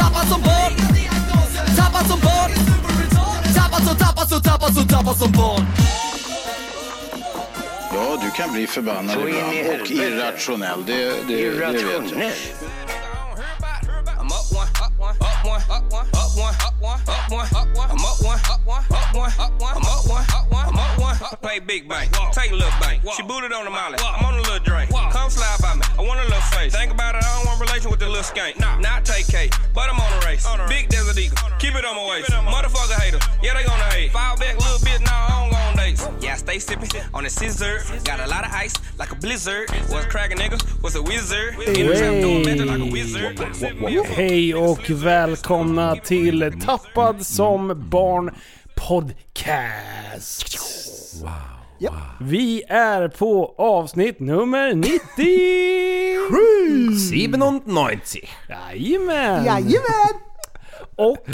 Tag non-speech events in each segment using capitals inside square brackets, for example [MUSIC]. Tappad som barn Tappad som barn Tappad som, tappad som, tappad som, tappad som barn Ja, du kan bli förbannad Så in i ibland och helvete. irrationell. Det, det, det vet jag. Play big bank, take a little bank. She booted on the molly. I'm on a little drink. Come slide by me. I want a little face. Think about it. I don't want relation with the little skank. Not take cake, but I'm on a race. Big desert eagle. Keep it on my waist. Motherfucker haters. Yeah, they gonna hate. Fall back, little bit. Nah, I don't go on dates. Yeah, I stay sipping on the scissor. Got a lot of ice, like a blizzard. What's cracking, nigga? What's a wizard? In the trap, doing magic like a wizard. Send me a Hej och välkomna till Tappad som barn podcast. Ja. Vi är på avsnitt nummer 97! 97. Jajamän! Jajamän! Och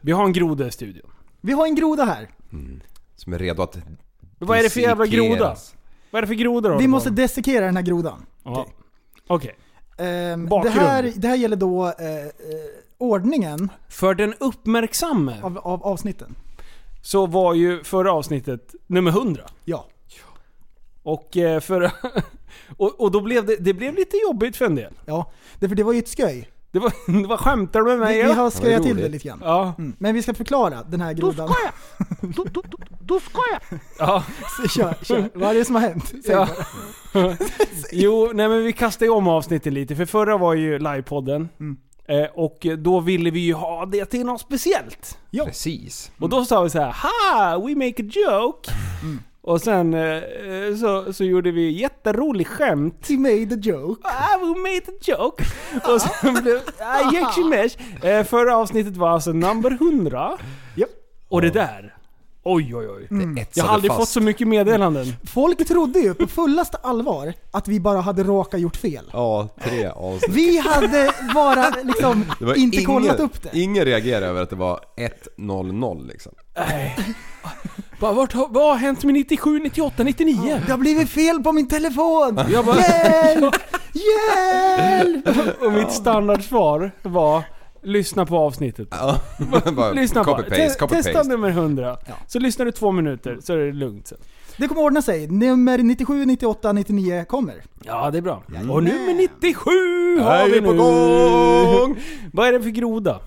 vi har en groda i studion. Vi har en groda här. Som är redo att... Vad är det för jävla groda? dissekeras. Vad är det för groda då? Vi måste dissekera den här grodan. Ja. Okej. Ehm, det, Bakgrund. här, det här gäller då eh, eh, ordningen För den uppmärksamme av, av avsnitten. så var ju förra avsnittet nummer 100. Ja. Och, eh, för, [LAUGHS] och, och då blev det, det blev lite jobbigt för en del. ja. Därför det var ju ett sköj. Det var, [LAUGHS] det var skämtar du med mig? Vi, vi eller? har skojat till det roligt. lite grann. Ja. Mm. Men vi ska förklara den här grodan. Då skojar [LAUGHS] ja. jag! [LAUGHS] kör, kör. Vad är det som har hänt? Säg Ja. bara. Jo, nej men vi kastade ju om avsnittet lite, för förra var ju livepodden. Mm. Eh, och då ville vi ju ha det till något speciellt. Precis. Mm. Och då sa vi så här: ha! We make a joke! Och sen eh, så, så gjorde vi jätterolig skämt. He made a joke. Ah, we made a [LAUGHS] joke! Och sen blev ah, Jack Chimesh. Eh, förra avsnittet var alltså number 100. Japp. Och det där. Oj, oj, oj. Det etsade Jag har aldrig fast. fått så mycket meddelanden. Folk trodde ju på fullaste allvar att vi bara hade råkat gjort fel. Ja, tre avsnitt. Vi hade bara liksom [LAUGHS] Det var inte ingen- kollat upp det. Ingen reagerade över att det var 1-0-0 liksom. Nej. Bara, vart, har- vad har hänt med 97, 98, 99? Det har blivit fel på min telefon! Jag bara, Hjälp! Hjälp! [LAUGHS] och mitt standardsvar var Lyssna på avsnittet. Ja, [LAUGHS] bara lyssna på. copy-paste, Te- Testa copy-paste. nummer 100. Så lyssnar du två minuter så är det lugnt sen. Det kommer ordna sig. Nummer 97, 98, 99 kommer. Ja, det är bra. Och nummer 97 har vi Hej nu! på gång! [LAUGHS] Vad är det för groda?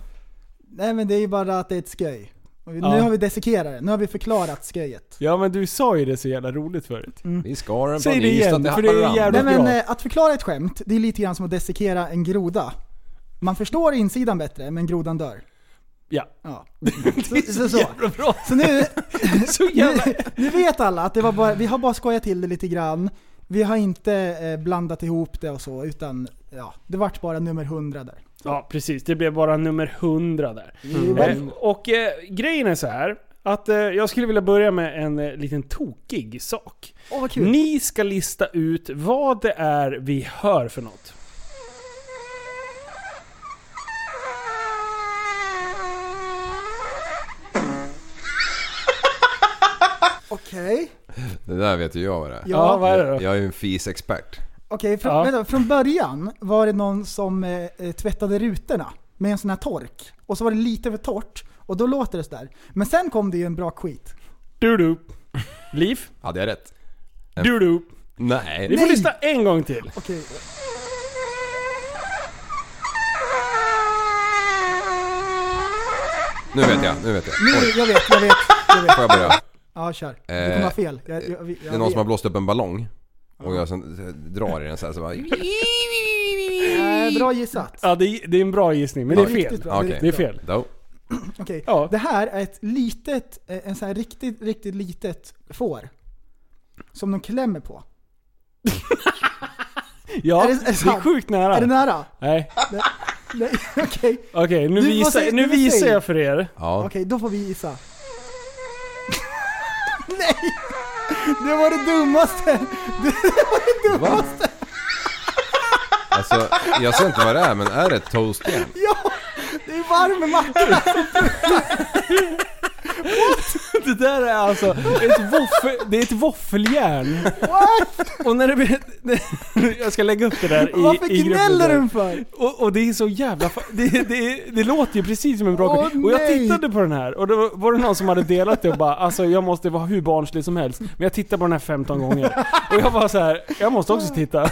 Nej men det är ju bara att det är ett sköj. Och vi- Ja. Nu har vi dissekerat det. Nu har vi förklarat sköjet. Ja men du sa ju det så jävla roligt förut. Vi skar den Säg från det igen, Ystad till för det är jävla- Nej Vad men bra. eh, att förklara ett skämt, det är lite grann som att dissekera en groda. Man förstår insidan bättre, men grodan dör. Ja. Ja. Så, så, [LAUGHS] så. Jävla bra. så nu, [LAUGHS] Så nu, jävla... nu vet alla att det var bara, vi har bara skojat till det lite grann. Vi har inte eh, blandat ihop det och så, utan ja, det vart bara nummer 100 där. [LAUGHS] Ja precis, det blev bara nummer 100 där. Eh, och eh, grejen är så här att eh, jag skulle vilja börja med en eh, liten tokig sak. Åh vad kul! Ni ska lista ut vad det är vi hör för något. Okej. Det där vet ju jag vad det är. Ja. Ja, vad är det då? Jag är ju en fisexpert. Okej, från, Ja. vänta, från början var det någon som eh, eh, tvättade rutorna med en sån här tork. Och så var det lite för torrt och då låter det sådär. Men sen kom det ju en bra skit. Du-du. Liv. Hade jag rätt? Du-du. Nej. Ni får lyssna en gång till. Okej. Nu vet jag, nu vet jag. Nu, Oj, jag vet, jag vet, jag vet. får jag börja? Ja, kör. Du kommer ha fel. Jag, jag, jag, Det är någon som har vet. blåst upp en ballong. Och jag sen eh, drar i den så här så bara... Eh, bra gissat. Ja, det, är- det är en bra gissning, men det är fel. Riktigt bra. Okej. Det riktigt är bra. fel. Då. Okej. Ja. Det här är ett litet, eh, en sån här riktigt, riktigt litet får. Som de klämmer på. Ja, Är det det- är det är sant? sjukt Är det nära. nära? Nej. Nej, [LAUGHS] okej. Okej, nu, Du, vad visar, säger- nu vad säger visar du? jag för er. Ja. Okej, då får vi gissa. [LAUGHS] Nej! Det var det dummaste! [LAUGHS] Va? Alltså, jag ser inte vad det är, men är det ett toastjärn? Ja! Det är varm macka! Det där är alltså ett, våffel, det är ett våffeljärn. What? Och när det blir... [LAUGHS] Jag ska lägga upp det där i, Varför i gruppen gnäller sen. du för? Och, och det är så jävla... fa- Det, det, det låter ju precis som en bra Åh, kopia. Och jag nej. tittade på den här och då var det någon som hade delat det och bara alltså jag måste vara hur barnslig som helst. Men jag tittade på den här 15 gånger. Och jag var så här, jag måste också [LAUGHS] titta.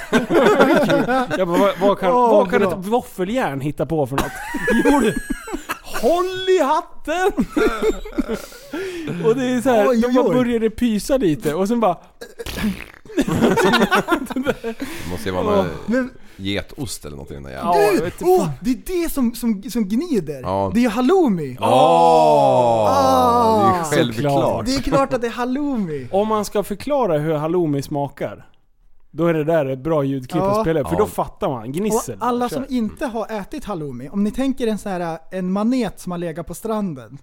jag bara, vad, vad kan, Åh, vad kan bra. ett våffeljärn hitta på för något? Jo du, håll i [LAUGHS] hatten! och det är så här, Oj, de oj, bara oj. började pysa lite och sen bara Det måste ju vara någon Men getost eller något i den där Ja, jäveln. du! jag vet inte Åh, det är det som, som, som gnider! Ja. Det är halloumi! Åh! Det är ju Ah, självklart. Det är klart att det [LAUGHS] är halloumi! Om man ska förklara hur halloumi smakar, då är det där ett bra ljudklipp Ja. att spela upp, för Ja. då fattar man. Gnissel. Och alla som Kör. inte har ätit halloumi, om ni tänker en sån här en manet som har legat på stranden.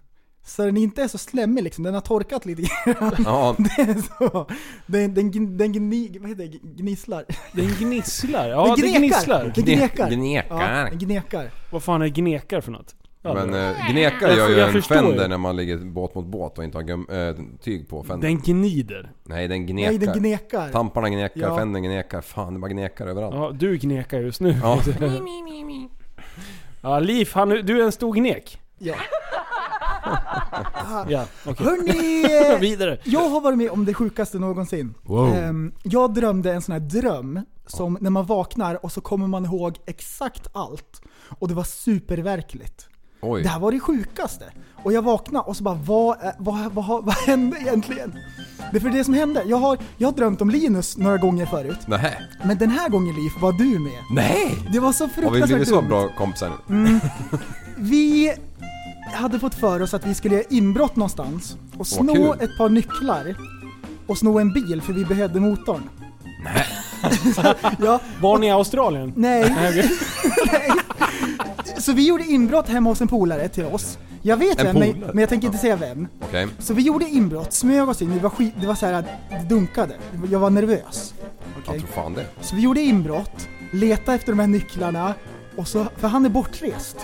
Så den inte är så slemmig liksom, den har torkat lite grann. [LAUGHS] Ja, Det är så. Den, den, gn- den gni, vad heter det? gnisslar. Den gnisslar. Ja, Den det gnekar. gnisslar. Den gnekar. Gnekar. Ja, den gnekar. Vad fan är gnekar för något? Ja, men det- eh, gnekar Jag- gör ju jag en förstår ju. fender när man ligger båt mot båt och inte har gum, eh, tyg på fendern. den gnider. Nej, den Nej, gnekar. den gnekar. Tamparna gnekar, Ja. fendern gnekar. Fan, det bara gnekar överallt. Ja, du gnekar just nu. [LAUGHS] Ja. Ja, Liv, han, du är en stor gnek. Ja. Ja, okej. Hörni! Vidare. Jag har varit med om det sjukaste någonsin. Ehm, Jag drömde en sån här dröm som när man vaknar och så kommer man ihåg exakt allt. Och det var superverkligt. Oj. Det här var det sjukaste. Och jag vaknade och så bara, vad, är- vad, vad, har- vad hände egentligen? Det är för det som hände. Jag har, jag har drömt om Linus några gånger förut. Nej. Men den här gången Liv var du med. Nej! Det var så Har vi fruktansvärt blivit så dumt. bra kompisar nu? Mm. Vi hade fått för oss att vi skulle göra inbrott någonstans och sno kul. ett par nycklar och sno en bil för vi behövde motorn. Nej. [LAUGHS] ja, Var ni i Australien? nej. Nej, okej. nej. Så vi gjorde inbrott hemma hos en polare till oss. Jag vet En vem, men, polare? men jag tänker inte säga vem. Okej. Så vi gjorde inbrott, smög oss in, vi var skit, det var så här att det dunkade. Jag var nervös. Jag tror fan det. Så vi gjorde inbrott, letade efter de här nycklarna, och så, för han är bortrest.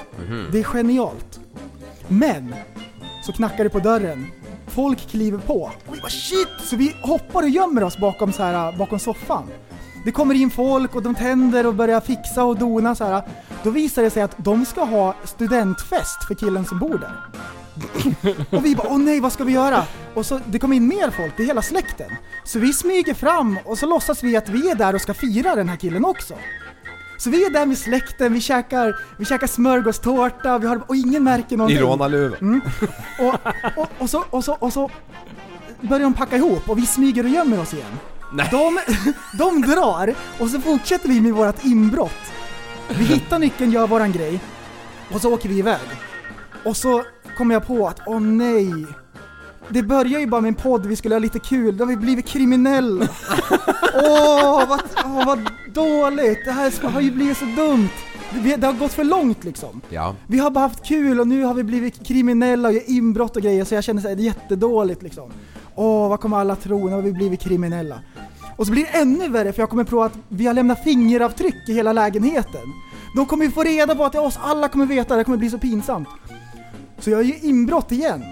Det är genialt. Men, så knackar det på dörren. Folk kliver på. Och vi bara shit! Så vi hoppar och gömmer oss bakom, så här, bakom soffan. Det kommer in folk och de tänder och börjar fixa och dona så här. Då visar det sig att de ska ha studentfest för killen som bor där. Och vi bara åh nej vad ska vi göra? Och så det kom in mer folk, det är hela släkten. Så vi smyger fram och så låtsas vi att vi är där och ska fira den här killen också. Så vi är där med släkten, vi käkar, vi käkar smörgåstårta, vi har, och ingen märker någonting. Rånarluva. Och, och, och, så, och, så, och så börjar de packa ihop och vi smyger och gömmer oss igen. De, [LAUGHS] de drar och så fortsätter vi med vårt inbrott. Vi hittar nyckeln, gör våran grej och så åker vi iväg. Och så kommer jag på att, åh nej. Det börjar ju bara med en podd, vi skulle ha lite kul, då har vi blivit kriminella. Åh, vad, åh, vad dåligt! Det här har ju blivit så dumt. Det, det har gått för långt liksom. Ja. Vi har bara haft kul och nu har vi blivit kriminella och gör inbrott och grejer så jag känner såhär, det är jättedåligt liksom. Åh, vad kommer alla tro? Nu har vi blivit kriminella. Och så blir det ännu värre för jag kommer på att vi har lämnat fingeravtryck i hela lägenheten. De kommer ju få reda på att det är oss, alla kommer veta, det kommer bli så pinsamt. Så jag gör inbrott igen.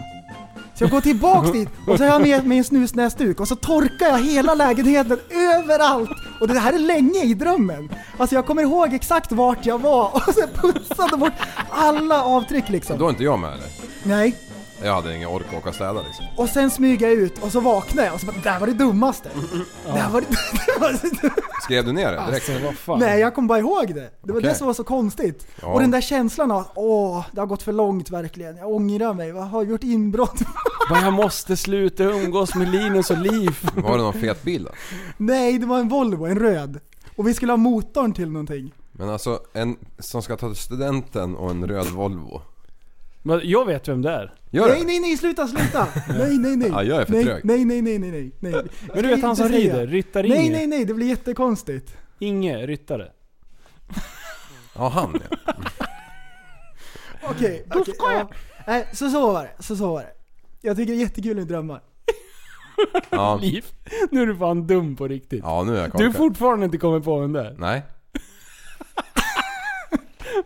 Så jag går tillbaks dit och så har jag med mig en snusnäsduk och så torkar jag hela lägenheten överallt. Och det här är länge i drömmen. Alltså jag kommer ihåg exakt vart jag var [LAUGHS] och så putsade bort alla avtryck liksom. Då är inte jag med eller? Nej. Jag hade ingen ork att åka och städa liksom. Och sen smyger jag ut och så vaknar jag och så bara, det här var det dummaste. Det här var det, [LAUGHS] det var det Skrev du ner det direkt? Alltså, vad fan. Nej, jag kom bara ihåg det. Det var Okej. det som var så konstigt. Ja. Och den där känslan av åh, det har gått för långt verkligen. Jag ångrar mig. Jag har gjort inbrott. [LAUGHS] Bara, jag måste sluta umgås med Linus och Liv. Var det någon fet bil då? Nej, det var en Volvo, en röd. Och vi skulle ha motorn till någonting. Men alltså en som ska ta studenten och en röd Volvo. Men jag vet vem det är. Gör nej, det? nej, nej, sluta, sluta! nej, nej, nej. [LAUGHS] Ja, jag är för nej, trög. nej, nej, nej, nej, nej, nej. Men du vet han som rider? Ryttar-Inge? Nej, nej, nej, det blir jättekonstigt. Inge, ryttare. Ja han ja. Okej, då ska jag. Nej, så så var det. Så så var det. Jag tycker det är jättekul med drömmar. Ja, [LAUGHS] Liv, nu är du fan dum på riktigt. ja nu är jag du är korkad. fortfarande inte kommit på den där. Nej.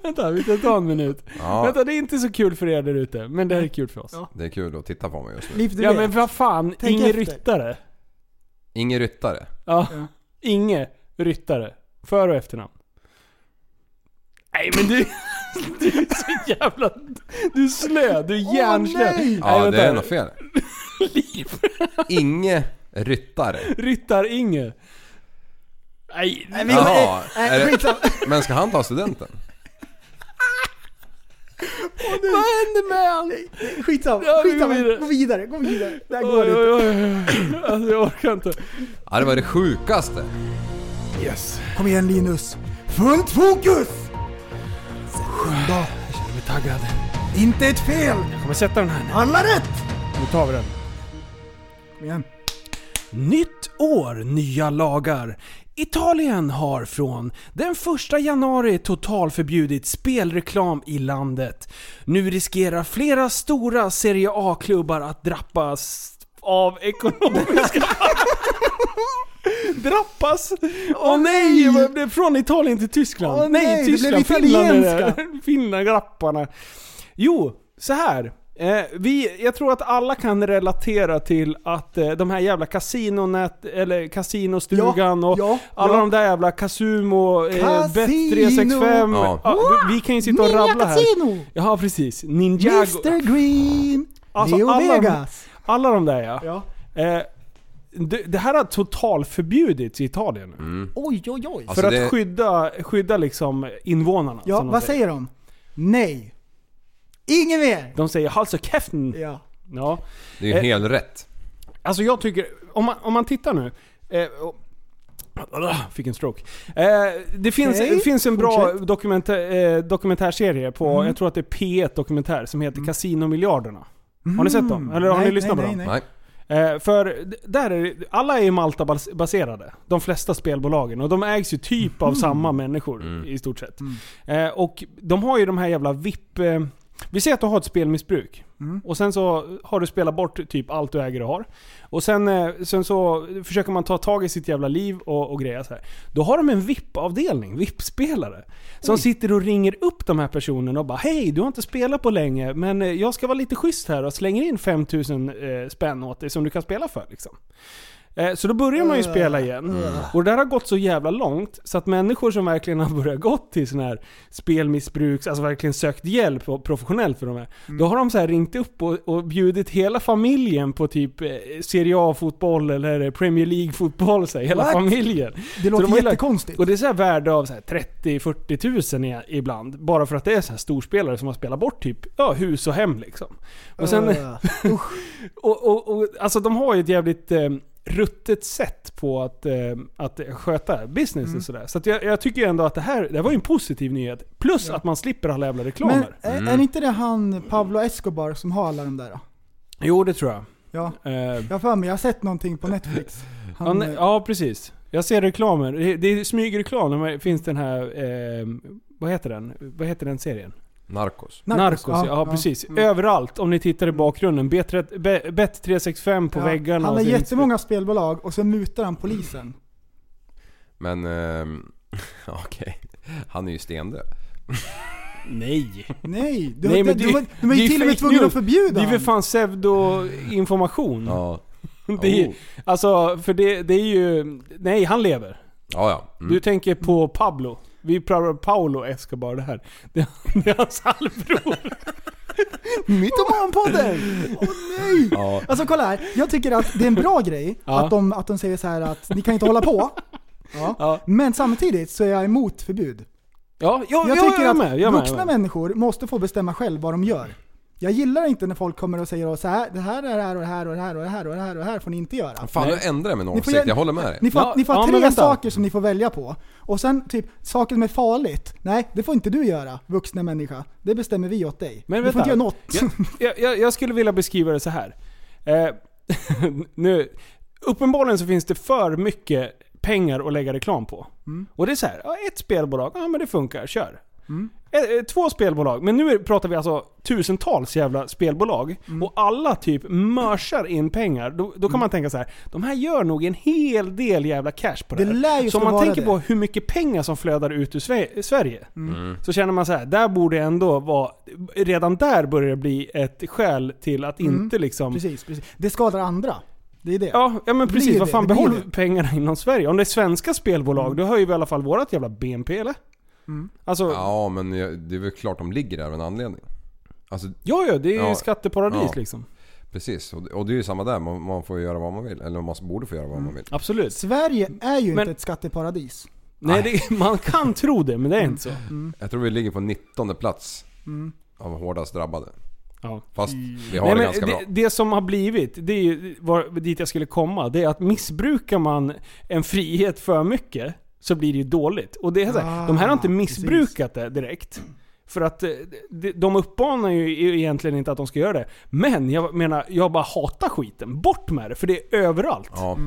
Vänta, vi ska ta en minut. Ja, Vänta, det är inte så kul för er där ute, men det här är kul för oss. Ja. det är kul att titta på mig just [LAUGHS] nu. Liv, du Ja vet. men vad fan, Tänk Inge efter. Ryttare. Ingen ryttare. Ja. Inge Ryttare. För och efternamn. Nej men du... [LAUGHS] Du är så jävla... Du är slö, du är Åh, hjärnslö. nej! Ja, vänta. det är nog fel. [LAUGHS] Liv. Inge ryttare. Ryttar-Inge. Nej, Nej, vi- Jaha, nej, är det- skitsamma. [LAUGHS] Men ska han ta studenten? vad hände med han? Skitsamma, Ja, vi går skitsamma. vidare. Gå vidare, gå vidare. Det här går Oj, inte. oj, [LAUGHS] oj. Alltså jag orkar inte. Ja, det var det sjukaste. Yes. Kom igen Linus. Fullt fokus! Då. Jag blir taggad. Inte ett fel. Jag kommer sätta den här nu. Alla rätt! Nu tar vi den. Kom igen. Nytt år, nya lagar. Italien har från den 1 januari totalförbjudit spelreklam i landet. Nu riskerar flera stora Serie A-klubbar att drappas av ekonomiska... [LAUGHS] drappas? Åh nej! vad blev- Från Italien till Tyskland. Åh, nej, det blev Finland är det. italienska. Finland, grapparna. Jo, så här. Eh, vi, jag tror att alla kan relatera till att eh, de här jävla kasinonät, eller kasinostugan och ja, alla ja. de där jävla Casumo, eh, Casino. Bet365. Ja. Ja, Ah, vi, vi kan ju sitta och Ninja rabbla här. Casino. Ja, precis. Ninjago. Mr Green. Alltså, Leo alla- Vegas. Alla de där ja. Ja. Eh, det, det här har totalförbjudits i Italien. Oj, oj, oj. Alltså, För att Mm, det- skydda, skydda liksom invånarna. Ja, som de vad säger de? Nej. Inget mer. De säger 'Hals och käften'. Ja. Ja. Det är ju Eh. helt rätt. Alltså jag tycker, om man, om man tittar nu. Eh, och, [CLEARS THROAT] Ah, fick en stroke. Eh, det finns, Okej, det finns en bra fortsätt. Mm. dokumentär, eh, dokumentärserie på, jag tror att det är P1 Dokumentär, som heter Casinomiljarderna. Har ni sett dem? Eller har Mm. Nej, ni lyssnat nej, på nej, dem? Nej. Eh, för d- där är det- alla är ju Malta-baserade. De flesta spelbolagen. Och de ägs ju typ Mm. av samma människor i stort sett. Eh, och de har ju de här jävla VIP... Eh, vi säger att du har ett spelmissbruk. Mm. Och sen så har du spelat bort typ allt du äger och har. Och sen, eh, sen så försöker man ta tag i sitt jävla liv och, och greja så här. Då har de en VIP-avdelning, VIP-spelare. Som sitter och ringer upp de här personerna och bara Hej, du har inte spelat på länge men eh, jag ska vara lite schysst här och slänger in 5000 eh, spänn åt dig som du kan spela för liksom. Eh, Så då börjar man ju spela igen. Och det där har gått så jävla långt så att människor som verkligen har börjat gått till sån här spelmissbruks, alltså verkligen sökt hjälp och professionellt för de här. Då har de så här ringt upp och, och bjudit hela familjen på typ eh, Serie A-fotboll eller Premier League-fotboll. så här, Hela What? familjen. Så Det de låter har gillat- jättekonstigt. Och det är så här värde av 30-40 tusen i- ibland. Bara för att det är så här storspelare som har spelat bort typ ja, hus och hem liksom. Och sen, eh, Ja. och, och, och, alltså de har ju ett jävligt eh, ruttet sätt på att, eh, att sköta business och sådär. Så att jag, jag tycker ju ändå att det här, det här var ju en positiv nyhet. Plus att man slipper alla jävla reklamer. Men är, är inte det han Pablo Escobar som har alla de där? Då? Jo, det tror jag. Ja. Eh, Jag har för mig, jag har sett någonting på Netflix. ja, Han, eh, ne- ja, precis. Jag ser reklamer. Det, det är smygreklam. när man- finns den här, eh, vad heter den? Vad heter den serien? Narcos. Narcos, ja, precis. Överallt, om ni tittar i bakgrunden. Bet- Bet- Bet365 på Ja. väggarna. Han och har sin- jättemånga spelbolag och sen mutar han polisen. Men... ehm, [LAUGHS] okej. Han är ju stendöd. Nej. Nej, du, Nej, har- men du, det- var- du var det ju är till och med fake tvungen news. att förbjuda Det är väl han. fan pseudo-information. Ja. [LAUGHS] Det är, Oh. Alltså, för det, det är ju... Nej, han lever. Ja, ja. Mm. Du tänker på Pablo. Vi pratar om Paolo Escobar det här. [LAUGHS] Det, det är hans halvbror. Mytomanpodden! Åh nej! Ja. Alltså kolla här, jag tycker att det är en bra grej Ja. att, de, att de säger så här att ni kan inte hålla på. Ja. Ja. Men samtidigt så är jag emot förbud. Ja, ja, Jag ja, tycker jag att med. Jag med, vuxna jag med. människor måste få bestämma själv vad de gör. Jag gillar inte när folk kommer och säger så här, det här är det här och det här och det här och det här och det här och det här får ni inte göra. Fan, nu ändrar jag min Ni får åsikt. gärna- Jag håller med dig. Ni får, Ja, ni får ja, ha men tre vänta. saker som ni får välja på. Och sen typ, saker som är farligt, nej det får inte du göra, vuxna människa. Det bestämmer vi åt dig. Men du får vänta. inte göra något. Jag, jag, jag skulle vilja beskriva det så här. Eh, [LAUGHS] nu, uppenbarligen så finns det för mycket Mm. Mm. pengar att lägga reklam på. Och det är så här, ja, ett spelbolag, ja men det funkar, kör. Eh, eh, Två spelbolag, men nu är- pratar vi alltså tusentals jävla spelbolag. Mm. Och alla typ mörsar in pengar. Då, då kan man tänka så här: de här gör nog en hel del jävla cash på det, Det här. lär ju Så om man vara tänker det. på hur mycket pengar som flödar ut ur Sve- Sverige. Mm. Mm. Så känner man så här, där borde ändå vara... Redan där börjar det bli ett skäl till att inte liksom... [LAUGHS] Mm. Precis, precis. Det skadar andra. Det är det. Ja, ja men Det precis. blir det, Vad fan, det blir behåll det. Mm. pengarna inom Sverige. Om det är svenska spelbolag, då höjer vi i alla fall vårat jävla BNP eller? Alltså, ja. Ja, men jag- det är väl klart de ligger där av en anledning. Alltså, ja det är ju Ja. skatteparadis Ja. liksom. precis. Och det, och det är ju samma där. Man, man får göra vad man vill. Eller man borde få göra vad Mm. man vill. Absolut. Sverige är ju Men- inte ett skatteparadis. Nej, det, [LAUGHS] man kan tro det, men det är inte så. Mm. Jag tror vi ligger på 19 plats av hårdast drabbade. Ja. Fast vi har Mm. Nej, det men ganska det, bra. det som har blivit, det är ju var, dit jag skulle komma, det är att missbrukar man en frihet för mycket så blir det ju dåligt. Och det är så här, Ah, de här har inte precis. missbrukat det direkt. För att eh, de- de uppmanar ju e-, egentligen inte att de ska göra det. Men jag menar, jag bara hatar skiten. Bort med det, för det är överallt. Ja.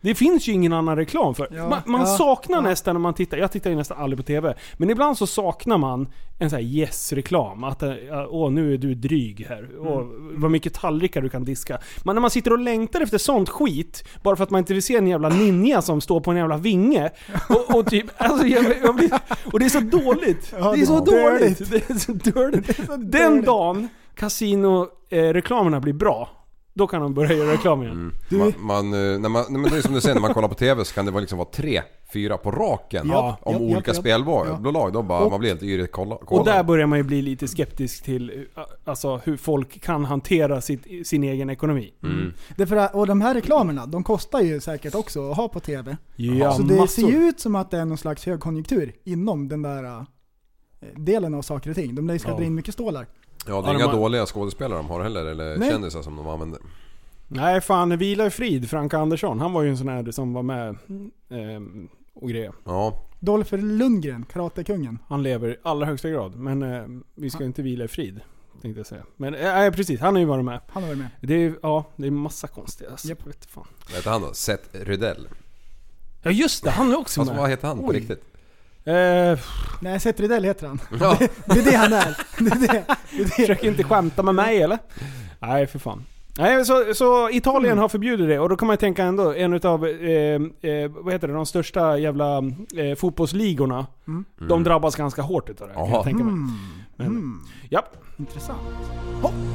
Det finns ju ingen annan reklam för. Ja, man man ja, saknar nästan när man tittar, jag tittar ju nästan aldrig på TV. Men ibland så saknar man en sån här yes-reklam. Att eh, åh nu är du dryg här. Åh, vad mycket tallrikar du kan diska. Men när man sitter och längtar efter sånt skit, bara för att man inte vill se en jävla ninja som står på en jävla vinge. Och, och typ, alltså jag, jag blir, Och det är så dåligt. Ja, det är så det är dåligt. Det är så dåligt. så Den dåligt. dagen kasinoreklamerna blir bra, då kan de börja göra reklam igen. Man, man, eh, när man, nej, men det är som du säger, när man kollar på TV så kan det vara, liksom vara tre, fyra på raken Ja, om ja, ja, olika ja. spelbolag. Då bara, Och- man blir helt yrig. Kolla, kolla. Och där börjar man ju bli lite skeptisk till eh, alltså, hur folk kan hantera sitt, sin egen ekonomi. Därför att, och de här reklamerna, de kostar ju säkert också att ha på TV. Ja, så det massor. ser ju ut som att det är någon slags högkonjunktur inom den där eh, delen av saker och ting. De lär ju släppa Ja. in mycket stålar. Ja, det Ja, är de inga har- dåliga skådespelare de har heller, eller Nej. kändisar som de använder. Nej fan, vila i frid Frank Andersson. Han var ju en sån här som var med ehm, och grejer. Ja, Dolph Lundgren, karatekungen. Han lever i allra högsta grad. Men eh, vi ska inte vila i frid. Tänkte jag säga. Men eh, nej precis, han har ju varit med. Han har varit med. Det är, ja, det är massa konstiga. Alltså. Japp. Jag vet fan. vad heter han då? Seth Rydell. Ja just det, han är också Fast vad med. heter han på Oj. [LAUGHS] riktigt? Eh, Nej, Seth Rydell heter han. Ja, Det är det han är. Det är det. Försök inte skämta med mig eller? Nej för fan. Nej, så, så Italien har förbjudit det och då kan man ju tänka ändå, en utav, eh, eh, vad heter det, de största jävla eh, fotbollsligorna. De drabbas ganska hårt utav det kan Jaha. jag tänka mig. Men, Ja. Intressant.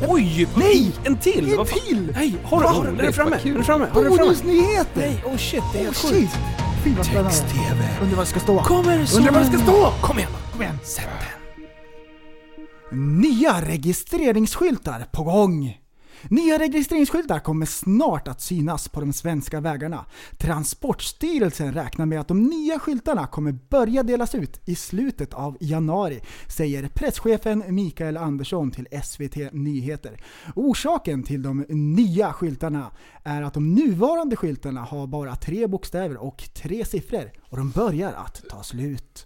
Oj! Nej! En till! En Vad fan? till! Nej! Har du, har du, är den framme? Är den framme? Har den framme? Bonusnyheter! Nej, oh shit, det är helt Shit! sjukt. Fy vad spännande. Text-TV. Undrar vad det ska stå. Kommer som Undrar vad det ska stå? Kom igen! Kom igen. Sätt den. Nya registreringsskyltar på gång! Nya registreringsskyltar kommer snart att synas på de svenska vägarna. Transportstyrelsen räknar med att de nya skyltarna kommer börja delas ut i slutet av januari, säger presschefen Mikael Andersson till SVT Nyheter. Orsaken till de nya skyltarna är att de nuvarande skyltarna har bara tre bokstäver och tre siffror och de börjar att ta slut.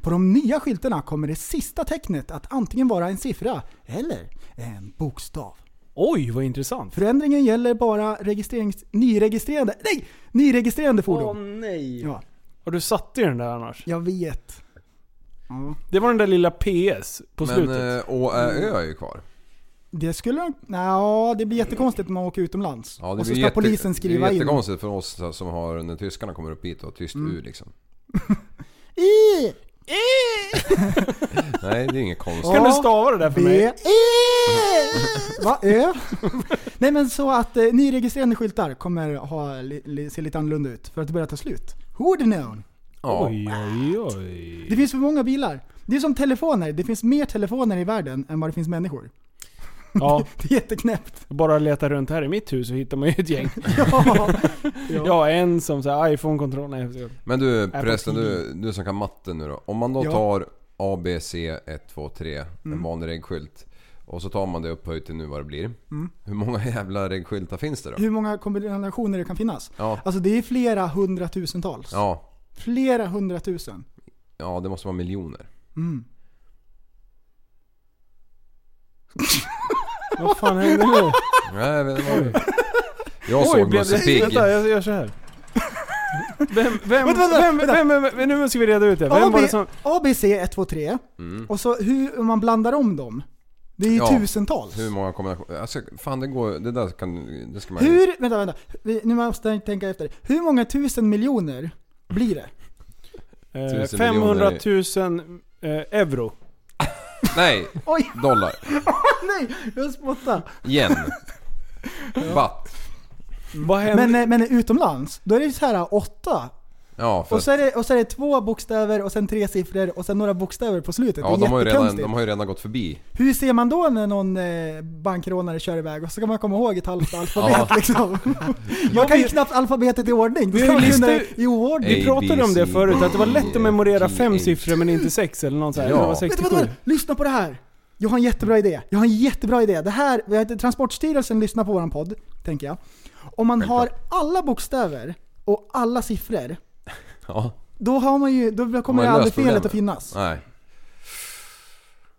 På de nya skyltarna kommer det sista tecknet att antingen vara en siffra eller en bokstav. Oj, vad intressant. Förändringen gäller bara registrerings... nyregistrerande... Nej! Nyregistrerande fordon. nej. Ja, Har du satt i den där annars? jag vet. Ja. Det var den där lilla PS på men slutet. eh, Å, Ä, Ö är ju kvar. Det skulle... Ja, det blir jättekonstigt om man åker utomlands. Ja, det och så blir ska jätte- polisen Det skriva är in... Mm. jättekonstigt för oss som har, när tyskarna kommer upp hit och tyst U liksom. I! Nej, det är inget [LAUGHS] konstigt. Kan Ja, du stava det där för mig? B... I! Va? Ö? Nej men så att eh, nyregistrerande skyltar kommer ha, li, li, se lite annorlunda ut för att det börjar ta slut. Who would have known? Ja. Oj, oj, oj. Det finns för många bilar. Det är som telefoner. Det finns mer telefoner i världen än vad det finns människor. Ja, Det är jätteknäppt. [LAUGHS] bara leta runt här i mitt hus så hittar man ju ett gäng. Ja. Ja, en som säger iPhone-kontroll. Nej, jag ska- Men du förresten, du, du som kan matte nu då. Om man då Ja. Mm. tar A, B, C, 1, 2, 3, en vanlig reggskylt. Och så tar man det upphöjt till nu vad det blir. Hur många [LAUGHS] jävla reggskyltar finns det då? Mm. Hur många kombinationer det kan finnas. Ja. Alltså det är flera hundratusentals. Ja, Flera hundratusen. Mm. ja det måste vara miljoner. Vad fan hände nu? [LAUGHS] Nej, men, oj. Jag såg Musse Pigg. Vänta, jag jag gör så här. [LAUGHS] Vem, vem, Vänta, vänta, vem, vänta. vem, vem, vem, nu måste vi reda ut det. Vem AB, var det som... eh, ABC 1, 2, 3. Och så hur man blandar om dem. Det är ju Mm. Ja. tusentals. Hur många kombinationer? Alltså fan det går, det där kan, det ska man Hur, vänta, vänta. Vi, nu måste jag tänka efter. Hur många tusen miljoner blir det? [LAUGHS] Eh, Tusen 500 000 eh, euro. Nej! [LAUGHS] Oj, Dollar. nej! Jag spottade. Yen. [LAUGHS] Batt. Vad händer? Men, eh, men utomlands, då är det så här eh, åtta. Ja, för Och så, är det, och så är det två bokstäver och sen tre siffror och sen några bokstäver på slutet. ja, det är de, har ju redan, jättekonstigt. de har ju redan gått förbi. Hur ser man då när någon eh, bankrånare kör iväg? Och så kan man komma ihåg ett halvt alfabet Ja. [LAUGHS] liksom. Jag kan ju knappt alfabetet i ordning. Då Vi ska har man ju kunna det listor- i oordning. Vi pratade om det förut, att det var lätt att memorera fem G, siffror men inte sex eller något sånt. Ja. Ja. Det var Vänta, 67. vänta, vänta. Lyssna på det här. Jag har en jättebra idé. Jag har en jättebra idé. Det här, vi har- Transportstyrelsen lyssnar på våran podd, tänker jag. Om man har alla bokstäver och alla siffror, Ja. då, har man ju, då kommer Man det har aldrig löst felet problemet. att finnas. Nej.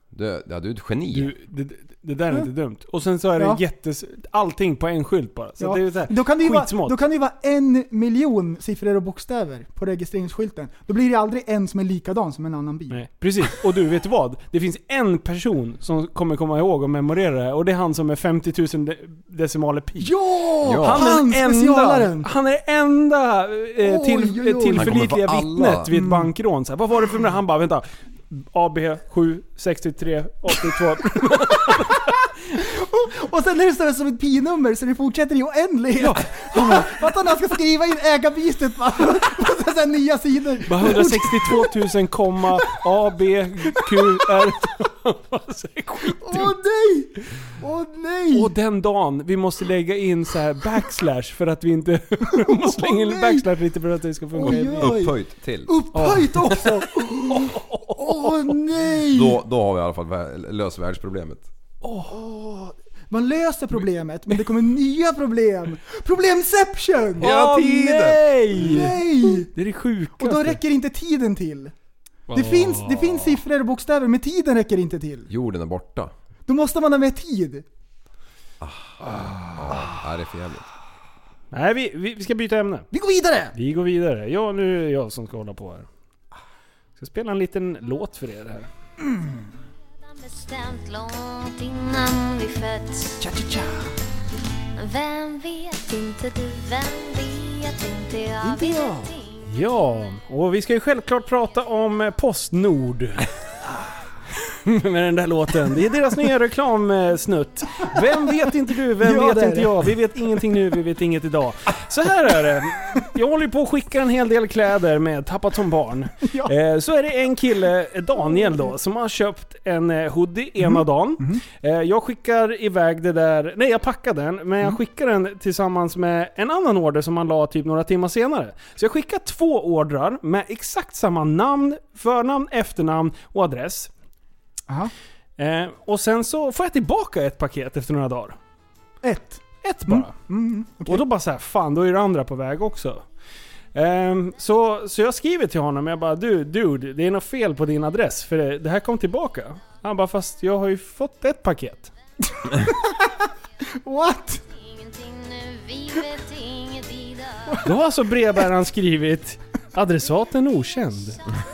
Du, ja, du är ett geni. Du, det, det där är inte dumt. Och sen så är det Ja. jättes... Allting på en skylt bara. Så Ja. det är ju så här, Då kan det ju vara, skitsmått. då kan det ju vara en miljon siffror och bokstäver på registreringsskylten. Då blir det aldrig en som är likadan som en annan bil. Nej, precis. Och du, vet du vad? Det finns en person som kommer komma ihåg och memorera det här, och det är han som är 50 000 de- decimaler pi. Ja! Ja. Han, specialaren! enda, han är det enda eh, Oj, till, oj, oj. eh, tillförlitliga Han kommer få alla. vittnet vid ett bankrån. Så här, vad var det för nummer? Han bara, vänta. AB 7 63 82. Och sen är det så här som ett pinummer så det fortsätter i oändlighet. [LAUGHS] Han bara, Fattar när han ska skriva in ägarbytet [LAUGHS] på på så här nya sidor. Bara 162 000 komma AB [LAUGHS] QR. Åh nej! Åh nej! Och den dagen vi måste lägga in så här backslash för att vi inte... [LAUGHS] vi måste slänga in Åh, nej. backslash lite för att det ska funka. Oj, oj. Upphöjt till. Upphöjt också! Åh nej! Då, då har vi i alla fall vä- löst världsproblemet. Man löser problemet men det kommer nya problem. Problemception! Åh, nej! Nej! Det är det sjukaste. Och då räcker inte tiden till. Det, finns, det finns siffror och bokstäver men tiden räcker inte till. Jorden är borta. Då måste man ha mer tid. Ja, det är för jävligt. Nej, vi, vi, vi ska byta ämne. Vi går vidare! Vi går vidare. Ja, nu är det jag som ska hålla på här. Jag ska spela en liten låt för er här. Redan bestämt långt innan vi fötts Vem vet inte du, vem vet inte jag Inte vet jag. ingenting. Ja, och vi ska ju självklart prata om eh, Postnord. Med den där låten. Det är deras nya reklamsnutt. Vem vet inte du, vem Ja, det vet är inte det. jag. Vi vet ingenting nu, vi vet inget idag. Så här är det. Jag håller ju på att skicka en hel del kläder med Tappat som barn. Ja. Eh, Så är det en kille, eh, Daniel då, som har köpt en eh, hoodie Mhm. ena dagen. Eh, Jag skickar iväg det där, nej jag packar den, men Mm. jag skickar den tillsammans med en annan order som han la typ några timmar senare. Så jag skickar två ordrar med exakt samma namn, förnamn, efternamn och adress. Aha. Eh, Och sen så får jag tillbaka ett paket efter några dagar. Ett. Ett bara. Mm. Och då bara så här, fan då är det andra på väg också. Ehm, så, så jag skriver till honom, jag bara du dude, det är något fel på din adress för det, det här kom tillbaka. Han bara fast jag har ju fått ett paket. What? Ingenting nu, vi vet inget idag Då har alltså brevbäraren skrivit adressaten okänd.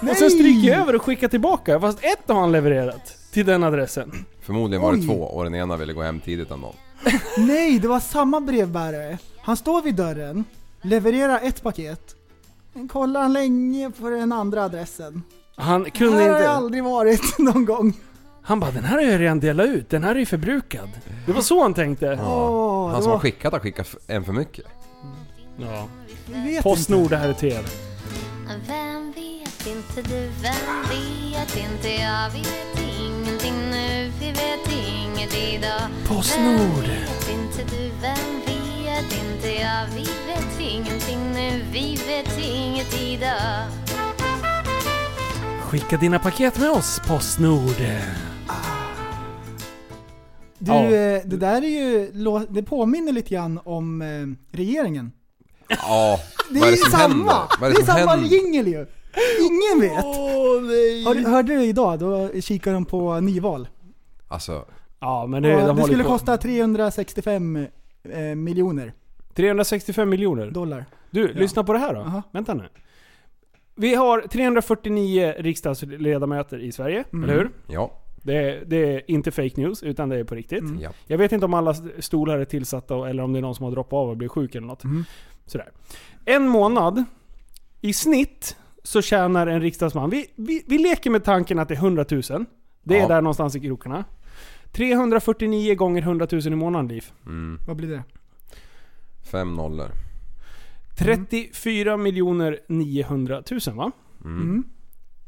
Och sen stryker jag över och skickar tillbaka fast ett har han levererat till den adressen. Förmodligen var det Oj. två och den ena ville gå hem tidigt än någon. Nej, det var samma brevbärare. Han står vid dörren, levererar ett paket. Sen kollar han länge på den andra adressen. Han Här kunde har jag inte... aldrig varit [LAUGHS] någon gång. Han bara den här har jag redan delat ut, den här är ju förbrukad. Det var så han tänkte. Åh, det Han som har var- skickat har skickat f- en för [LAUGHS] mycket. Ja. Vi vet Postnord det här är till er. Vem vet inte du, vem vet inte jag Vi vet ingenting nu, vi vet inget idag Postnord. Vem vet inte du, vem vet inte jag Vi vet ingenting nu, vi vet inget idag Skicka dina paket med oss Postnord. Du, Ja. eh, det där är ju, lå- det påminner lite grann om eh, regeringen. Ja, Det vad är, är ju det som händer? samma! Vad är det det är som samma händer? jingel ju! Ingen vet! Har du, hörde du idag? Då kikade de på nyval. Alltså, Ja men det, Det, de det håller skulle på. kosta 365 eh, miljoner 365 miljoner. dollar. Du, lyssna på det här då. Aha. Vänta nu. Vi har 349 riksdagsledamöter i Sverige, Mm. eller hur? Ja. Det är, det är inte fake news, utan det är på riktigt. Mm. Ja. Jag vet inte om alla stolar är tillsatta och- eller om det är någon som har droppat av och blivit sjuk eller något. Mm. Sådär. En månad, i snitt, så tjänar en riksdagsman... Vi, vi, vi leker med tanken att det är 100 000. Det är Ja. där någonstans i krokarna. 349 gånger 100 000 i månaden, Liv. Vad blir det? Mm. Fem nollor. 34 miljoner 900 000 va? Mm.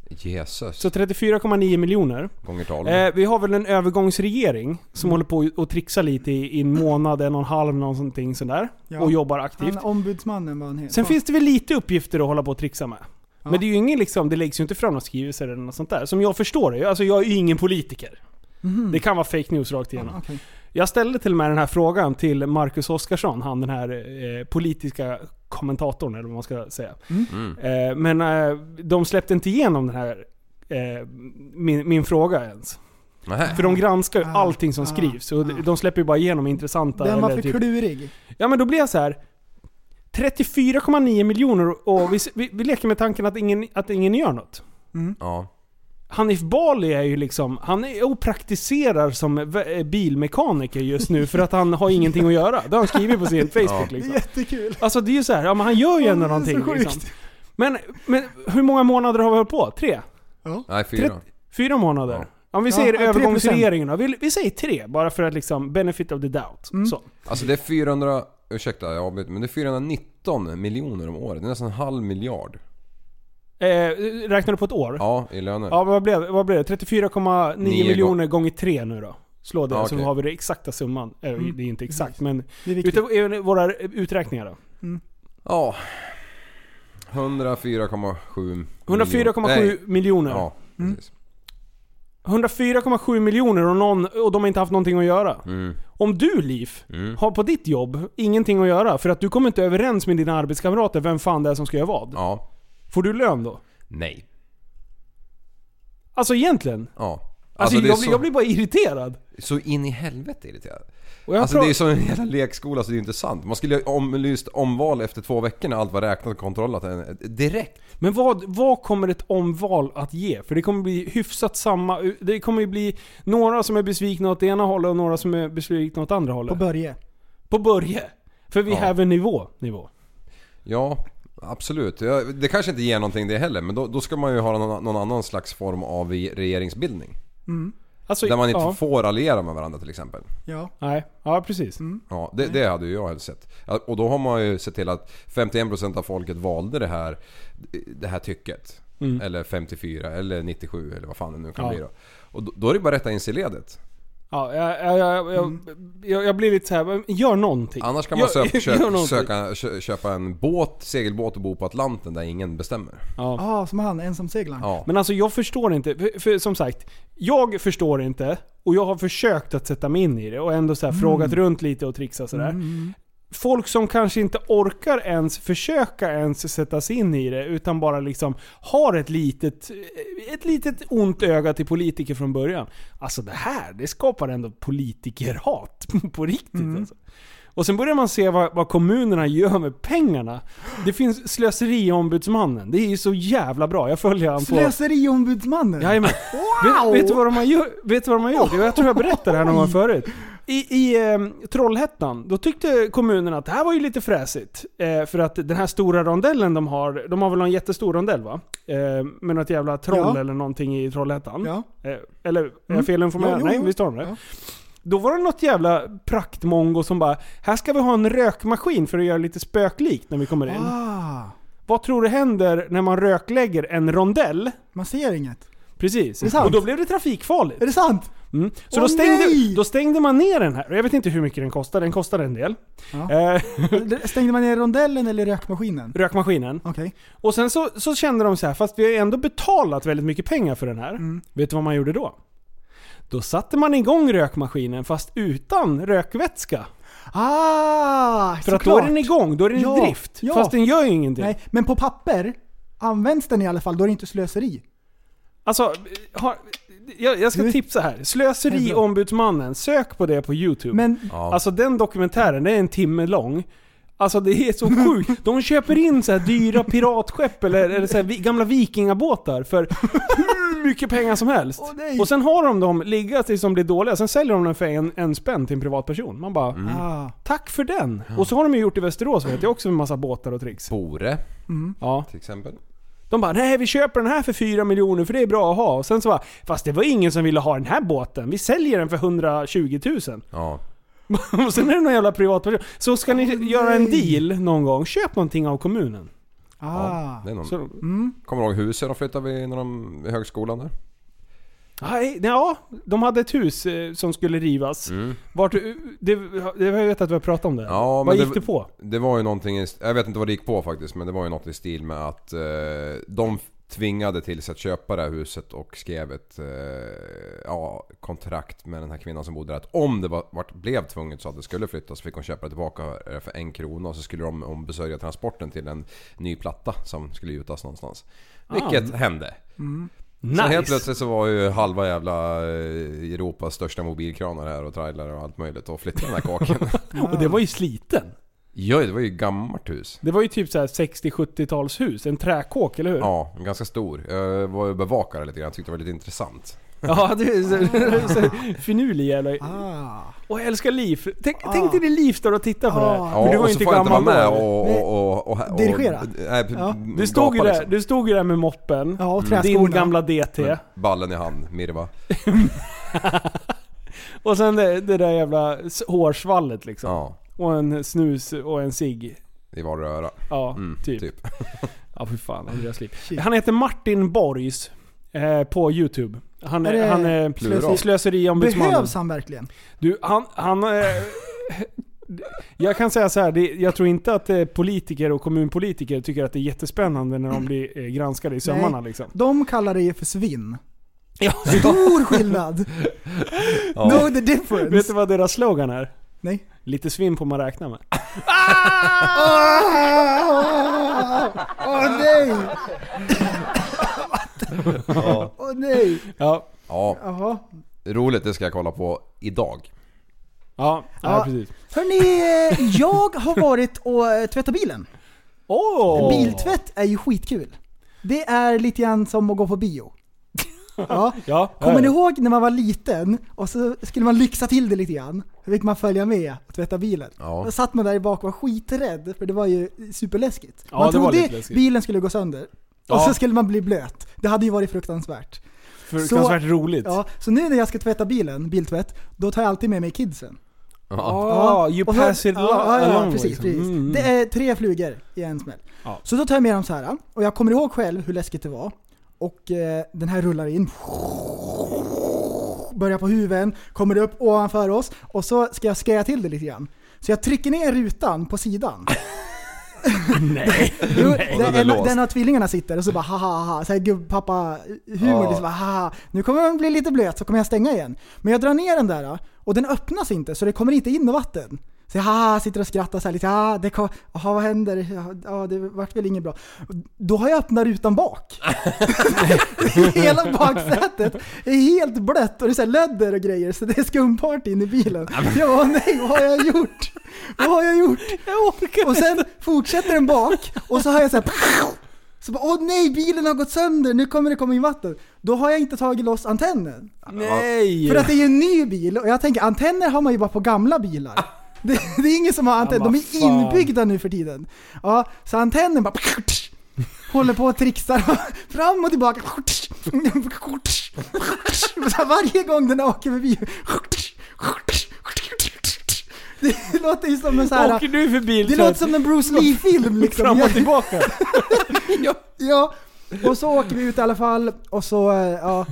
Jesus. Så 34,9 miljoner. Gånger tolv. Eh, vi har väl en övergångsregering som Mm. håller på att trixa lite i, i en månad, en och en halv, någonting sådär. Ja. Och jobbar Han, aktivt. ombudsmannen var han heter. Sen Ja. finns det väl lite uppgifter att hålla på och trixa med. Ja. Men det är ju ingen liksom, det läggs ju inte fram några skrivelser eller något sånt där. Som jag förstår det, alltså jag är ju ingen politiker. Mhm. Det kan vara fake news rakt igenom. Okej. Jag ställde till och med den här frågan till Marcus Oskarsson, han den här eh, politiska kommentatorn eller vad man ska säga. Mm. Eh, men eh, de släppte inte igenom den här eh, min, min fråga ens. Nähä. För de granskar ju Ah, allting som ah, skrivs och de- de släpper ju bara igenom intressanta... Den var eller för typ- klurig. Ja men då blir jag så här. 34,9 miljoner och vi, vi, vi leker med tanken att ingen, att ingen gör något. Ja. Hanif Bali är ju liksom, han är och praktiserar som v- eh, bilmekaniker just nu för att han har ingenting att göra. Det har han skrivit på [LAUGHS] sin Facebook Det liksom. är jättekul. Alltså det är ju så här, ja men han gör ju ändå Ja, det är så någonting sjukt. liksom. Men, men hur många månader har vi hållit på? Tre? Nej, fyra. Fyra månader? Ja. Om vi Ja, säger tre procent. övergångsregeringen då. Vi, vi säger tre, bara för att liksom benefit of the doubt. Mm. Så. Alltså det är 400... Ursäkta, jag avbryter. Men det är 419 miljoner om året. Det är nästan en halv miljard. Eh, räknar du på ett år? Ja, i löner. Ja, vad blev, vad blev det? 34,9 Nio miljoner gånger 3 nu då. Slå det Ja, så okej. har vi den exakta summan. Eh, Det är inte Mm. exakt, men Det är viktigt. utav eh, våra uträkningar då. Ja. 104,7 miljoner. 104,7 Nej. miljoner. Ja, Mm. precis. 104,7 miljoner och, någon, och de har inte haft någonting att göra. Mm. Om du, Liv, Mm. har på ditt jobb ingenting att göra för att du kommer inte överens med dina arbetskamrater vem fan det är som ska göra vad. Ja. Får du lön då? Nej. Alltså egentligen. Ja. Alltså, det är jag, blir, så, jag blir bara irriterad. så in i helvete irriterad. Och jag Alltså pratar- det är som en jävla lekskola så det är inte sant. Man skulle ju ha omlyst omval efter två veckor när allt var räknat och kontrollat eh, direkt. Men vad, vad kommer ett omval att ge? För det kommer bli hyfsat samma... Det kommer ju bli några som är besvikna åt det ena hållet och några som är besvikna åt andra På hållet. På, Börje. Börje. För vi Ja. häver nivå. nivå. Ja, absolut. Ja, Det kanske inte ger någonting det heller men då, då ska man ju ha någon, någon annan slags form av i- regeringsbildning. Alltså, Där man inte ja, får alliera med varandra till exempel. Ja. Nej, ja precis. Ja, Mm. det, det hade ju jag helst sett. Ja, Och då har man ju sett till att 51% av folket valde det här, det här tycket. Eller 54 eller 97 eller vad fan det nu kan Mm. Ja. bli då. Och då, då är det bara att rätta in sig i ledet. Ja, jag, jag, jag, jag, jag, jag blir lite så här. men gör någonting. Annars kan man [LAUGHS] gör, söp, gör köp, någonting. söka, kö, köpa en båt, segelbåt och bo på Atlanten där ingen bestämmer. Ja. Ah, som han, ensamseglaren. Ja. Men alltså jag förstår inte. För, för, som sagt, jag förstår inte och jag har försökt att sätta mig in i det och ändå så här frågat runt lite och trixat sådär. Folk som kanske inte orkar ens försöka ens sätta sig in i det utan bara liksom har ett litet, ett litet ont öga till politiker från början. Alltså det här, det skapar ändå politikerhat [LAUGHS] på riktigt alltså. Och sen börjar man se vad, vad kommunerna gör med pengarna. Det finns slöseriombudsmannen. Det är ju så jävla bra. Jag följer han på... Slöseriombudsmannen. Jajamän. Vet, vet du vad de har gjort? Vet du vad de har gjort? Jo, Jag tror jag berättade det här någon gång förut. I, i ehm, Trollhättan, då tyckte kommunen att det här var ju lite fräsigt. Eh, för att den här stora rondellen de har, de har väl en jättestor rondell va? Eh, med något jävla troll Ja. eller någonting i Trollhättan. Ja. Eh, eller är jag Jo, felinformerad? jo, Nej, jo. visst har de det? Ja. Då var det något jävla praktmongo som bara Här ska vi ha en rökmaskin för att göra lite spöklikt när vi kommer in. Ah, Vad tror du händer när man röklägger en rondell? man ser inget. Precis. Det är sant. Och då blev det trafikfarligt. Är det sant? Mm. Så Åh, då, stängde, nej! då stängde man ner den här. Och Jag vet inte hur mycket den kostar. Den kostar en del. Ja. Eh, [LAUGHS] Stängde man ner rondellen eller rökmaskinen? rökmaskinen. Okej. Och sen så, så kände de så här, fast vi har ju ändå betalat väldigt mycket pengar för den här. Mm. Vet du vad man gjorde då? Då satte man igång rökmaskinen fast utan rökvätska. Ah, För att då såklart. är den igång, då är den Ja, i drift. ja. Fast den gör ju ingenting. Nej, men på papper används den i alla fall, då är det inte slöseri. Alltså, har, jag, jag ska Du- tipsa här. Slöseriombudsmannen, sök på det på youtube. Men Ja. Alltså den dokumentären, den är en timme lång. Alltså det är så sjukt. De köper in så här dyra piratskepp eller, eller så här vi- gamla vikingabåtar för hur mycket pengar som helst. Åh, nej. och sen har de dem ligga tills de blir dåliga, sen säljer de dem för en, en spänn till en privatperson. Man bara, Ah, tack för den! Och så har de ju gjort i Västerås vet jag också med massa båtar och tricks. Bore Ja. till exempel. De bara nej vi köper den här för 4 miljoner för det är bra att ha. Och sen så bara, fast det var ingen som ville ha den här båten. Vi säljer den för 120 000. Ja. [LAUGHS] Och sen är det någon jävla privatperson. Så ska ni göra en deal någon gång, köp någonting av kommunen. ah. Det är någon. Så, Kommer du ihåg huset de flyttade vid när de, vid högskolan där? nej, ja, de hade ett hus eh, som skulle rivas. Vart, eh, det, det, jag vet att vi har pratat om det. Mm. Ja, men Vad det- gick det på? Det var ju någonting, i, jag vet inte vad det gick på faktiskt, men det var ju något i stil med att eh, de tvingade till sig att köpa det här huset och skrev ett eh, ja, kontrakt med den här kvinnan som bodde där. Att om det var, vart, blev tvunget så att det skulle flyttas så fick hon köpa det tillbaka eh, för en krona och så skulle de ombesörja transporten till en ny platta som skulle gjutas någonstans. Vilket hände. Nice! Så helt plötsligt så var ju halva jävla eh, Europas största mobilkranar här och trailer och allt möjligt och flyttade den [LAUGHS] här kaken. Och det var ju sliten. ja, det var ju gammalt hus. Det var ju typ så här 60-70-talshus, en träkåk, eller hur? Ja, ganska stor. Jag var ju bevakare lite grann, jag tyckte det var lite intressant. [LAUGHS] Ja, det är så, [LAUGHS] så finurlig jävla... [LAUGHS] Ah. Och jag älskar Liv. Tänk, tänk dig det Liv står och tittar på det här. Ja, För du var och ju så inte får jag inte vara gammal med då. och... och, och, och, och Dirigera. Nej, liksom. Ja. Du stod, ju gapa där, du stod ju där med moppen. Ja, och träskorna. din gamla DT. Med Mm. Ballen i hand, Mirva. Och sen det, det där jävla s- hårsvallet liksom. Ja, Och en snus och en cigg. det var röra. Ja, typ. Typ. Ja, fy fan. Andreas Liv. Han heter Martin Borgs eh, på Youtube. Han Är är, det han är Plural. slöseriombudsmannen. Behövs han verkligen? Du, han... han eh, jag kan säga så här, det, jag tror inte att eh, politiker och kommunpolitiker tycker att det är jättespännande när de blir eh, granskade i sömmarna liksom. De kallar det ju för svinn. Ja. [LAUGHS] Stor skillnad! Know the difference! Vet du vad deras slogan är? [LAUGHS] Nej. Lite svinn får man räkna med. Åh nej! Åh nej! Ja, Ja, Jaha. roligt. Det ska jag kolla på idag. ja, ja. Ja. precis. Hörni, eh, jag har varit och eh, tvättat bilen. Åh! Biltvätt är ju skitkul. Det är lite grann som att gå [LAUGHS] på bio. Ja. Ja, Kommer ja, ni ja. ihåg när man var liten och så skulle man lyxa till det lite grann? Då fick man följa med och tvätta bilen. Ja. Då satt man där i bak och var skiträdd för det var ju superläskigt. Ja, man det var trodde lite läskigt. bilen skulle gå sönder. Ja. Och så skulle man bli blöt. Det hade ju varit fruktansvärt. Fruktansvärt roligt. Ja, så nu när jag ska tvätta bilen, biltvätt, då tar jag alltid med mig kidsen. Ah, you och så- pass it ja, lo- ja, ja, along precis, liksom. precis. Mm. Det är tre flugor i en smäll. Ja. Så då tar jag med dem så här och jag kommer ihåg själv hur läskigt det var. Och eh, den här rullar in. Börjar på huven, kommer upp ovanför oss och så ska jag skära till det lite grann. Så jag trycker ner rutan på sidan. Nej. Jo, Och den där är en, låst. den av tvillingarna sitter och så bara haha, såhär gubbpappa-humor. Ja. Liksom, bara, haha, nu kommer den bli lite blöt så kommer jag stänga igen. Men jag drar ner den där och den öppnas inte så det kommer inte in med vatten. Så jag haha, sitter och skrattar såhär lite, ah, det kom, aha, vad händer? Ja, Ja, det vart väl inget bra. Då har jag öppnat rutan bak. [LAUGHS] Hela baksätet är helt blött och det är så här lödder och grejer så det är skumparty in i bilen. Jag bara, nej vad har jag gjort? Vad har jag gjort? Jag orkar Och sen fortsätter den bak och så har jag så här så bara, åh nej bilen har gått sönder, nu kommer det komma in vatten. Då har jag inte tagit loss antennen. Nej! För att det är ju en ny bil och jag tänker antenner har man ju bara på [LAUGHS] gamla bilar. Det, det är ingen som har antenner, de vad är fan. inbyggda nu för tiden. Ja, så antennen bara håller på och trixar fram och tillbaka. Så varje gång den åker förbi. Det låter ju som en så Åker här... du för bil Det så låter att- som en Bruce Lee-film liksom. Fram Jag- och tillbaka. Ja, och så åker vi ut i alla fall och så, eh, ja,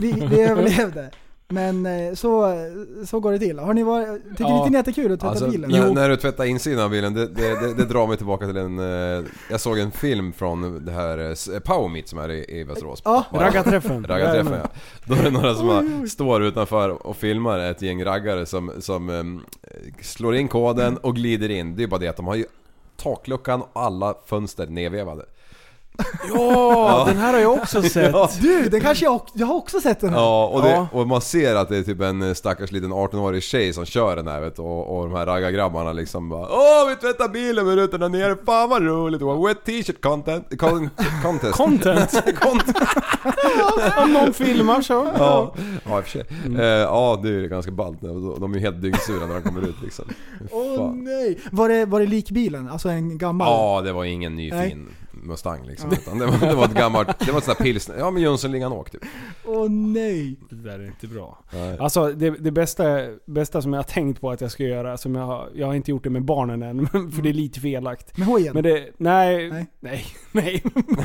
vi, [LAUGHS] vi överlevde. Men eh, så, så går det till. Har ni varit, tycker Ja. inte ni att det är kul att tvätta Alltså, bilen? när, när du tvättar insidan av bilen, det, det, det, det drar mig tillbaka till en... eh, Jag såg en film från det här eh, s- Power Meet som är i, i Västerås. Ja. Bara- Raggarträffen. [LAUGHS] Raggarträffen ja. Då är det några som bara står utanför och filmar ett gäng raggare som, som ehm, slår in koden och glider in. Det är bara det att de har ju takluckan och alla fönster nedvevade. Ja, [LAUGHS] den här har jag också sett. Du, den kanske jag, ock- jag har också sett den här. Ja, och, det, Ja. och man ser att det är typ en stackars liten 18-årig tjej som kör den här vet, du, och, och de här raggargrabbarna liksom bara Åh, vi tvättar bilen med rutorna nere, fan vad roligt! Och Wet t-shirt content, con, contest. Content. [LAUGHS] Content. [LAUGHS] Om någon filmar så. Ja, ja i och för sig. Eh, Ja, det är ju ganska ballt. De de är ju helt dyngsura när de kommer ut liksom. Åh Fan. nej! Var det, var det likbilen? Alltså en gammal? Ja, det var ingen ny Nej. fin Mustang liksom. Utan det, var, det var ett gammalt, det var ett sånt där pilsner, ja men Jönssonligan åk typ. Åh nej! [LAUGHS] Det där är inte bra. Nej. Alltså det, det bästa, bästa som jag har tänkt på att jag ska göra, som jag, har- jag har inte gjort det med barnen än, [LAUGHS] men- för det är lite felakt. Med hojen? Men det, nej, Nej. Mm. nej, nej. [LAUGHS]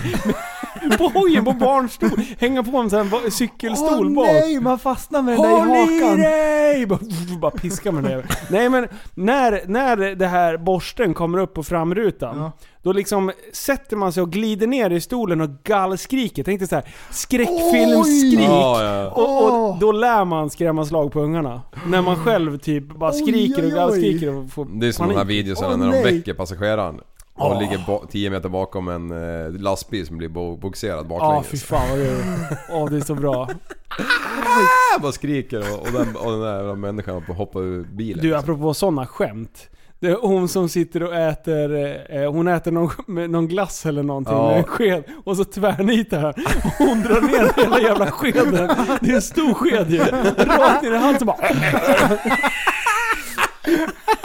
på hojen, på barnstol. Hänga på en sån här ba- cykelstol Åh bak. nej, man fastnar med den där i Håll i hakan. dig! Bara, bara piska med den där. Nej men, när, när det här borsten kommer upp på framrutan. Ja. Då liksom sätter man sig och glider ner i stolen och gallskriker. Jag tänkte så här skräckfilmsskrik. Ja, ja, ja. Och, och då lär man skrämma slag på ungarna. När man själv typ bara Oj, skriker och oj, oj. gallskriker och får Det är som de här panik. videosarna Åh, när de nej. väcker passageraren. Och ligger ba- 10 meter bakom en eh, lastbil som blir bo- bogserad Ja, baklänges. fy fan vad det är. Åh, det är så bra. Ah, bara skriker och, och, den, och den där jävla människan hoppar- hoppar ur bilen. Du, apropå sådana skämt. Det är hon som sitter och äter, eh, hon äter någon, med någon [LAUGHS] glass eller någonting Ja. med en sked. Och så tvärnitar här. Och hon drar ner hela jävla skeden. Det är en stor sked ju. Rakt ner i halsen bara... [LAUGHS]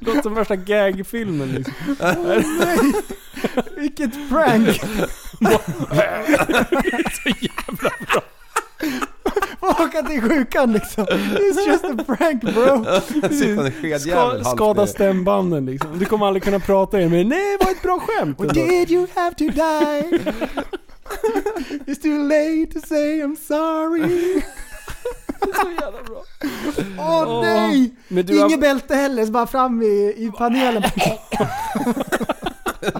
Låter som värsta gag-filmen liksom. Vilket prank! [LAUGHS] Så jävla- Åka till sjukan liksom. It's just a prank bro. [LAUGHS] Sitter en Ska, skedjävel skada halvt ner. stämbanden liksom. Du kommer aldrig kunna prata igen men nej vad ett bra skämt. Did you have to die? It's too late to say I'm sorry. Åh nej! Men du har- Inget bälte heller, så bara fram i, i [LAUGHS] panelen. [LAUGHS]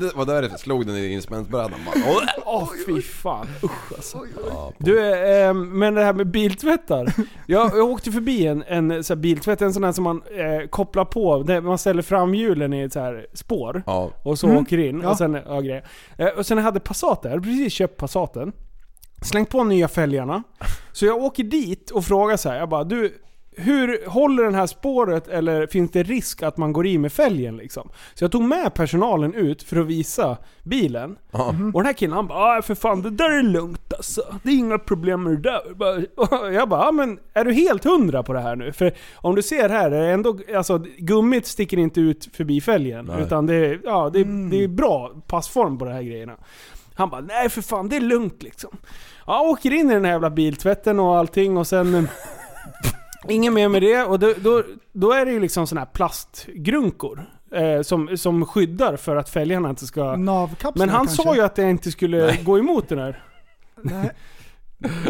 Det var därför jag slog den i instrumentbrädan. Bara, "Åh!" Åh fy fan, usch alltså. Du, eh, men det här med biltvättar. Jag, jag åkte förbi en, en så här biltvätt, en sån här som man eh, kopplar på, där man ställer fram hjulen i ett så här spår. Ja. Och så åker in. Ja. Och sen, ja, grejer. Eh, och sen jag hade Passat där, jag hade precis köpt Passaten. Slängt på nya fälgarna. Så jag åker dit och frågar så här, jag bara du, hur håller den här spåret eller finns det risk att man går i med fälgen liksom? Så jag tog med personalen ut för att visa bilen. Och den här killen han bara "Ah, för fan det där är lugnt alltså. Det är inga problem med det där. Jag bara- [LAUGHS] Jag bara "Ja, men är du helt hundra på det här nu? För om du ser här, det är ändå, alltså, gummit sticker inte ut förbi fälgen. Nej. Utan det, är- ja, det, det är bra passform på de här grejerna. Han bara nej för fan det är lugnt liksom. Ja, åker in i den här jävla biltvätten och allting och sen... eh, Inget mer med det. Och då, då, då är det ju liksom såna här plastgrunkor. Eh, som, som skyddar för att fälgarna inte ska... Navkapseln Men han kanske. sa ju att jag inte skulle gå emot den [LAUGHS] här. Nej,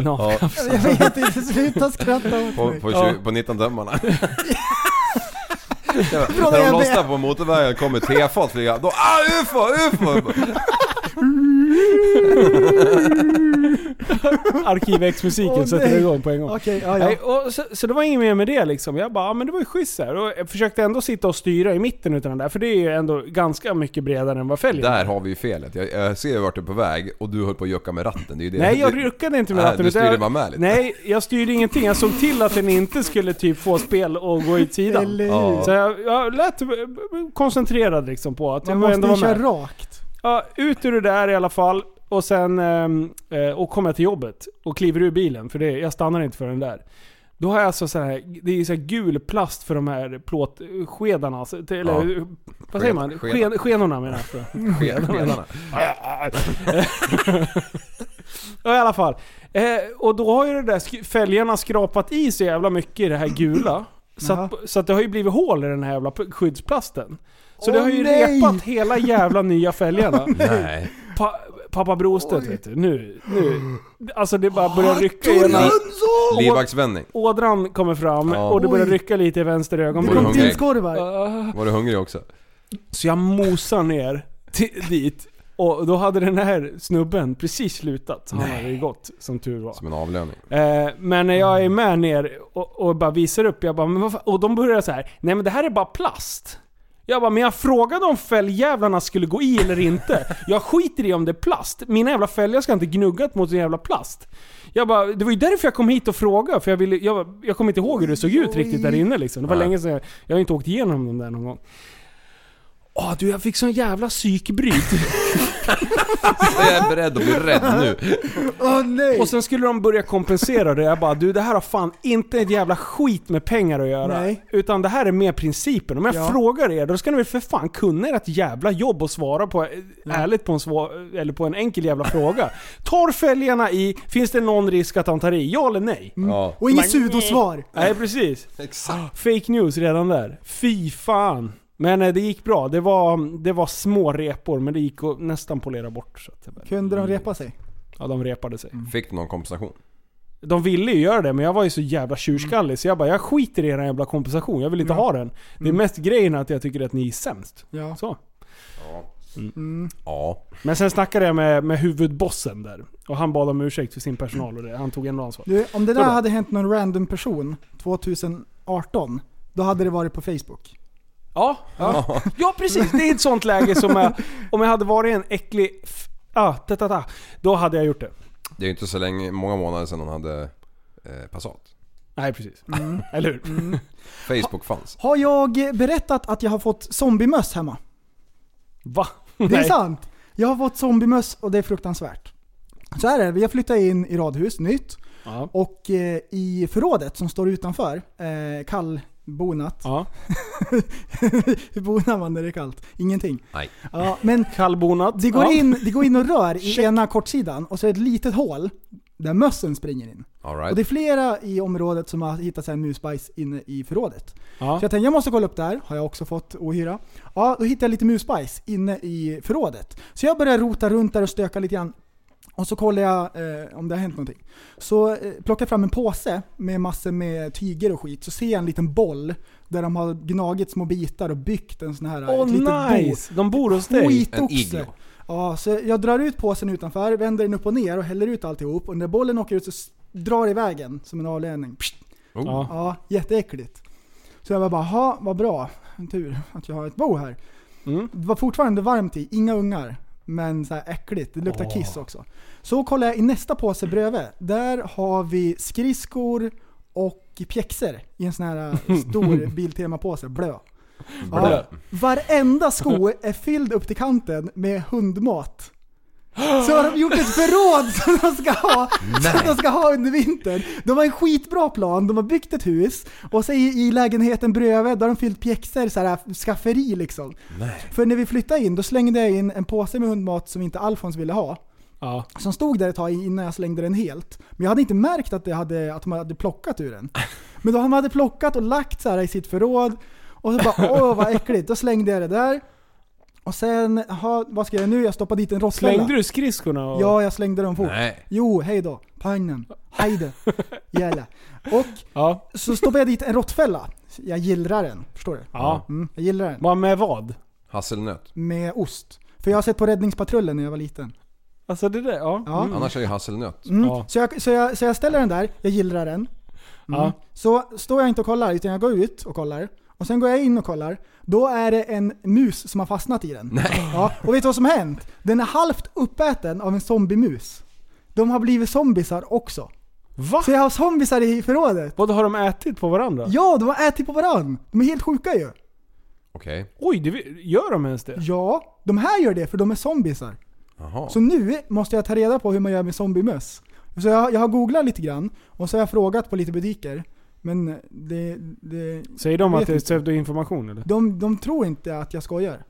Ja. jag vet inte, sluta skratta åt På, mig. på, tju- på [LAUGHS] 19 tömmarna. Från När de E ÖB. lossnar på motorvägen kommer tefat flyga. Då, ah ufo, ufo! Arkiv X-musiken Åh, sätter nej. igång på en gång. Okej, ja, ja. Nej, och så, så det var inget mer med det liksom. Jag bara, ja, men det var ju schysst här. Och jag försökte ändå sitta och styra i mitten utav den där, för det är ju ändå ganska mycket bredare än vad fälgen är. Där har vi ju felet. Jag, jag ser ju vart du är på väg och du höll på att jucka med ratten. Det är ju det. Nej, jag det- ruckade inte med Nej, ratten. du utan styrde jag- bara med lite. Nej, jag styrde ingenting. Jag såg till att den inte skulle typ få spel och gå åt sidan. Eller hur? Ja. Så jag, jag lät eh, koncentrerad liksom på att Man jag måste ändå ju var köra med. rakt. Ja, ut ur det där i alla fall. Och sen ehm, eh, och kommer jag till jobbet och kliver ur bilen, för det, jag stannar inte för den där. Då har jag alltså så här, det är ju så här gul plast för de här plåtskedarna. Alltså, till- eller vad säger man? Sked- Sken, skenorna menar jag. [LAUGHS] Skedarna. Ja, i alla fall. Eh, och då har ju det där sk- fälgarna skrapat i så jävla mycket i det här gula. Så Jaha. att, så att det har ju blivit hål i den här jävla p- skyddsplasten. Så Åh, det har ju nej! repat hela jävla nya fälgarna. [LAUGHS] Nej. Pa, pappa Brostedt vet du, nu, nu. Alltså det bara börjar rycka i ena... [LAUGHS] Livvaktsvändning. Ådran kommer fram Ja. och det börjar Oj. rycka lite i vänster Det ögonbryn. Oj, kom hungrig. prinskorvar. Ah. Var du hungrig också? Så jag mosar ner till, dit. Och då hade den här snubben precis slutat. Han hade ju gått, som tur var. Som en avlöning. Eh, men när jag är med ner och, och bara visar upp, jag bara, men vad fan? och de börjar så här. nej men det här är bara plast. Jag bara, men jag frågade om fälljävlarna skulle gå i eller inte. Jag skiter i om det är plast. Mina jävla fälgar ska inte gnuggat mot en jävla plast. Jag bara, det var ju därför jag kom hit och frågade. För jag, ville, jag, jag kommer inte ihåg hur det såg ut riktigt där inne liksom. Det var Nej. länge sedan jag, jag har inte åkt igenom dem där någon gång. Åh du, jag fick sån jävla psykbryt. Jag är beredd att bli rädd nu. Åh nej! och sen skulle de börja kompensera det. Jag bara, du det här har fan inte ett jävla skit med pengar att göra. Nej. Utan det här är mer principen. Om jag Ja. frågar er, då ska ni väl för fan kunna ert jävla jobb och svara på, ärligt på en, svår, eller på en enkel jävla fråga. Tar fälgarna i, finns det någon risk att de tar i? Ja eller nej? Ja, Och inget sudosvar. Nej precis. exakt. Fake news redan där. Fy fan. Men eh, det gick bra. Det var, det var små repor, men det gick att nästan polera bort. Så att, Kunde de repa sig? ja, de repade sig. Fick du någon kompensation? De ville ju göra det, men jag var ju så jävla Mm. tjurskallig så jag bara, jag skiter i den jävla kompensation. Jag vill inte ha den. Det är mest grejen att jag tycker att ni är sämst. Ja. Så. Ja. Men sen snackade jag med, med huvudbossen där. Och han bad om ursäkt för sin personal och det. Han tog ändå ansvar. Du, om det där Vadå? hade hänt någon random person 2018, då hade det varit på Facebook. Ja, ja. ja precis. Det är ett sånt läge som jag, om jag hade varit en äcklig... f- Ah, ta, ta, ta, då hade jag gjort det. Det är ju inte så länge, många månader sedan hon hade eh, Passat. Nej precis. Mm. [LAUGHS] Eller hur? Facebook fanns. Har jag berättat att jag har fått zombiemöss hemma? Va? Det är sant! Jag har fått zombiemöss och det är fruktansvärt. Så här är det, jag flyttade in i radhus, nytt. Ja. Och eh, i förrådet som står utanför, eh, kallbonat. [LAUGHS] ja. Hur bonar man när det är kallt? Ingenting. Nej. Ja, men Kallbonat. det går, ja. in, det går in och rör i ena kortsidan och så är det ett litet hål där mössen springer in. All Och det är right. flera i området som har hittat så här musbajs inne i förrådet. Ja. Så jag tänkte jag måste kolla upp där, har jag också fått ohyra. Ja, då hittade jag lite musbajs inne i förrådet. Så jag började rota runt där och stöka lite grann. Och så kollade jag eh, om det har hänt någonting. Så eh, plockade jag fram en påse med massor med tyger och skit. Så ser jag en liten boll där de har gnagit små bitar och byggt en sån här... eh, Åh ett litet bo. nice! De bor hos dig. En Skitoxe. iglo. Ja, så jag drar ut påsen utanför, vänder den upp och ner och häller ut alltihop. Och när bollen åker ut så s- drar iväg som en avledning. Pst. Ja. Ja, jätteäckligt. Så jag var bara, ha, vad bra. Tur att jag har ett bo här. Mm. Det var fortfarande varmt i, inga ungar. Men så här äckligt, det luktar kiss också. Så kollar jag i nästa påse bredvid. Där har vi skridskor och pjäxor i en sån här eh, stor Biltema-påse, blö. Blö. varenda sko är fylld upp till kanten med hundmat. Så har de gjort ett förråd [LAUGHS] som de ska ha, som de ska ha under vintern. De har en skitbra plan, de har byggt ett hus och så i, i lägenheten bredvid där har de fyllt pjäxor, så här skafferi liksom. För när vi flyttade in, då slängde jag in en påse med hundmat som inte Alfons ville ha. Ja. Som stod där ett tag innan jag slängde den helt. Men jag hade inte märkt att, det hade, att de hade plockat ur den. Men då hade man hade plockat och lagt så här i sitt förråd. Och så bara åh vad äckligt. Då slängde jag det där. Och sen, aha, vad ska jag göra nu? Jag stoppade dit en råttfälla. Slängde du skridskorna? Och... Ja, jag slängde dem fort. Nej. Jo, hej då. Pagnen. Hejde. Jävla. Och Ja. så stoppade jag dit en råttfälla. Jag gillrar den. Förstår du? Ja. Mm, jag gillrar den. Men med vad? Hasselnöt. Med ost. För jag har sett på Räddningspatrullen när jag var liten. Alltså det där, ja. Ja. Mm, Annars är ju hasselnöt. Mm. Ja. Så, jag, så, jag, så jag ställer den där, jag gillrar den. Mm. Ja. Så står jag inte och kollar, utan jag går ut och kollar. Och sen går jag in och kollar. Då är det en mus som har fastnat i den. Ja, och vet du vad som har hänt? Den är halvt uppäten av en zombiemus. De har blivit zombisar också. Va? Så jag har zombisar i förrådet. Vad har de ätit på varandra? Ja, de har ätit på varann. De är helt sjuka ju. Okej. Oj, det, vi- gör de ens det? Ja, de här gör det för de är zombisar. Jaha. Så nu måste jag ta reda på hur man gör med zombiemöss. Så jag, jag har googlat lite grann och så har jag frågat på lite butiker. Men det, det, Säger de att Vet det är inte. pseudoinformation eller? de, de tror inte att jag skojar.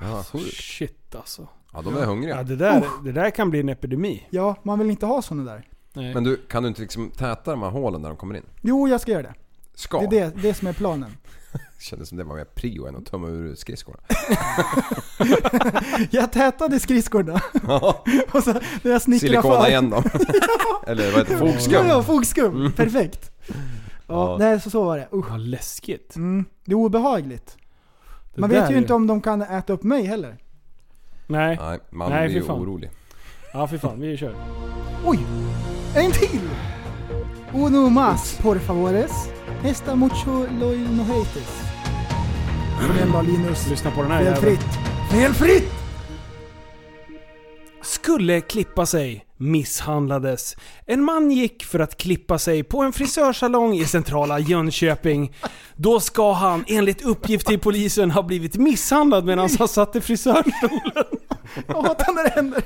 Ja, sjukt. Shit alltså. Ja, de är Ja, hungriga. det, där, det där kan bli en epidemi. Ja, man vill inte ha såna där. Nej. Men du, kan du inte liksom täta de här hålen när de kommer in? Jo, jag ska göra det. Ska? Det är det, det som är planen. Kändes som det var mer prio än att tömma ur skridskorna. Jag tätade skridskorna [LAUGHS] och så när jag snickrade Silikona för... igen dem. Eller vad heter det? Ja, ja, Fogskum. fogskum. Perfekt. Ja, Ja. Nej, så, så var det. Usch. Vad läskigt. Mm, det är obehagligt. Det Man där vet ju är- inte om de kan äta upp mig heller. Nej. Nej, man Nej, blir fy ju fan. orolig. Ja, för fan. Vi kör. Oj! En till! Uno más, por favores. Esta mucho lo no hates. Kom igen då Linus. Lyssna på den här jäveln. Felfritt. [LAUGHS] Felfritt! Skulle klippa sig. Misshandlades. En man gick för att klippa sig på en frisörsalong i centrala Jönköping. Då ska han enligt uppgift till polisen ha blivit misshandlad medan han satt i frisörstolen. Jag hatar när det händer.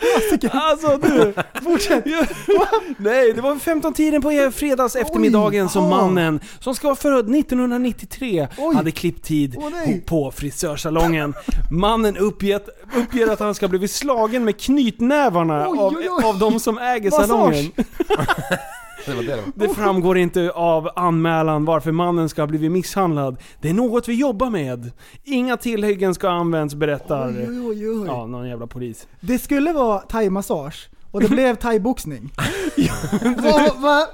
Klassiker. Alltså du! Fortsätt. [LAUGHS] Nej, det var vid 15-tiden på fredags eftermiddagen som ja. mannen, som ska vara född 1993, Oj. hade klippt tid Åh, nej. på frisörsalongen. Mannen uppgett, uppger att han ska ha blivit slagen med knytnävarna Oj, av, oj, oj. av de som äger Massage. salongen. Det var det det var. Det framgår inte av anmälan varför mannen ska ha blivit misshandlad. Det är något vi jobbar med. Inga tillhyggen ska användas, berättar Oj, oj, oj. Ja, någon jävla polis. Det skulle vara thaimassage och det [LAUGHS] blev thaiboxning. va, va, va?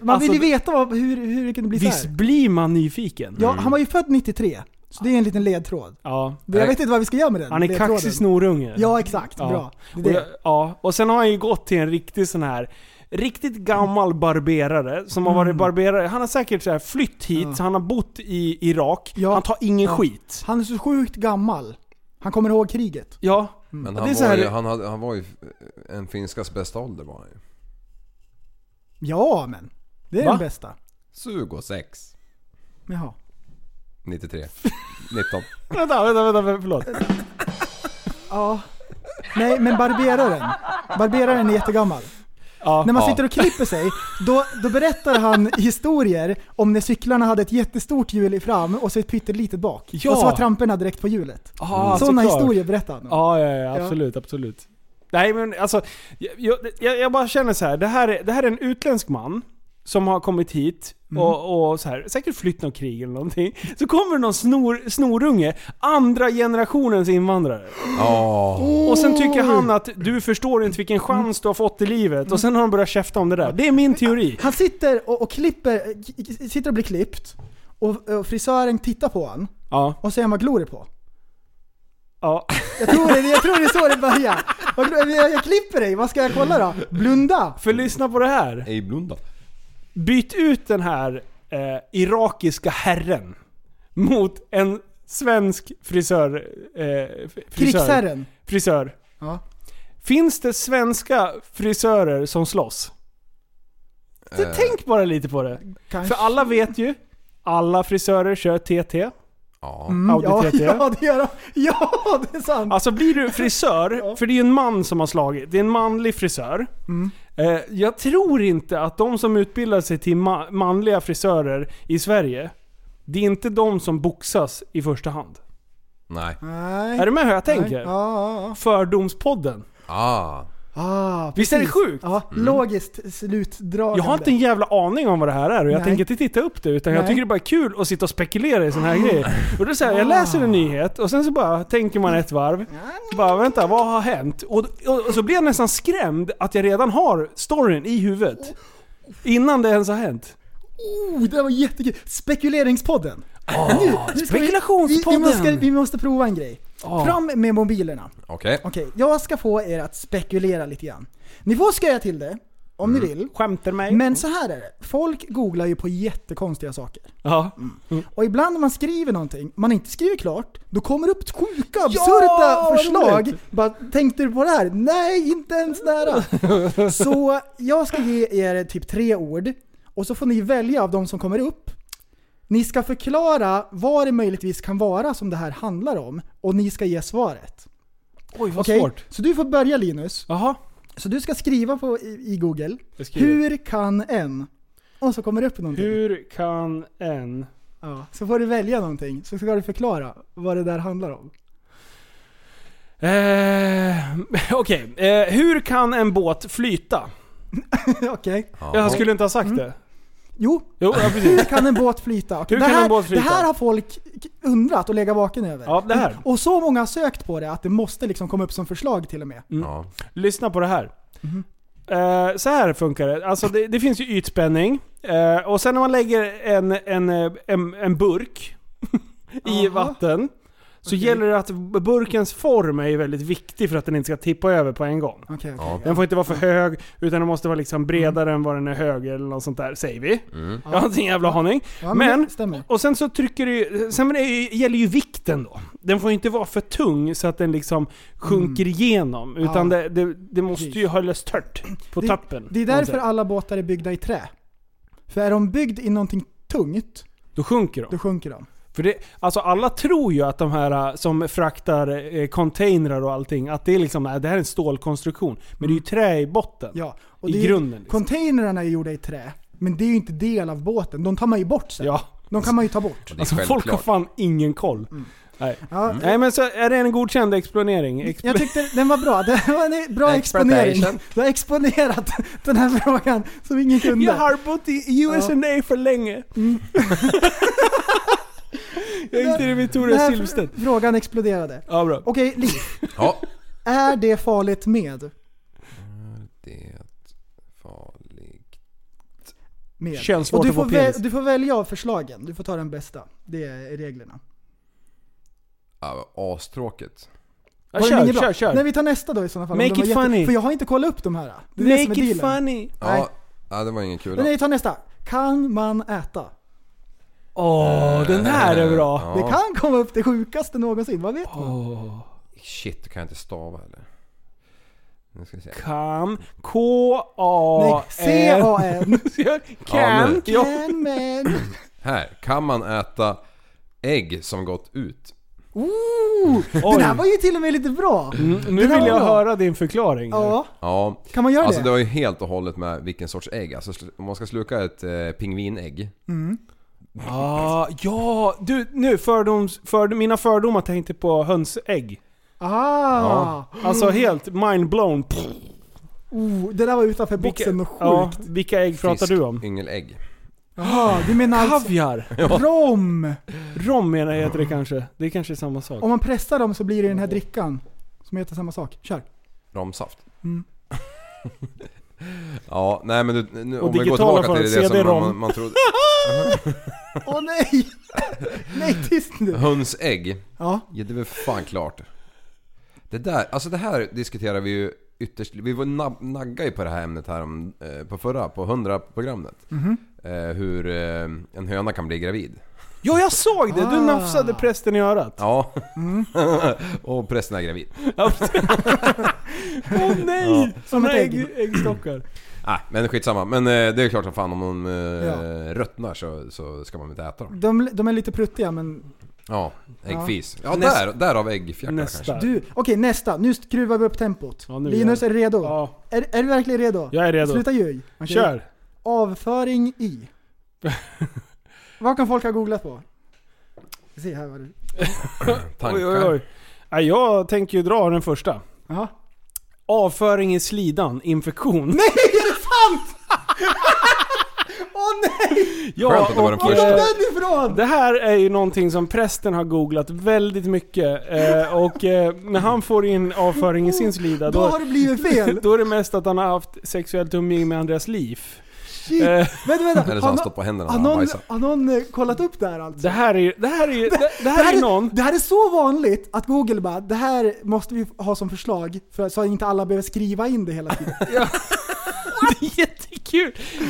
Man Alltså, vill ju veta vad, hur, hur det kunde bli Visst så här. blir man nyfiken? Ja, han var ju född 93. Så det är en liten ledtråd. ja. Jag vet inte vad vi ska göra med den Han är ledtråden. kaxig snorunge. Ja, exakt. Bra. Det är Och, det. jag, ja. och sen har han ju gått till en riktig sån här Riktigt gammal barberare som har varit barberare. Han har säkert så här flytt hit, Mm. Ja. så han har bott i Irak. Ja. Han tar ingen Ja. skit. Han är så sjukt gammal. Han kommer ihåg kriget. Mm. [LAUGHS] Ja. Men Det han är så var, här- ju, han, hade, han var ju en finskas bästa ålder var han ju. Ja, men. Det är Va? den bästa. 26. Jaha. 93. [LAUGHS] 19. Vänta, vänta, vänta, förlåt. Ja. Nej, men barberaren. Barberaren är jättegammal. Ja. När man Ja. sitter och klipper sig, då, då berättar han historier om när cyklarna hade ett jättestort hjul i fram och så ett pyttelitet bak. Ja. Och så var tramporna direkt på hjulet. Ah, Sådana såklart. historier berättar han om. Ja, ja, ja absolut, absolut. Nej men alltså, jag- jag, jag, jag bara känner så här. Det, här är, det här är en utländsk man som har kommit hit och, och så här, säkert flytt någon krig eller någonting. Så kommer det någon snor, snorunge, andra generationens invandrare. Ja. Och sen tycker han att du förstår inte vilken chans du har fått i livet. Och sen har han börjat käfta om det där. Det är min teori. Han sitter och, och klipper, k- k- sitter och blir klippt. Och, och frisören tittar på honom Ja, och säger vad glor du på? ja. Jag tror det, jag tror det är så det börjar. Vad glor- Jag, jag klipper dig, vad ska jag kolla då? Blunda! För lyssna på det här. Ej blunda. Byt ut den här eh, irakiska herren mot en svensk frisör... Eh, frisör. Krigsherren. Frisör. Ja. Finns det svenska frisörer som slåss? Så Eh, tänk bara lite på det. Kanske. För alla vet ju, alla frisörer kör TT. Ja. Mm, ja, Audi TT. ja, det gör de. Ja, det är sant. Alltså blir du frisör, för det är ju en man som har slagit, det är en manlig frisör. Mm. Eh, jag tror inte att de som utbildar sig till ma- manliga frisörer i Sverige, det är inte de som boxas i första hand. Nej. Nej. Är du med hur jag tänker? Nej. Ja, ja, ja. Fördomspodden. Ah. Ah, Visst är det precis. sjukt? Mm. Ja, logiskt slutdragande. Jag har inte en jävla aning om vad det här är och jag Nej. tänker inte titta upp det utan jag Nej. tycker det är bara kul att sitta och spekulera i såna här grejer. Och då säger jag läser en nyhet och sen så bara tänker man ett varv. Bara vänta, vad har hänt? Och, och, och så blir jag nästan skrämd att jag redan har storyn i huvudet. Innan det ens har hänt. Oh, det var jättekul! Spekuleringspodden! nu, nu ska vi- Ah, Spekulationspodden. Ah. Vi, vi, måste, vi måste prova en grej. Ja. Fram med mobilerna. Okej. Okej, jag ska få er att spekulera lite grann. Ni får skoja till det, om Mm. ni vill. Skämtar mig? Men så här är det, folk googlar ju på jättekonstiga saker. ja. Och ibland när man skriver någonting man inte skriver klart, då kommer det upp sjuka absurda vad förslag. roligt! Bara, tänkte du på det här? Nej, inte ens [LAUGHS] nära. så jag ska ge er typ tre ord, och så får ni välja av de som kommer upp. Ni ska förklara vad det möjligtvis kan vara som det här handlar om, och ni ska ge svaret. Oj vad Okej? svårt. Så du får börja Linus. Jaha. Så du ska skriva på, i, i Google, Jag skriver. hur kan en? Och så kommer det upp någonting. Hur kan en... Ja, så får du välja någonting, så ska du förklara vad det där handlar om. [LAUGHS] Eh, [LAUGHS] Okej. Eh, hur kan en båt flyta? Okej. Jaha. Jag skulle inte ha sagt det. Jo, Jo, ja, precis. hur kan en båt flyta? Okej, Hur det, kan här, en båt flyta? det här har folk undrat och legat vaken över. Ja, det här. Och så många har sökt på det att det måste liksom komma upp som förslag till och med. Ja. Lyssna på det här. Eh, så här funkar det. Alltså det, det finns ju ytspänning. Eh, och sen när man lägger en, en, eh, en, en burk [LAUGHS] i Jaha. vatten. Så gäller det att burkens form är ju väldigt viktig för att den inte ska tippa över på en gång. Okej, okej. Ja. Den får inte vara för hög, utan den måste vara liksom bredare än vad den är hög eller något sånt där, säger vi. Jag har inte en jävla aning. Ja, men, Men, det stämmer. och sen så trycker det ju, sen är det ju, gäller ju vikten då. Den får ju inte vara för tung så att den liksom sjunker igenom. Utan Mm. Ja. det, det, det måste ju Precis. hållas tört på tappen. Det är därför alla båtar är byggda i trä. För är de byggd i någonting tungt, Då sjunker de. då sjunker de. För det, alltså alla tror ju att de här äh, som fraktar eh, containrar och allting, att det är liksom, nej, det här är en stålkonstruktion. Men det är ju trä i botten. Ja. I det är ju- grunden, liksom. Containrarna är gjorda i trä, men det är ju inte del av båten. De tar man ju bort sen. Ja. De kan man ju ta bort. Det är Alltså folk har självklart. fan ingen koll. Mm. Nej. Ja, Nej men så är det en godkänd exponering? Exp- Jag tyckte den var bra. Det var en bra exponering. Exploitation. Du har exponerat den här frågan som ingen kunde. jag har bott i USA för länge. Mm. [LAUGHS] jag gick till det Den Victoria här Silvstedt. fr- frågan exploderade. Ja bra. Okej, Liv. Ja. Är det farligt med? Det farligt. med. Könsvårt Och du att få får, väl, penis. du får välja av förslagen. Du får ta den bästa. Det är reglerna. Ja, Ah, astråkigt. Ja, Var den kör, ingen bra? kör, kör. Nej, vi tar nästa då i sådana fall. om Make de var it funny. För jag har inte kollat upp de här. Det är det som är Make it dealen. funny. Ja, ja, det var ingen kul. Men Nej, ta nästa. Kan man äta? Åh, den här är bra. Ja. Det kan komma upp det sjukaste någonsin. Vad vet man? Shit, kan jag inte stava heller. Nu ska vi se. Kan. Nej, K-A-N. C-A-N. Kan. Ja, Ja, Can man. Här, kan man äta ägg som gått ut? Ooh, Oj. Mm, den här var ju till och med lite bra. nu Den här vill var jag bra. höra din förklaring. Ja, Ja. kan man göra Alltså det det? har ju helt och hållet med vilken sorts ägg. Alltså sl- om man ska sluka ett eh, pingvinägg. Ah, ja, du nu fördoms, för, mina fördomar tänkte på hönsägg. Ah, [GASPS] Alltså helt mind-blown. oh, det där var utanför boxen och ja, sjukt. vilka ägg pratar du om? Yngelägg. Jaha, du menar alltså Kaviar. rom? Rom menar jag heter det kanske. Det är kanske är samma sak. Om man pressar dem så blir det den här drickan som heter samma sak. Kör. Romsaft. Mm. [LAUGHS] ja, nej men du, nu, Och om vi går digitala tillbaka till för det som CD-ROM. man, man, [LAUGHS] man trodde. Åh nej! [LAUGHS] nej, tyst nu. Hönsägg. Ja. Ja, det är väl fan klart. Det där, alltså det här diskuterar vi ju ytterst... Vi var na- nagga ju på det här ämnet här om, eh, på förra, på 100-programmet. Mhm. Eh, hur eh, en höna kan bli gravid. Ja, jag såg det! Du Ah. nafsade prästen i örat. Ja. Mm. [LAUGHS] och prästen är gravid. Åh nej! Som ett Såna ägg. ägg, äggstockar. Nej, men skitsamma. Men eh, det är klart som fan om de eh, Ja. ruttnar så, så ska man inte äta dem. De, de är lite pruttiga men... Ja, äggfis. Ja, Näst- där, därav äggfjärtar kanske. Nästa. Du, okej nästa. Nu skruvar vi upp tempot. Ja, nu Linus, är du redo? Ja, Är, är du verkligen redo? jag är redo. Sluta ljuga. Okej. Kör! Avföring i. Vad kan folk ha googlat på? Vi ser här vad det... Oj, Tankar. oj, oj. Nej, jag tänker ju dra den första. Jaha. Avföring i slidan, infektion. Nej, Åh nej! ja, Skönt att det var den och, Var kom första. eh, den ifrån? Det här är ju någonting som prästen har googlat väldigt mycket. Eh, och eh, när han får in avföring i sin slida, Då då, har det blivit [LAUGHS] fel. då är det mest att han har haft sexuellt umgänge med Andreas liv. Shit. Eh. Vänta, vänta. Eller så Har han nå- står på händerna när Har han någon, bajsar. har någon eh, kollat upp det här alltså? Det här är ju, det här är ju, det, det här är någon... det här är så vanligt att Google bara, det här måste vi ha som förslag för, så att inte alla behöver skriva in det hela [LAUGHS] tiden. Det är [LAUGHS] jättekul!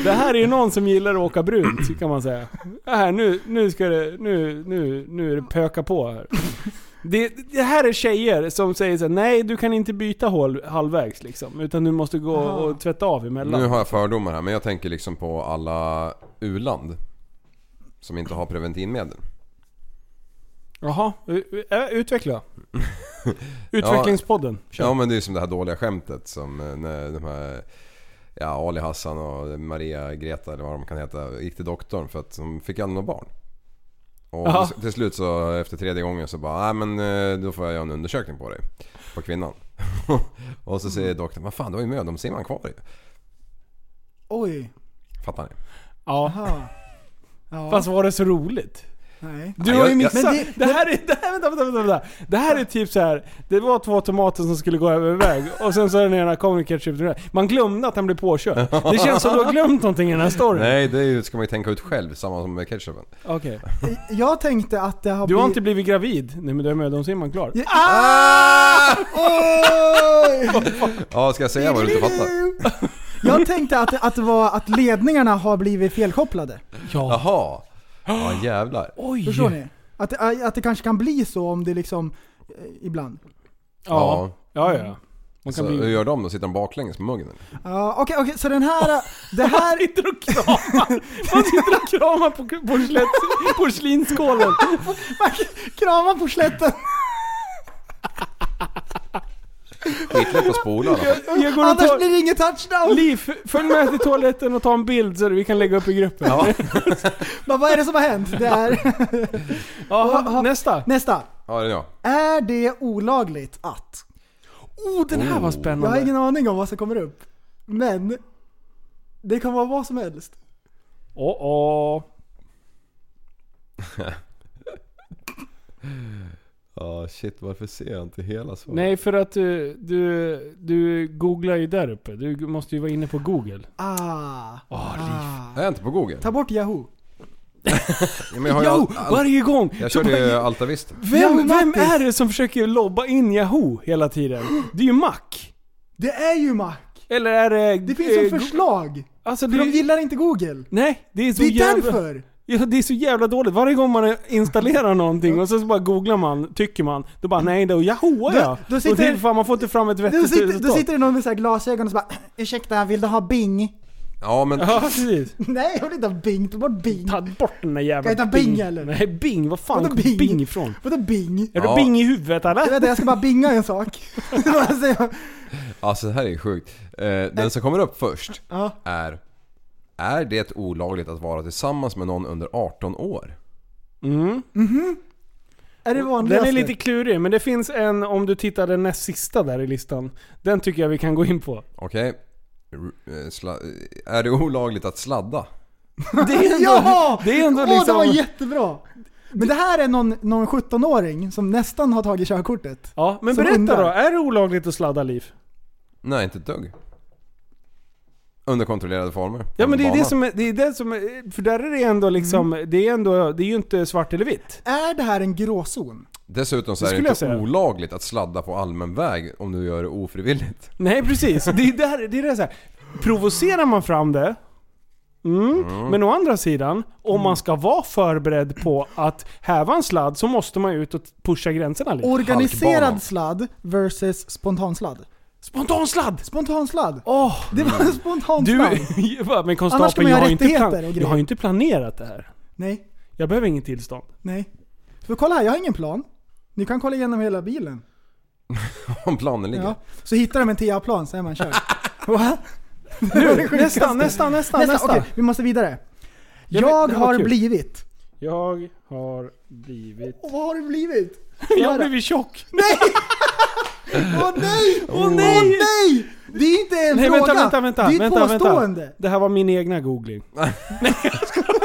Det här är ju någon som gillar att åka brunt, kan man säga. Det här, nu, nu ska det, nu, nu, nu är det pöka på här. Det, det här är tjejer som säger så här, nej du kan inte byta hål halvvägs liksom. Utan du måste gå Aha. och tvätta av emellan. Nu har jag fördomar här men jag tänker liksom på alla u-land. Som inte har preventivmedel. Jaha, u- u- äh, [LAUGHS] utveckla. Utvecklingspodden. Kör. Ja men det är ju som det här dåliga skämtet som eh, när de här... Ja, Ali Hassan och Maria Greta eller vad de kan heta gick till doktorn för att de fick aldrig något barn. Och Ja. till- till slut så efter tredje gången så bara nej men eh, då får jag göra en undersökning på dig. På kvinnan. [LAUGHS] och så Mm. säger doktorn vad fan du har ju mödomshinnan kvar ju. Oj. Fattar ni? Ja. Aha. Ja. Fast var det så roligt? Nej. Du har ju jag- jag- missat. Men Det, det- här är, det här, vänta, vänta, vänta, vänta. Det här är typ så här. Det var två tomater som skulle gå över en väg och sen så är den ena kommer ketchup till den här. Man glömde att han blev påkörd. Det känns som du har glömt någonting i den här storyn. Nej, det är ju- ska man ju tänka ut själv, samma som med ketchupen. Okej. Jag tänkte att det har Du har blivit- inte Ah! blivit gravid? Nej men då är mödomshinnan klar. Ja. [LAUGHS] Ja, ska jag säga vad du [GASPS] inte fattar? [LAUGHS] Jag tänkte att, att, det var, att ledningarna har blivit felkopplade. Jaha. Ja, jävlar. Oj! Förstår ni? Att, eh, att det kanske kan bli så om det liksom eh, ibland. Ja. Ja, ja. Man Så, kan hur bli... gör de då? Sitter de baklänges på muggen eller? Ja, Okej, okej, så [LAUGHS] den här... Det här... Sitter och kramar! [LAUGHS] Man sitter och kramar på porslins- porslinsskålen. Krama [LAUGHS] porsletten! Skitlätt att spola i alla fall. Jag går och Annars blir tar... det ingen touchdown! Liv, följ med till toaletten och ta en bild så vi kan lägga upp i gruppen. [LAUGHS] Ja. Bara, vad är det som har hänt? [LAUGHS] Det är... nästa. Nästa. Ja, det är jag. Är det olagligt att... Oh, den här var Jag har spännande. ingen aning om vad som kommer upp. Men... Det kan vara vad som helst. Åh åh. Ja, shit varför ser jag inte hela svaret? Nej, för att du, du, du googlar ju där uppe. Du måste ju vara inne på google. Ah. ah. Är jag inte på Google? Ta bort Yahoo. Ja, men jag, har ju Jo, all, all, varje gång! jag så körde bara- ju Altavista. Vem, Ja, vem Mattis. är det som försöker lobba in Yahoo hela tiden? Det är ju Mac. Det är ju Mac. Eller är det... Det finns som eh, förslag. go- Alltså För det, de gillar inte Google. Nej, det är så Det är jävla... därför. Ja, det är så jävla dåligt. Varje gång man installerar någonting och sen så bara googlar man, tycker man. Då bara nej, då jahoar jag. då och sitter- det, fan, man får inte fram ett Då vettigt sitter, då resultat. sitter det någon med så här glasögon och så bara [CLEARS THROAT] Ursäkta, vill du ha Bing? [LAUGHS] Ja men Ja, precis. Nej, jag vill inte ha Bing. Ta bort Bing. Ta bort den där jävla Kan jag ta Bing, eller? Nej, Bing. Vad fan Vadå kom Bing? Bing? ifrån? Vadå Bing? Är du Ja. Bing i huvudet Jag, eller? vet, inte, jag ska bara binga en sak. [LAUGHS] Alltså, jag- alltså det här är ju sjukt. Eh, den som kommer upp först ja. är... Är det olagligt att vara tillsammans med någon under 18 år? Mm. Är det vanligaste? Den är lite klurig, men det finns en om du tittar den näst sista där i listan. Den tycker jag vi kan gå in på. Okej. R- eh, sla- eh, Är det olagligt att sladda? [LAUGHS] Det är ändå, [LAUGHS] Ja! det är ändå Åh, liksom... det var jättebra! Men det här är någon, någon 17-åring som nästan har tagit körkortet. ja, men Som berätta undrar. då. Är det olagligt att sladda liv? Nej, inte ett dugg. Under kontrollerade former. Ja men det är Banan. det som är, det är det som är, för där är det ändå liksom, det är ändå, det är ju inte svart eller vitt. Är det här en gråzon? Dessutom så Det är det skulle jag inte säga. olagligt att sladda på allmän väg om du gör det ofrivilligt. [LAUGHS] Nej precis, det är där, det är det så här. provocerar man fram det, mm. men å andra sidan, om man ska vara förberedd på att häva en sladd så måste man ju ut och pusha gränserna lite. Halkbanan. Organiserad sladd versus spontansladd. Spontan sladd! Spontansladd! Åh! Det var en spontan Mm. Du, [LAUGHS] sladd. men Annars ska konstapeln man jag, ju ha har ju inte plan- rättigheter och jag har grejer. ju inte planerat det här. Nej, Jag behöver inget tillstånd. nej. För kolla här, jag har ingen plan. Ni kan kolla igenom hela bilen. Om planen ligger. Ja. Så hittar de en TIA-plan så är man [LAUGHS] körd. [LAUGHS] Nu, nästa, nästa, nästa, Nästa, nästa! okej, vi måste vidare. Ja, men- Jag det var har kul. blivit... Jag har blivit... Och vad har du blivit? [LAUGHS] Jag har blivit tjock! [LAUGHS] Åh nej! Åh Åh, nej! nej! Det är inte en Nej fråga! vänta, vänta, vänta. det är ett vänta, påstående! Vänta. Det här var min egna [LAUGHS] googling. Nej jag skojar.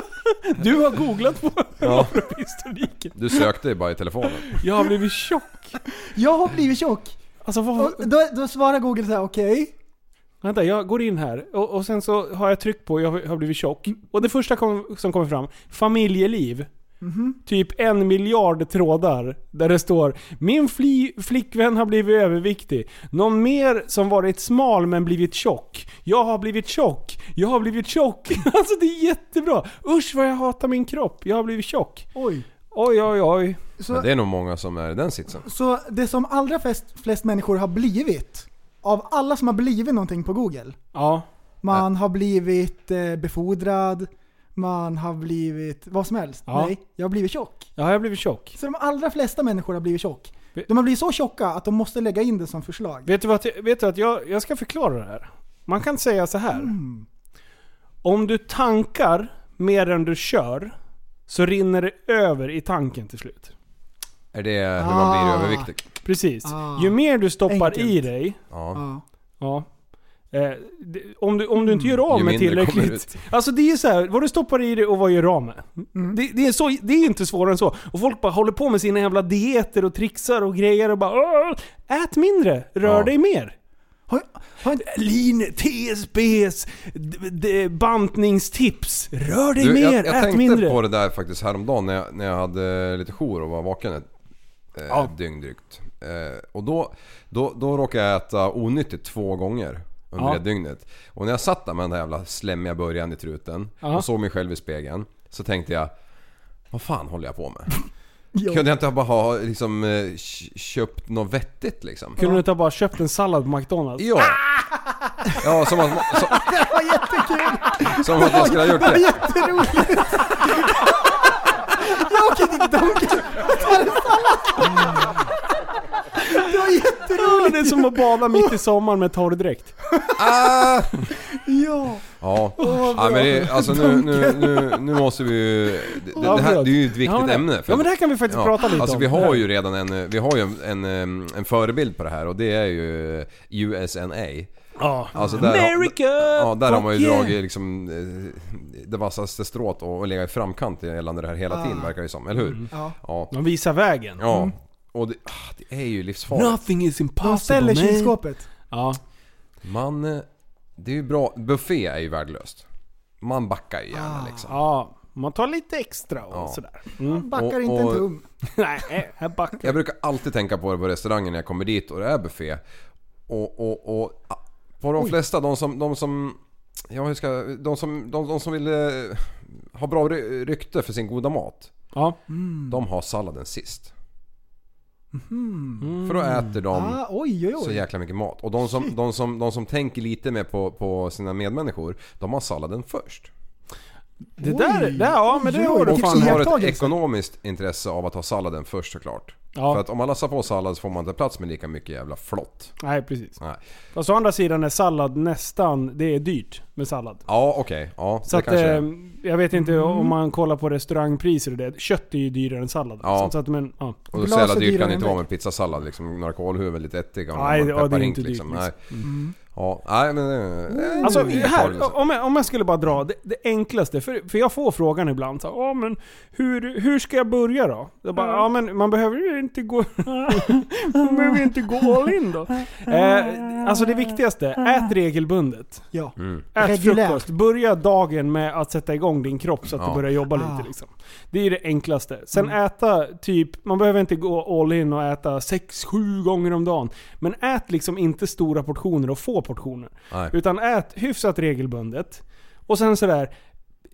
Du har googlat [LAUGHS] på Ja. historiken. Du sökte ju bara i telefonen. Jag har blivit tjock. Jag har blivit tjock. Alltså vad, Och då, då svarar Google så här: okej. vänta, jag går in här och, och sen så har jag tryckt på jag har blivit tjock. Och det första kom, som kommer fram, familjeliv. Typ en miljard trådar där det står Min fli, flickvän har blivit överviktig. Någon mer som varit smal men blivit tjock. Jag har blivit tjock. Jag har blivit tjock. [LAUGHS] Alltså det är jättebra. Usch vad jag hatar min kropp. Jag har blivit tjock. Oj. Oj oj oj. Så Men det... det är nog många som är i den sitsen. så det som allra flest, flest människor har blivit, av alla som har blivit någonting på Google. Ja. Man har blivit eh, befordrad, man har blivit vad som helst. Ja. Nej, jag har blivit tjock. Ja, jag har blivit tjock. Så de allra flesta människor har blivit tjock. Vi- De har blivit så tjocka att de måste lägga in det som förslag. Vet du vad, vet du att jag, jag ska förklara det här. Man kan säga så här. Om du tankar mer än du kör så rinner det över i tanken till slut. Är det hur man blir Ah. överviktig? Precis. Ah. Ju mer du stoppar i Enkelt. dig, Ja. Ja. ja, Eh, det- om, du, om du inte gör av Ju med mindre kommer tillräckligt. ut. Alltså det är ju så här, vad du stoppar i dig och vad du gör av med. Det, det, är så, det är inte svårare än så. Och folk bara håller på med sina jävla dieter och trixar och grejer och bara "Åh, Ät mindre, rör Ja. dig mer. Har, har inte... Lean, TSBs, d- d- bantningstips. Rör dig Du, mer, jag, jag ät tänkte mindre. på det där faktiskt häromdagen när jag, när jag hade lite jour och var vaken ett eh, Ja. dygn drygt. Eh, och då, då, då råkade jag äta onyttigt två gånger under Ja. det dygnet. Och när jag satt där med den där jävla slemmiga början i truten Ja. och såg mig själv i spegeln så tänkte jag vad fan håller jag på [LAUGHS] med? Ja. Kunde jag inte bara ha liksom, eh, k- köpt något vettigt liksom? Kunde du inte ha bara köpt en sallad på McDonalds? [LAUGHS] Ja! Ja, som att, som, Det var jättekul! som att jag skulle ha gjort Det var det. jätteroligt! Jag åker till Donken och tar en sallad! Det var Ja, jätteroligt! Det är som att bada mitt [LAUGHS] i sommaren med torrdräkt. [LAUGHS] Ah! Ja! Ja, ja men det, alltså nu, nu, nu, nu måste vi ju... Det, det, det, här, det är ju ett viktigt Ja, men- ämne. ja, men det här kan vi faktiskt prata lite alltså, om. Vi har ju redan en, vi har ju en, en, en förebild på det här och det är ju USNA. Ja. Alltså där, har- America! Ja, där har man ju fuck yeah. dragit liksom eh, det vassaste strået och, och legat i framkant gällande det här hela tiden Ah. verkar det ju som, eller Mm. hur? Ja. Ja. De visar vägen. ja. Och det, ah, det är ju livsfarligt. Nothing is De ställer impossible man. kylskåpet. Alltså, Ja. Man... eh, Det är ju bra. Buffé är ju värdelöst. Man backar ju Ah. gärna liksom. ja, man tar lite extra och Ja. sådär. Mm. Backar Och- inte en och- tum. [LAUGHS] Nej, eh, här backar Jag brukar alltid tänka på det på restaurangen när jag kommer dit och det är buffé. Och, och, och ah, på de flesta, de som... De som ja, hur ska, jag- de, som, de, de som vill eh, ha bra ry- rykte för sin goda mat. Ja. Mm. De har salladen sist. För då äter de Hmm. Mm. Ah, oj, oj, Mm. så oj. jäkla mycket mat. Och de som, de som, de som tänker lite mer på, på sina medmänniskor, de har salladen först. Det där, där, ja men det Oj, har du oj, fan Man har ett Iakttagelse. ekonomiskt intresse av att ha salladen först såklart. Ja. För att om man lassar på sallad så får man inte plats med lika mycket jävla flott. Nej precis. Nej. Fast å andra sidan är sallad nästan, det är dyrt med sallad. Ja okej, ja Så det att, kanske eh, är. jag vet inte om man kollar på restaurangpriser och det. Kött är ju dyrare än sallad. Ja. Så- Så att, men, ja. Och då glas så jävla är dyrt kan dyrare det inte än vara med pizzasallad liksom. Några kålhuvud, lite ättika och Nej, någon ja, det är pepparhink inte liksom. dyrt, Mm. Nej. Ja, nej men... Eh, Alltså det är farligt, här, alltså. om jag, om jag skulle bara dra det, det enklaste. För, för jag får frågan ibland så här, "Ja, men hur, hur ska jag börja då? Jag bara, ja men man behöver ju inte gå... [LAUGHS] man behöver ju inte gå all in då. Eh, alltså det viktigaste, ät regelbundet. Ja. Mm. Ät Reguljärt. frukost. Börja dagen med att sätta igång din kropp så att du Ja. börjar jobba Ah. Mm. lite liksom. Det är det enklaste. Sen äta typ, man behöver inte gå all in och äta 6-7 gånger om dagen. Men ät liksom inte stora portioner och få portioner. Nej. Utan ät hyfsat regelbundet. Och sen sådär,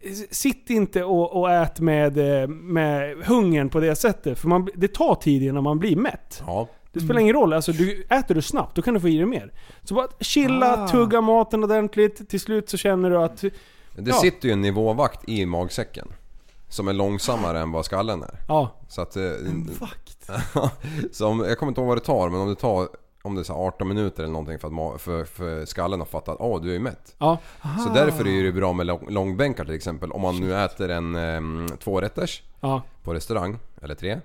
s- sitt inte och, och ät med, eh, med hungern på det sättet. För man, det tar tid innan man blir mätt. Ja. Det spelar ingen roll, alltså, du, äter du snabbt då kan du få i dig mer. Så bara chilla, Ah. tugga maten ordentligt, till slut så känner du att... Det Ja. sitter ju en nivåvakt i magsäcken. Som är långsammare än vad skallen är. Ja, Så att... eh, Fakt. så om, jag kommer inte ihåg vad det tar men om det tar om det är så här 18 minuter eller någonting för, att, ma- för, för skallen har fattat att åh du är ju mätt. ja, Så därför är det bra med lång, långbänkar till exempel. Om man nu äter en um, tvårätters ja. på restaurang, eller tre.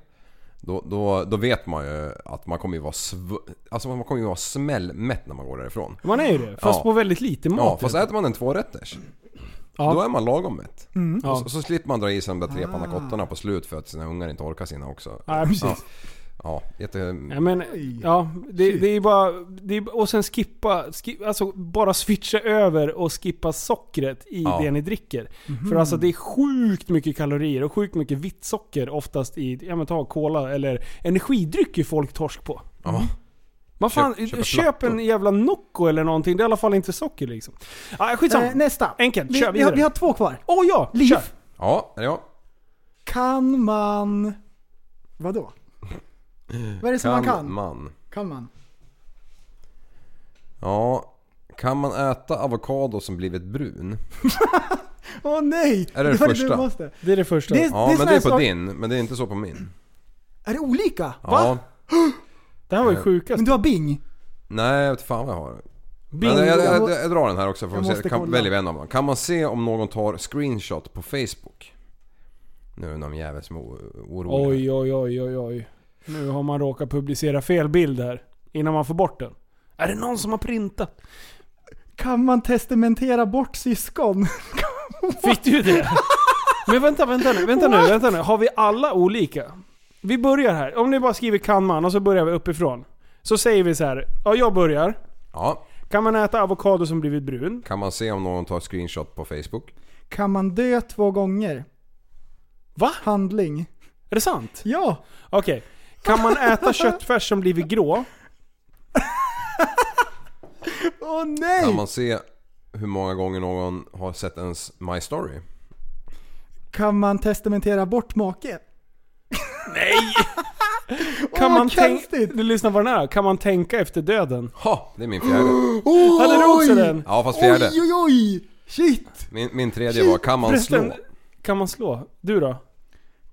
Då, då, då vet man ju att man kommer ju vara, sv- alltså man kommer ju vara smällmätt när man går därifrån. Man är ju det. Fast Ja. på väldigt lite mat. Ja, fast äter man en tvårätters Ja. då är man lagom mätt. Mm. Ja. Mm. Och så, så slipper man dra i sig de där tre Ah. pannacottorna på slut för att sina ungar inte orkar sina också. Nej, precis. Ja, ja jätte... Mm. Ja, men, ja, det, det är ju bara... Det är, och sen skippa, skip, alltså bara switcha över och skippa sockret i Ja. det ni dricker. Mhm. För alltså det är sjukt mycket kalorier och sjukt mycket vitt socker oftast i, ja men ta cola eller energidryck är folk torsk på. Mm. Ja. Man fan, Köp- köp, köpa en plattor. jävla Nocco eller någonting, det är i alla fall inte socker liksom. Ah, skitsamma. Eh, nästa. Enkelt, vi, kör vi, har, vidare. vi har två kvar. Åh ja, Liv. kör! Ja, ja. Kan man... Vadå? Vad är det som man kan? man? Kan man? Ja. Kan man äta avokado som blivit brun? Åh nej! Är [LAUGHS] det det var första? dummaste. Det är det första. Det, Ja, det är men sån det här är på sak- din. Men det är inte så på min. Är det olika? Ja. Va? det här var ju sjukast. Men du har Bing? Nej, jag vet fan vad jag har. Men Bingo. jag, jag, jag, jag drar den här också. För Jag att måste se. Kan, kolla. väljer vi en av dem. Kan man se om någon tar screenshot på Facebook? Nu är det någon jävel som är o- Oj, orolig. oj, oj, oj, oj. Nu har man råkat publicera fel bild här. Innan man får bort den. Är det någon som har printat? Kan man testamentera bort syskon? Fick du det? Men vänta, vänta nu, vänta nu, vänta nu. Har vi alla olika? Vi börjar här. Om ni bara skriver kan man och så börjar vi uppifrån. Så säger vi så här. Ja, jag börjar. Ja. Kan man äta avokado som blivit brun? Kan man se om någon tar screenshot på Facebook? Kan man dö två gånger? Va? Handling. Är det sant? Ja! Okej. Kan man äta köttfärs som blivit grå? Åh nej! Kan man se hur många gånger någon har sett ens My Story? Kan man testamentera bort make? Nej! Kan man tänka... konstigt! Lyssna på den här. Kan man tänka efter döden? Ha! Det är min fjärde. Hade du också Oj! den? Ja fast fjärde. Oj, oj, oj! Shit! Min, min tredje var kan man Förresten, slå? Kan man slå? Du då?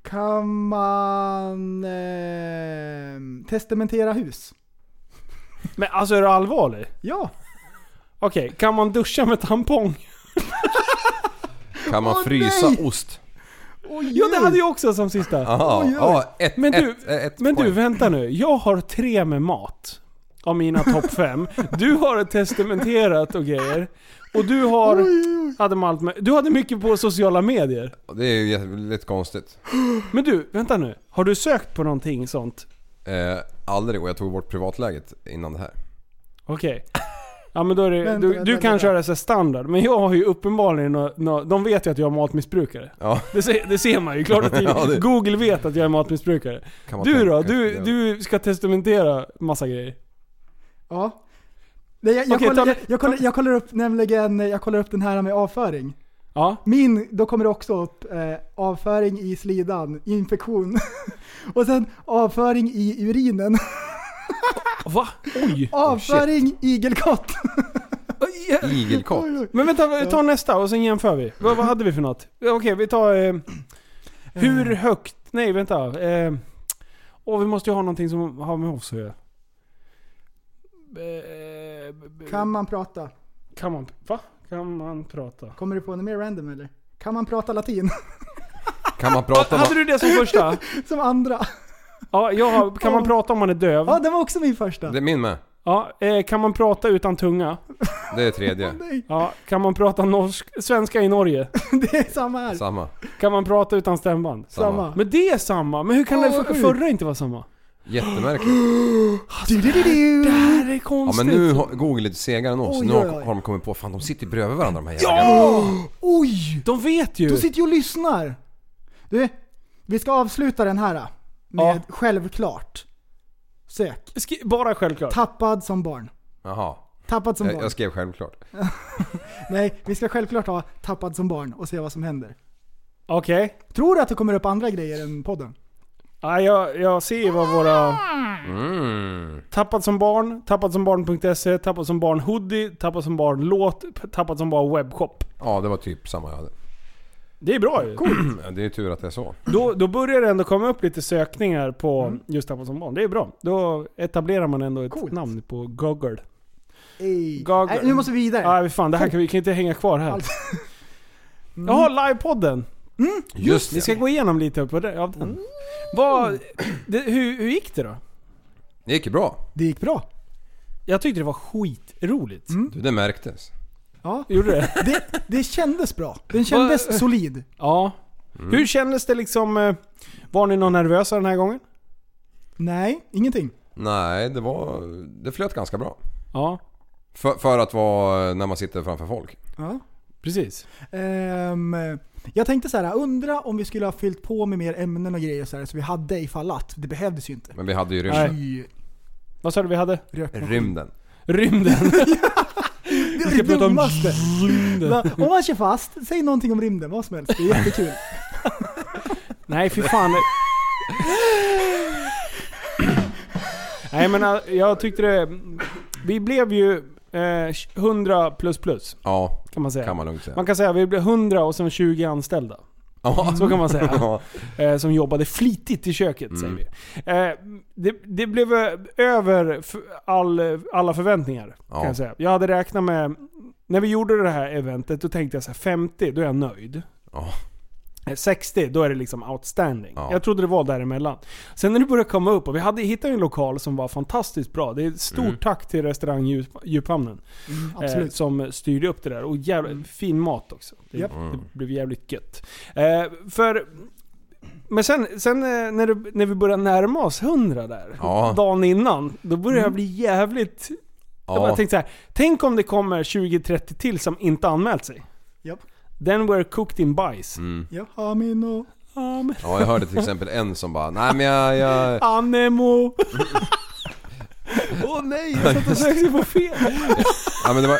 Kan man eh, testamentera hus? Men alltså är du allvarlig? Ja! Okej, kan man duscha med tampong? Kan man Åh, frysa nej! ost? Oj, Ja det oj. hade jag också som sista. Aha, Oj, oj. ja, ett, Men du- ett, ett Men du poäng. vänta nu, jag har tre med mat. Av mina topp fem. Du har testamenterat och grejer. Och du har... Hade med allt med, du hade mycket på sociala medier. Det är ju jätte- lite konstigt. Men du, vänta nu. Har du sökt på någonting sånt? Eh, aldrig och jag tog bort privatläget innan det här. Okej. Ja men då är det, Vänta, du, vänta, du kan vänta. köra så här standard, men jag har ju uppenbarligen nå, nå, De vet ju att jag är matmissbrukare. Ja. Det, ser, det ser man ju [LAUGHS] klart och tydligt. Ja, det- Google vet att jag är matmissbrukare. Kan man Du tänka då? efter Du, det? du ska testamentera massa grejer. Ja. Nej, jag, jag, Okej, kollar, ta- jag, jag, kollar, jag kollar upp nämligen, jag kollar upp den här med avföring. Ja. Min, då kommer det också upp eh, avföring i slidan, infektion. [LAUGHS] Och sen avföring i Oh, urinen. Va? [LAUGHS] Oj! Avföring, igelkott. Igelkott? Men vänta, ta nästa och sen jämför vi. Vad, vad hade vi för något? Ja, Okej, vi tar... Eh, hur högt... Nej, vänta. Eh, åh, vi måste ju ha någonting som har med oss att göra. Eh, Kan man prata? Kan man... Va? Kan man prata? Kommer du på något mer random eller? Kan man prata latin? [LAUGHS] Kan man prata Hade om... du det som [LAUGHS] första? Som andra. Ja, jag har, kan man prata om man är döv? Ja, det var också min första. Det är min med. Ja, eh, kan man prata utan tunga? Det är tredje. Nej, Ja, kan man prata norsk, svenska i Norge? [LAUGHS] det är samma här. Samma. Samma. Kan man prata utan stämband? Samma. Men det är samma, men hur kan det Åh, för, vad sjukt. förra inte vara samma? Jättemärkligt. Du, du, du, du. Det här är Ja konstigt. men nu har Google lite segare än oss. Oj, Nu oj, har oj. har de kommit på, fan de sitter ju bredvid varandra de här jävlarna. Oj! De vet ju! De sitter ju och lyssnar. Du, vi ska avsluta den här äh, med självklart. Sök. Sk- bara självklart. Tappad som barn. Jaha. Tappad som Jag, barn. jag skrev självklart. Nej, vi ska självklart ha tappad som barn och se vad som händer. Okej. Tror du att det kommer upp andra grejer än podden? Ja, jag, jag ser ju vad våra... Mm. Tappad som barn, tappad som barn.se, tappad som barn hoodie, tappad som barn låt, tappad som barn webbshop. Ja det var typ samma jag hade. [CLEARS THROAT] Det är bra ju. Ja, Det är tur att det är så. Då, då börjar det ändå komma upp lite sökningar på just Tappad som barn. Det är bra. Då etablerar man ändå ett Coolt. namn på Google. Ej. Gaga. Nej, nu måste vi vidare. Nej, fan, det här kan vi kan inte hänga kvar här. Allt. Jaha, livepodden. Just Vi ska det. gå igenom lite på det, av den. Vad, det, hur, hur gick det då? Det gick ju bra. Det gick bra. Jag tyckte det var skitroligt. Du, det märktes. Ja, Gjorde det? det, det kändes bra. Den kändes solid. Ja. Hur kändes det liksom? eh, Var ni någon nervösa den här gången? Nej, ingenting. Nej, det var... Det flöt ganska bra. Ja, För, för att vara när man sitter framför folk. Ja. precis. Ehm, jag tänkte så här, undra om vi skulle ha fyllt på med mer ämnen och grejer så, här, så vi hade ifall att. Det behövdes ju inte. Men vi hade ju Nej. rymden. I Vad sa du vi hade? rökmaskin. Rymden. Rymden. [LAUGHS] Det Vi ska är det prata om dummaste. rymden. Va? Om man kör fast, säg någonting om rymden, vad som helst. Det är jättekul. Nej, fy fan. Nej men eh, jag tyckte det... Vi blev ju eh, 100 plus plus Ja, kan man säga. kan man lugnt säga. Man kan säga vi blev 100 och sen 20 anställda. Ja. Så kan man säga. [LAUGHS] Ja. Eh, som jobbade flitigt i köket Mm. säger vi. Eh, det, det blev eh, över f- all, alla förväntningar. Ja. Kan jag, säga. jag hade räknat med... När vi gjorde det här eventet då tänkte jag så här 50, då är jag nöjd. Ja. Eh, 60, då är det liksom outstanding. Ja. Jag trodde det var däremellan. Sen när det började komma upp, och vi hade hittat en lokal som var fantastiskt bra. Det är ett stort Mm. tack till restaurang Djup- Djuphamnen. Eh, Mm, Absolut. som styrde upp det där. Och jävla, Mm. fin mat också. Det, Japp. det blev jävligt gött. Eh, för... Men sen, sen eh, när, det, när vi började närma oss 100 där, Ja. Mm. dagen innan, då började jag bli jävligt... Jag bara Ja. tänkte så här, tänk om det kommer 20-30 till som inte anmält sig. Japp. Then we're cooked in bajs. Mm. Jag har min och... Ja, men- ja, jag hörde till exempel en som bara Nej men jag... jag [LAUGHS] Anemo! Åh nej, jag satt och sökte på fel. ja, men det var,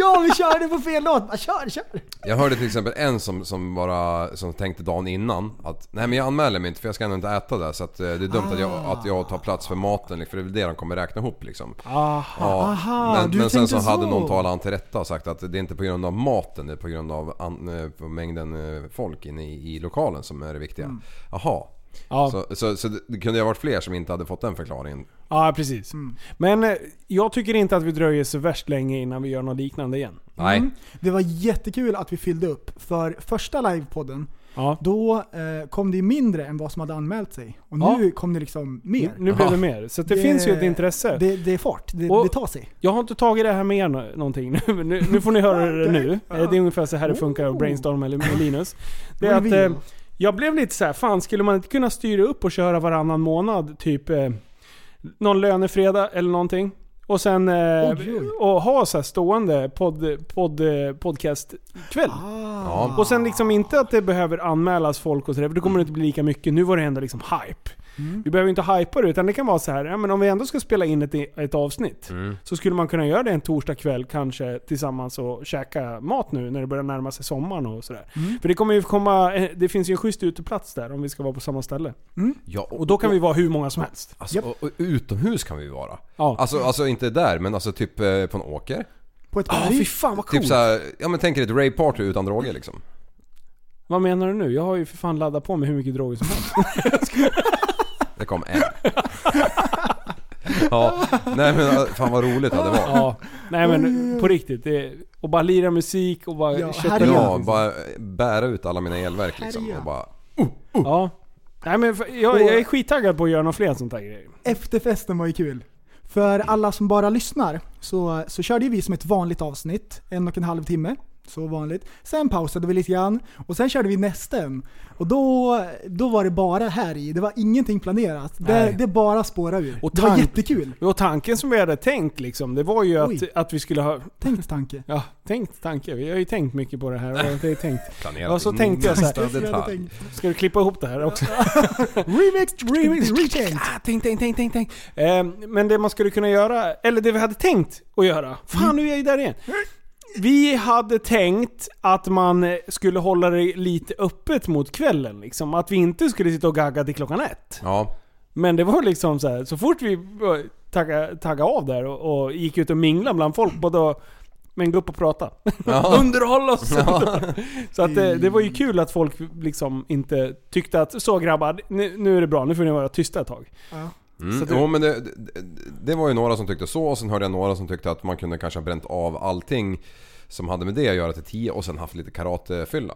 Ja, vi körde på fel låt! Bara, kör, kör! Jag hörde till exempel en som, som bara som tänkte dagen innan att nej men jag anmäler mig inte för jag ska ändå inte äta där så att eh, det är dumt att, jag, Ah. att jag tar plats för maten liksom, för det är väl det de kommer räkna ihop liksom. Aha, aha, men, du men sen tänkte så, hade så. någon talat han till rätta och sagt att det är inte på grund av maten det är på grund av an, eh, på mängden eh, folk inne i, i lokalen som är det viktiga. Jaha. Mm. Ja. Så, så, så det det kunde ju ha varit fler som inte hade fått den förklaringen. Ja, precis. Mm. Men eh, jag tycker inte att vi dröjer så värst länge innan vi gör något liknande igen. Nej. Det var jättekul att vi fyllde upp, för första livepodden, Ja. då eh, kom det ju mindre än vad som hade anmält sig. Och nu kom det liksom mer. Nu blev det mer. Så det, finns ju ett intresse. Det, det är fart, det, Och- det tar sig. Jag har inte tagit det här med er nå- någonting nu. men Nu, nu får ni höra det nu. Eh, Det är ungefär så här det funkar att brainstorma eller- med Linus. Det är att eh, Reveal. jag blev lite så här, fan skulle man inte kunna styra upp och köra varannan månad? Typ eh, någon lönefredag eller någonting. Och sen eh, Oj, oj. och ha så här stående podd, podd, eh, podcastkväll. Ja. Och sen liksom inte att det behöver anmälas folk och sådär, för då kommer det inte bli lika mycket. Nu var det ändå liksom hype. Mm. Vi behöver inte hypa det, utan det kan vara så här, ja, men om vi ändå ska spela in ett, ett avsnitt, Mm. så skulle man kunna göra det en torsdag kväll kanske tillsammans och käka mat nu när det börjar närma sig sommaren och sådär. Mm. För det kommer ju komma, eh, det finns ju en schysst uteplats där om vi ska vara på samma ställe. Ja, Och då kan vi vara hur många som helst. Alltså, och, och utomhus kan vi ju vara. Ja. Alltså, alltså inte där men alltså typ eh, på en åker. På ett Ja, berg. fy fan vad coolt. Typ såhär, ja men tänk er ett rave party utan droger liksom. Vad menar du nu? Jag har ju för fan laddat på mig hur mycket droger som [LAUGHS] helst. Det kom en. ja, nej men fan vad roligt det hade varit. ja. Nej men på riktigt. Det, och bara lira musik och bara Ja, kötta här är loss, Ja, liksom. bara eh, bära ut alla mina elverk liksom och bara... Ja. Nej men för- jag, jag är skittaggad på att göra några fler sånt här grejer. Efterfesten var ju kul. För alla som bara lyssnar så, så körde ju vi som ett vanligt avsnitt, en och en halv timme. Så vanligt. Sen pausade vi lite grann och sen körde vi nästen. Och då, då var det bara här i. Det var ingenting planerat. Det, Nej. det bara spårade ur. Och det var tank- jättekul. Och tanken som vi hade tänkt liksom, det var ju att, Oj. att vi skulle ha... Tänkt tanke. Ja, tänkt tanke. Vi har ju tänkt mycket på det här. och Jag har ju tänkt. Planerat Ja, så i tänkte jag så här. minsta Mm. detalj. Ska du klippa ihop det här också? Remix, [LAUGHS] remix, Tänkt. [LAUGHS] Ah, tänk, tänk, tänk, tänk, tänk. Eh, men det man skulle kunna göra, eller det vi hade tänkt att göra. Fan nu är jag ju där igen. Vi hade tänkt att man eh, skulle hålla det lite öppet mot kvällen. Liksom. Att vi inte skulle sitta och gagga till klockan ett. [LAUGHS] Ja, Men det var liksom så här, så fort vi började tagga, tagga av där och, och gick ut och minglade bland folk, både men gå upp och prata. Underhåll oss! [LAUGHS] Så att det, det var ju kul att folk liksom inte tyckte att så grabbar, nu, nu är det bra, nu får ni vara tysta ett tag. mm. Så det- jo, men det, det, det var ju några som tyckte så och sen hörde jag några som tyckte att man kunde kanske ha bränt av allting som hade med det att göra till 10 och sen haft lite karatefylla.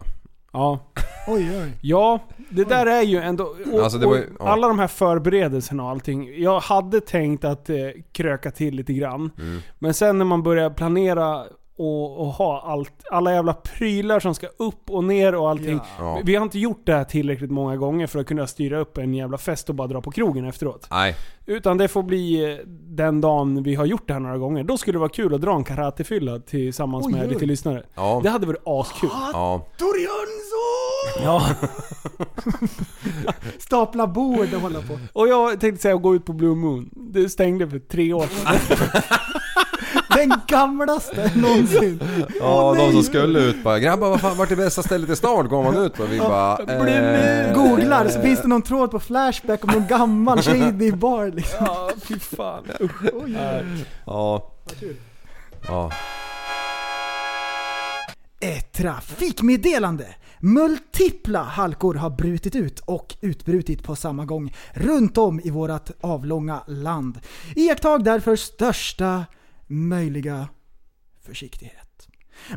Ja, Oj, oj. ja det där är ju ändå... Och, Alltså, det var ju- och ja. alla de här förberedelserna och allting. Jag hade tänkt att eh, kröka till lite grann. Mm. Men sen när man börjar planera och, och ha allt, alla jävla prylar som ska upp och ner och allting. Ja. Vi har inte gjort det här tillräckligt många gånger för att kunna styra upp en jävla fest och bara dra på krogen efteråt. Nej, Utan det får bli eh, den dagen vi har gjort det här några gånger. Då skulle det vara kul att dra en karatefylla tillsammans med lite lyssnare. Ja. Det hade varit askul. ja. Ja. [LAUGHS] Stapla bord och hålla på. Och jag tänkte säga att gå ut på Blue Moon. Det stängde för tre år sedan. Den gamlaste någonsin. Ja, Åh, de som nej. skulle ut bara “Grabbar, vad fan, vart är bästa stället i stan?” går man ut och vi bara... Eh, Googlar så finns det någon tråd på Flashback om någon gammal shady bar liksom. Ja, fy [LAUGHS] fan. Usch. ja. Ja. Ett trafikmeddelande! Multipla halkor har brutit ut och utbrutit på samma gång runt om i vårt avlånga land. Iakttag därför största möjliga försiktighet.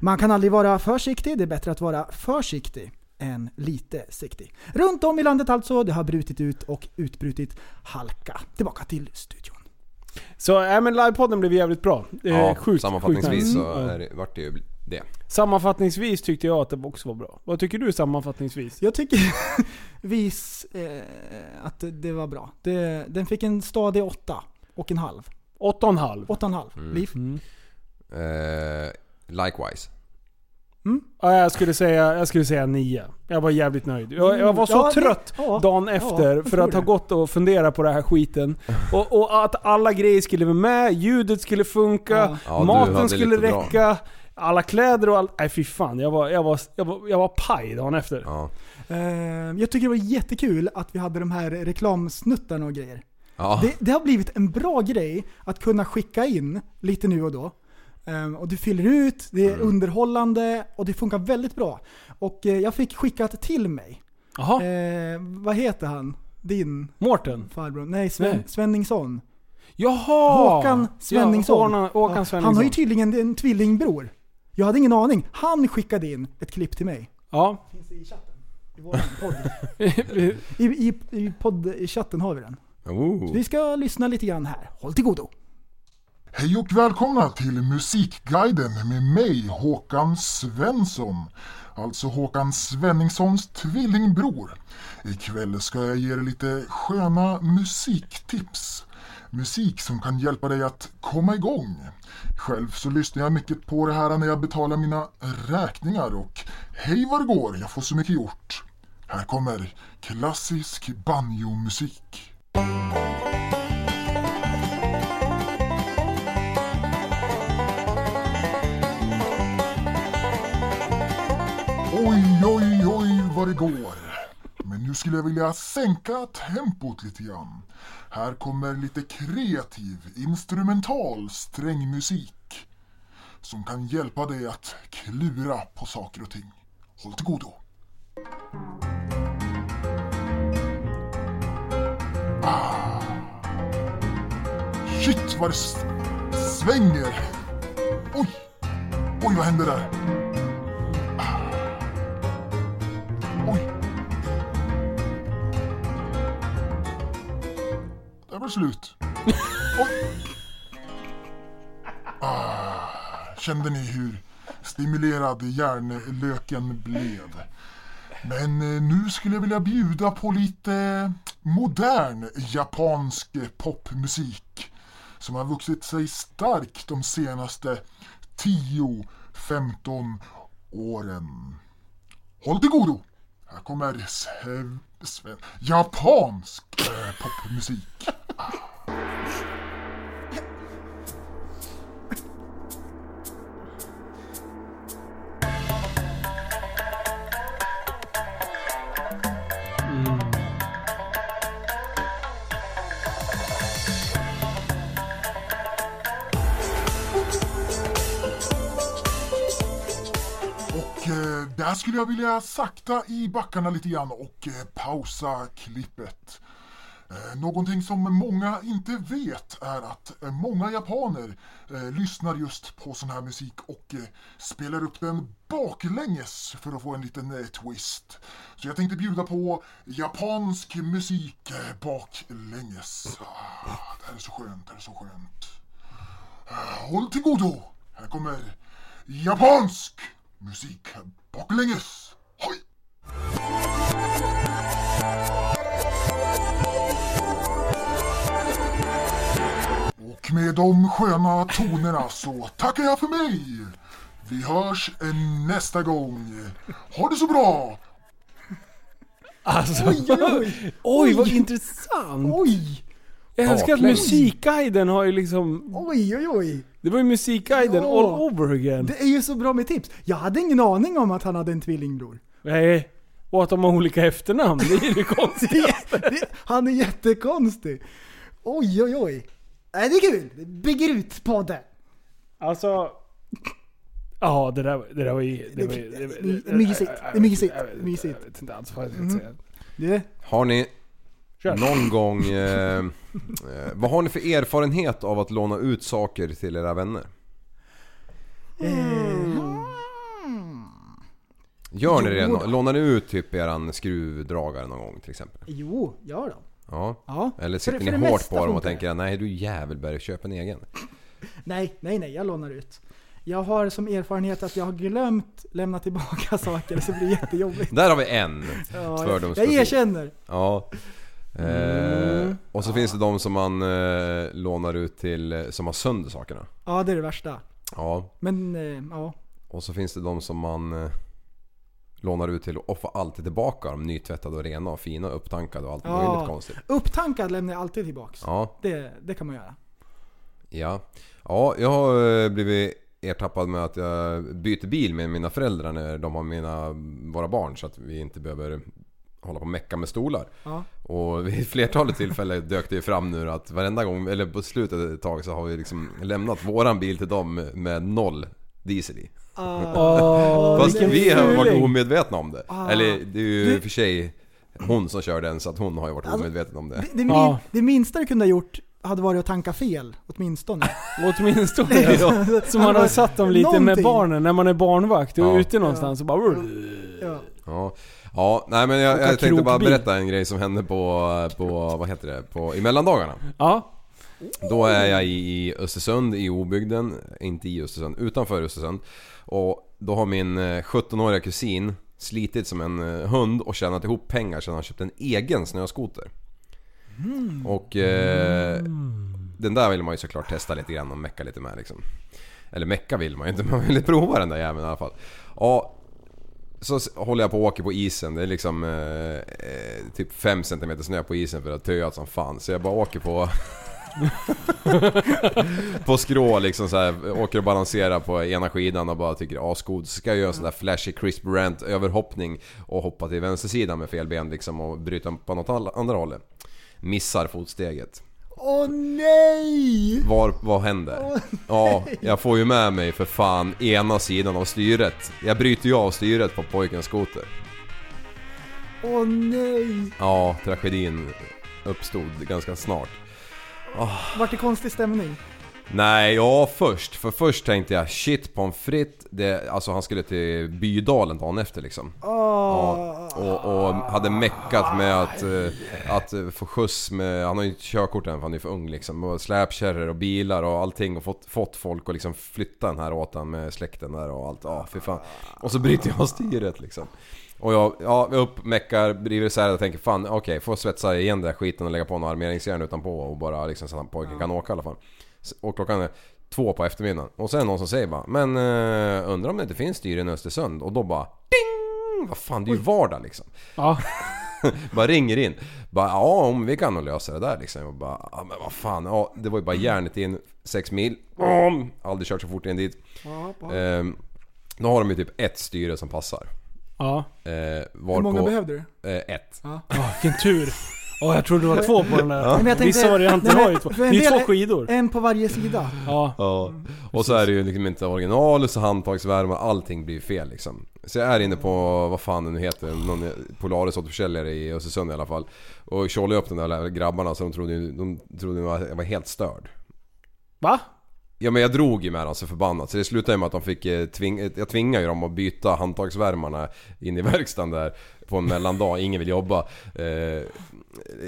Man kan aldrig vara försiktig, det är bättre att vara försiktig än lite siktig. Runt om i landet alltså, det har brutit ut och utbrutit halka. Tillbaka till studion. Så äh, men livepodden blev jävligt bra. Eh, Ja, sjukt, sjukt sammanfattningsvis nice. så Mm. är det, vart det ju... Det. Sammanfattningsvis tyckte jag att det också var bra. Vad tycker du sammanfattningsvis? Jag tycker [LAUGHS] vis eh, att det var bra. Det, den fick en stadig åtta och en halv. 8,5. Åtta och en halv. Liv. Mm. Eh, likewise. Ja, jag skulle säga, jag skulle säga 9. Jag var jävligt nöjd. Jag, jag var så Ja, det- trött ja, dagen ja, efter jag för tror att ha det. gått och funderat på den här [LAUGHS] skiten. Och, och att alla grejer skulle vara med, ljudet skulle funka, Ja. Ja, du maten hade skulle lite bra. räcka, alla kläder och allt. Nej fy fan, jag var, jag, var, jag, var, jag var paj dagen efter. Ja. Eh, jag tycker det var jättekul att vi hade de här reklamsnuttarna och grejer. Ah. Ja. Det, det har blivit en bra grej att kunna skicka in lite nu och då. Ehm, och du fyller ut, det är Mm. underhållande och det funkar väldigt bra. Och eh, jag fick skickat till mig. Jaha, Eh, vad heter han? Din Mårten? farbror? Nej, Sven, Nej. Svenningsson. Jaha! Håkan Svenningsson. Ja, Håkan, Ja, Håkan han har ju Svenningsson. tydligen en tvillingbror. Jag hade ingen aning. Han skickade in ett klipp till mig. Ja, [LAUGHS] Finns i chatten. I [LAUGHS] våran podd. I, i, i poddchatten har vi den. Ooh. Vi ska lyssna lite grann här. Håll till godo. Hej och välkomna till Musikguiden med mig Håkan Svensson. Alltså Håkan Svenningssons tvillingbror. Ikväll ska jag ge dig lite sköna musiktips. Musik som kan hjälpa dig att komma igång. Själv så lyssnar jag mycket på det här när jag betalar mina räkningar och hej vad det går, jag får så mycket gjort. Här kommer klassisk banjomusik. Oj, oj, oj vad det går. Men nu skulle jag vilja sänka tempot lite grann. Här kommer lite kreativ, instrumental strängmusik. Som kan hjälpa dig att klura på saker och ting. Håll till godo. Ah. Shit vad det s- svänger. Oj, oj vad hände där? Oj. Där var det slut. Oj. Ah, kände ni hur stimulerad hjärnlöken blev? Men eh, nu skulle jag vilja bjuda på lite eh, modern japansk popmusik som har vuxit sig stark de senaste 10-15 åren. Håll till godo! Här kommer sve- sve- japansk eh, popmusik. Och eh, där skulle jag vilja sakta i backarna lite grann och eh, pausa klippet. Eh, någonting som många inte vet är att eh, många japaner eh, lyssnar just på sån här musik och eh, spelar upp den baklänges för att få en liten eh, twist. Så jag tänkte bjuda på japansk musik eh, baklänges. Ah, det här är så skönt, det här är så skönt. Eh, Håll till godo! Här kommer japansk musik baklänges. Hoj! Och med de sköna tonerna så tackar jag för mig! Vi hörs eh, nästa gång. Ha det så bra! alltså. [LAUGHS] Oj, oj. vad intressant! Oj! jag älskar att Bakläng. musikguiden har ju liksom... Oj, oj, oj. Det var ju musikguiden Ja. all over again. Det är ju så bra med tips. Jag hade ingen aning om att han hade en tvillingbror. [LAUGHS] Nej. Och att de har olika efternamn, det är ju det [LAUGHS] konstiga. Det- Han är jättekonstig. Oj, oj, oj. Nej, det är kul. Det Bygger ut podden. Alltså... Ja, det där, det där var ju... Det var ju... det var- det- Det är det- mysigt. jag- jag- Det är mysigt. Mm. jag vet inte- Mysigt. Jag vet inte alls vad jag ska säga. Det, Har ni Kör. någon gång... Eh, eh, vad har ni för erfarenhet av att låna ut saker till era vänner? Gör ni det? Mm. Jo. nå- Lånar ni ut typ eran skruvdragare någon gång till exempel? Jo, gör de. Ja. Ja. Eller För det- sitter för det ni hårt mesta på dem och funkar det. tänker nej du jävelberg, köp en egen. Nej, nej, nej, jag lånar ut. Jag har som erfarenhet att jag har glömt lämna tillbaka [LAUGHS] saker så det blir jättejobbigt. Där har vi en! Ja, jag, jag Fördomsprofil. erkänner. Ja. Eh, Mm. och så finns det de som man eh, lånar ut till, eh, som har sönder sakerna. Ja, det är det värsta. Ja. Men eh, ja, Och så finns det de som man eh, lånar ut till och får alltid tillbaka dem nytvättade och rena och fina och upptankade och allt Ja. möjligt konstigt. upptankad lämnar jag alltid tillbaks. Ja. Det, det kan man göra. Ja. ja, jag har eh, blivit ertappad med att jag byter bil med mina föräldrar när de har mina, våra barn så att vi inte behöver hålla på och mecka med stolar. Ja. Och [LAUGHS] vid flertalet tillfällen dök det ju fram nu att varenda gång, eller på slutet ett tag så har vi liksom lämnat våran bil till dem med noll diesel i. Åh, Fast vilken vi har varit fuling. omedvetna om det. Ah. Eller det är ju Du- för sig hon som kör den så att hon har ju varit Alltså, omedveten om det. Det, det, min, Ja. det minsta du kunde ha gjort hade varit att tanka fel, åtminstone. Åtminstone. [LAUGHS] Så man har satt dem lite med Någonting. barnen när man är barnvakt och Ja. är ute någonstans och bara... Ja. Ja, ja nej men jag, Åka jag tänkte bara krokbil. berätta en grej som hände på, på vad heter det, på, i mellandagarna. Ja. Då är jag i, i Östersund, i obygden, inte i Östersund, utanför Östersund. Och då har min eh, 17-åriga kusin slitit som en eh, hund och tjänat ihop pengar sedan han köpte en egen snöskoter. Och eh, den där vill man ju såklart testa lite grann och mecka lite med liksom. Eller mecka vill man ju inte, man vill prova den där jäveln i alla fall. Ja, så s- håller jag på och åker på isen. Det är liksom eh, eh, typ 5 cm snö på isen för att töat som fan. Så jag bara åker på... på skrå liksom så här, åker och balanserar på ena skidan och bara tycker asgod. Så ska jag göra en sån där flashy crisp rant överhoppning och hoppa till vänstersidan med fel ben liksom och bryta på något all- andra hållet. Missar fotsteget. [LAUGHS] Åh nej! Var, vad händer? Ja, jag får ju med mig för fan ena sidan av styret. Jag bryter ju av styret på pojkens skoter. Åh nej! Ja, tragedin uppstod ganska snart. Vart det konstig stämning? Nej, ja först. För först tänkte jag shit pommes frites. Det, alltså han skulle till Bydalen dagen efter liksom. Ja, och, och hade meckat med att, eh, att eh, få skjuts med, han har ju inte körkort än för han är ju för ung liksom. Och släpkärror och bilar och allting och fått, fått folk att liksom flytta den här åt han med släkten där och allt. Ja, fy fan. Och så bryter jag styret liksom. Och jag, ja, jag upp, meckar, driver isär det och tänker fan okej, får jag svetsa igen den där skiten och lägga på någon armeringsjärn utanpå och bara liksom så att pojken kan åka i alla fall. S- Och klockan är två på eftermiddagen. Och så är det någon som säger bara Men eh, undrar om det inte finns styren i Östersund? Och då bara Ding! Mm, Vad fan, det är ju vardag liksom. Ja. bara ringer in. Bara ja, om vi kan nog lösa det där liksom. Jag bara ja, men vad fan. Ja, det var ju Mm. bara järnet in 6 mil. Om! Aldrig kört så fort in dit. Ehm, då har de ju typ ett styre som passar. Ja. Eh, Hur varpå, många behövde du? Eh, ett. Åh, vilken tur. Åh, jag trodde det var två på den där. men jag tänkte- Vissa varianter nej, men har ju två. för Det är en ju del två är- skidor. En på varje sida. Ja. Ja. Och så är det ju liksom inte original och så handtagsvärme allting blir fel liksom. Så jag är inne på, vad fan det nu heter, någon Polaris återförsäljare i Östersund i alla fall. Och tjollade upp de där grabbarna så de trodde ju, de trodde ju att jag var helt störd. Va? Ja men jag drog ju med dem så förbannat så det slutade ju med att de fick eh, tving, eh, Jag tvingade ju dem att byta handtagsvärmarna in i [LAUGHS] verkstaden där På en mellandag, ingen vill jobba eh,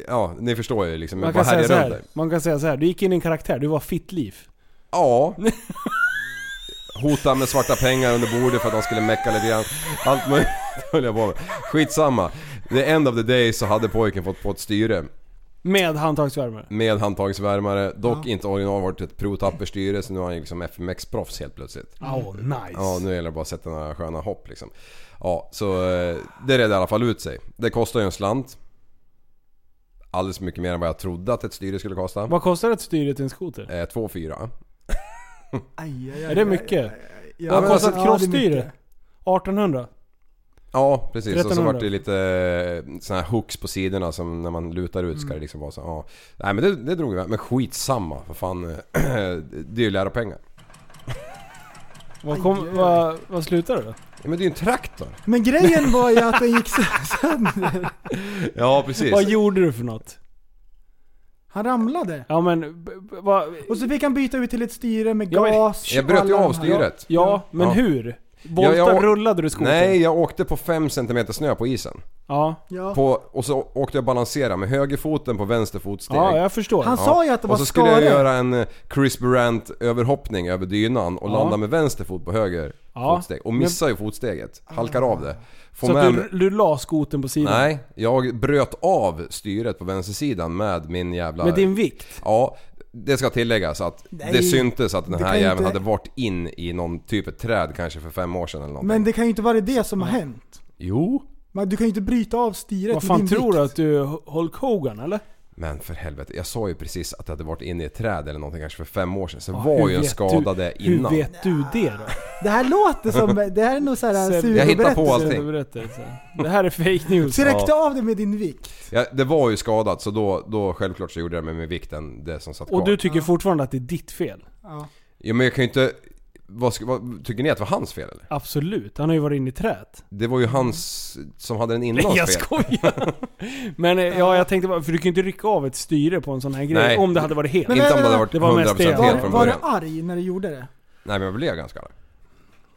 Ja, ni förstår ju liksom, Man jag kan, bara säga så härjar runt här. där. man kan säga så här. du gick in i en karaktär, du var fittliv. Ja. Hota med svarta pengar under bordet för att de skulle mecka lite grann. Allt möjligt [LAUGHS] höll jag på med. Skitsamma. The end of the day så hade pojken fått på ett styre Med handtagsvärmare. med handtagsvärmare. Dock inte original, varit ett provtapperstyre så nu är han liksom FMX-proffs helt plötsligt. Åh, nice. Ja, nu gäller det bara att sätta några sköna hopp liksom. Ja, så eh, det redde i alla fall ut sig. Det kostar ju en slant. Alldeles mycket mer än vad jag trodde att ett styre skulle kosta. Vad kostar ett styre till en skoter? Eh, 2 4 Aj, aj, aj, Är det aj, mycket? aj, aj, aj. Vad men kostar alltså- ett Ja, det är crossstyre? mycket. 1800? Ja, precis. Och så 1300. vart det lite eh, såna här hooks på sidorna som när man lutar ut ska det liksom vara så. Ja. Nej men det, det drog iväg. Men skitsamma. För fan. eh, [CLEARS THROAT] det är ju läropengar. Vad, kom, Aj, aj. vad, vad slutar det då? Ja, men det är ju en traktor. Men grejen var ju att den gick sö- sönder. Ja precis. Vad gjorde du för något? Han ramlade. Ja men... b- b- vad- Och så fick han byta ut till ett styre med Ja, men- gas Jag och bröt ju alla av de här- styret. Ja, men Ja. hur? Volta Ja, jag- rullade du skotern? Nej, jag åkte på 5 cm snö på isen. Ja. Ja. På, och så åkte jag balansera med högerfoten på vänster fotsteg. ja, jag förstår. Han sa ju att det var och så skulle jag skare. göra en eh, Chris Brandt överhoppning över dynan och Ja. landa med vänster fot på höger Ja. fotsteg. Och missar ju fotsteget. Halkar av det. Får så med att du, du la skoten på sidan? Nej, jag bröt av styret på vänstersidan med min jävla... Med din vikt? Ja, det ska tilläggas att det Nej, syntes att den det här kan ju jäveln inte- hade varit in i någon typ av träd kanske för fem år sedan eller någonting. Men det kan ju inte vara det som har hänt. Jo, Men du kan ju inte bryta av styret Alltså- Vad i fan din tror vikt. du? Att du är Hulk Hogan eller? men för helvete. Jag sa ju precis att det hade varit inne i ett träd eller någonting kanske för fem år sedan. Så Ja, var hur ju en vet skada du, där innan. Hur vet du det då? Det här låter som, det här är [LAUGHS] nog såhär Seb- sur Jag hittar på berättelse. allting. Berättelse. Det här är fake news. Så räckte av det med din vikt. Ja, det var ju skadat så då, då självklart så gjorde jag det med vikten, det som satt kvar. Och du tycker fortfarande att det är ditt fel? Ja. Ja, men jag kan ju inte... Vad, ska- vad, tycker ni att det var hans fel eller? Absolut, han har ju varit inne i träet. Det var ju hans som hade den innan [LAUGHS] Nej jag fel. skojar! [LAUGHS] Men eh, ja, jag tänkte bara, för du kan ju inte rycka av ett styre på en sån här grej Nej. om det hade varit helt. Men- Inte om det hade varit Det var mest 100% det. fel Var, från var du början. arg när du gjorde det? Nej men jag blev ganska arg.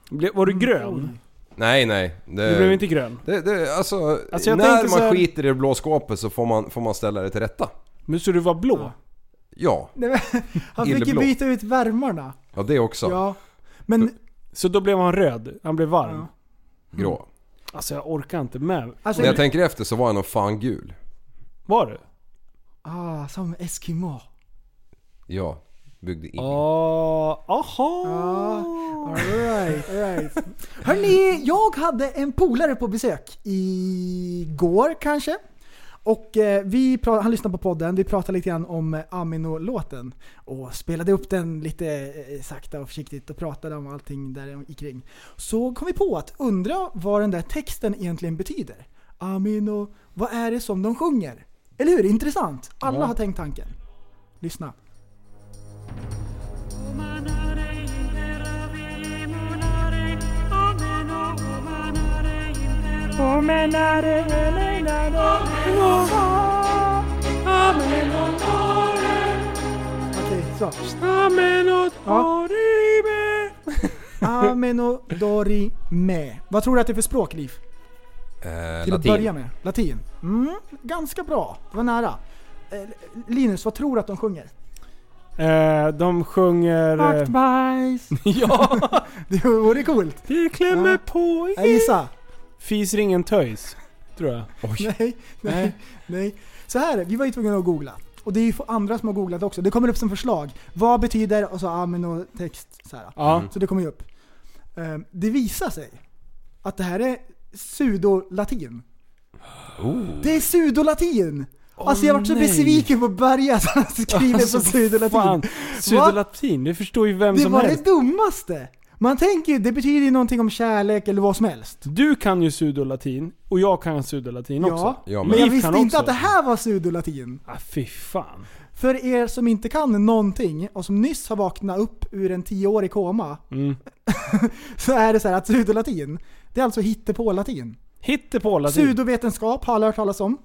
Ble- Var du Mm. grön? Nej nej. Det, Du blev inte grön? det, det, alltså, Alltså, jag när tänker man så här- skiter i det blå skåpet så får man, får man ställa det till rätta. Men så du var blå? Ja, Nej, men, han fick ju Illblå. byta ut värmarna. ja det också. Ja. Men Så då blev han röd? Han blev varm? Ja. Grå. Alltså jag orkar inte med. alltså, När jag tänker efter så var jag nog fan gul. Var du? ah, som Eskimo. Ja, byggde in. Ja, Ah, aha. Ja, alright, alright. Hörni, jag hade en polare på besök igår kanske. Och eh, vi pra- han lyssnade på podden, vi pratade lite grann om eh, Amino-låten. Och spelade upp den lite eh, sakta och försiktigt och pratade om allting där i kring. Så kom vi på att undra vad den där texten egentligen betyder. Amino, vad är det som de sjunger? Eller hur? Intressant. Alla har tänkt tanken. Lyssna. Okej, så. Ja. Ameno dori me. Vad tror du att det är för språk, Liv? Eh, latin. Till att börja med. Latin. Mm, ganska bra. Det var nära. Eh, Linus, vad tror du att de [LAUGHS] sjunger? Eh, de sjunger... [LAUGHS] eh, bajs. ja, Det vore [LAUGHS] coolt. det klämmer Ja. på Nej, gissa. Fiser ingen töjs, tror jag. Nej, nej, nej. Så här, vi var ju tvungna att googla. Och det är ju andra som har googlat också. Det kommer upp som förslag. Vad betyder, och så ameno text så här. Ja. Mm. Så det kommer ju upp. Eh, Det visar sig att det här är pseudolatin. Det är pseudolatin! alltså jag har varit så Oh. nej. besviken på Berga att han skriver på Alltså, Fan, pseudolatin. Sydolatin, det förstår ju vem Det som var helst. det dummaste! Man tänker ju, det betyder ju någonting om kärlek eller vad som helst. Du kan ju sudolatin och jag kan sudolatin också. Ja, Ja, men jag Liv visste kan inte också. att det här var pseudolatin. Ah, fy fan. För er som inte kan någonting och som nyss har vaknat upp ur en tioårig koma. Mm. [LAUGHS] så är det så här att pseudolatin, det är alltså hittepålatin. Hittepålatin. Pseudovetenskap har alla hört talas om.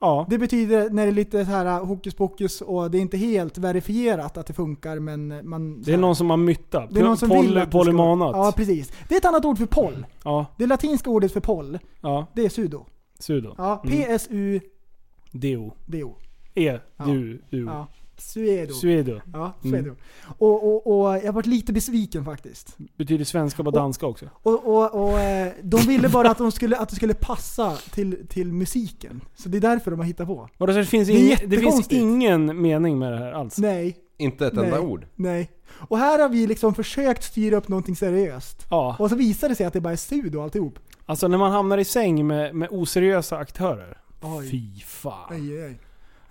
ja. Det betyder när det är lite så här äh, hokus pokus och det är inte helt verifierat att det funkar men man... Det är någon som har mytta. det är någon som Poly- vill att det ska- Polymanat. Ja, precis. Det är ett annat ord för poll. ja, Det latinska ordet för poll, ja. det är sudo. Sudo. Ja, P-S-U-D-O. Do. E. Du. Du. Ja. Suedo. Suedo. Ja, suedo. Och, och, och jag har varit lite besviken faktiskt. Betyder svenska på danska också. Och, och, och eh, de ville bara att, de skulle, att det skulle passa till, till musiken. Så det är därför de har hittat på. Vadå, så det finns, är ing- det finns jättekonstigt. ingen mening med det här alls? Nej, Inte ett nej, enda ord. nej. Och här har vi liksom försökt styra upp någonting seriöst. Ja, Och så visar det sig att det bara är sud och alltihop. alltså när man hamnar i säng med, med oseriösa aktörer. Oj. Fy fan. Aj, aj, aj.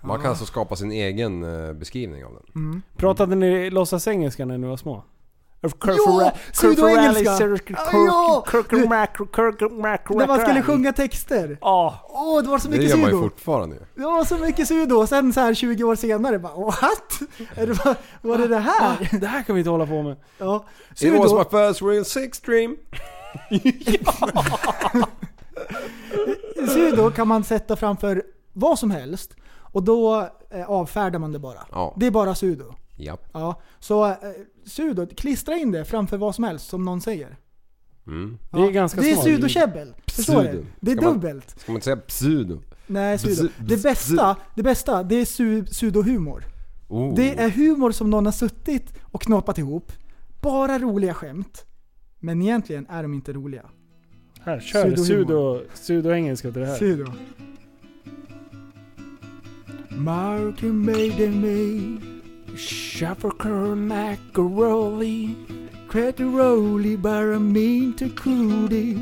Man kan alltså skapa sin egen eh, beskrivning av den. Mm. Pratade ni låtsasengelska när ni var små? Ja, pseudoengelska. Ja, När När man skulle sjunga texter. Ja, Åh, det var så Det mycket gör man ju sudo. fortfarande ju. Det var så mycket sudo. Och sen så här 20 år senare bara what? Är det, vad, vad är det här? det här kan vi inte hålla på med. Ja. It was my Sudo, first real sex dream. sudo kan man sätta framför vad som helst. Och då eh, avfärdar man det bara. Ja. Det är bara sudo. Ja. Ja. Så eh, sudo, klistra in det framför vad som helst som någon säger. Mm. Det är ganska Det är smart. sudokäbbel. Förstår du? Pseudo. Det är Ska man- dubbelt. Ska man inte säga pseudo? Nej, sudo. Bzz, Det bzz, bästa, det bästa, det är su- sudohumor. Oh. Det är humor som någon har suttit och knåpat ihop. Bara roliga skämt. Men egentligen är de inte roliga. Här, kör det. Sudohumor. Sudo, sudoengelska till det här. Sudo. Marky made me Shuffle macaroni. Credit roly bara mean to coolie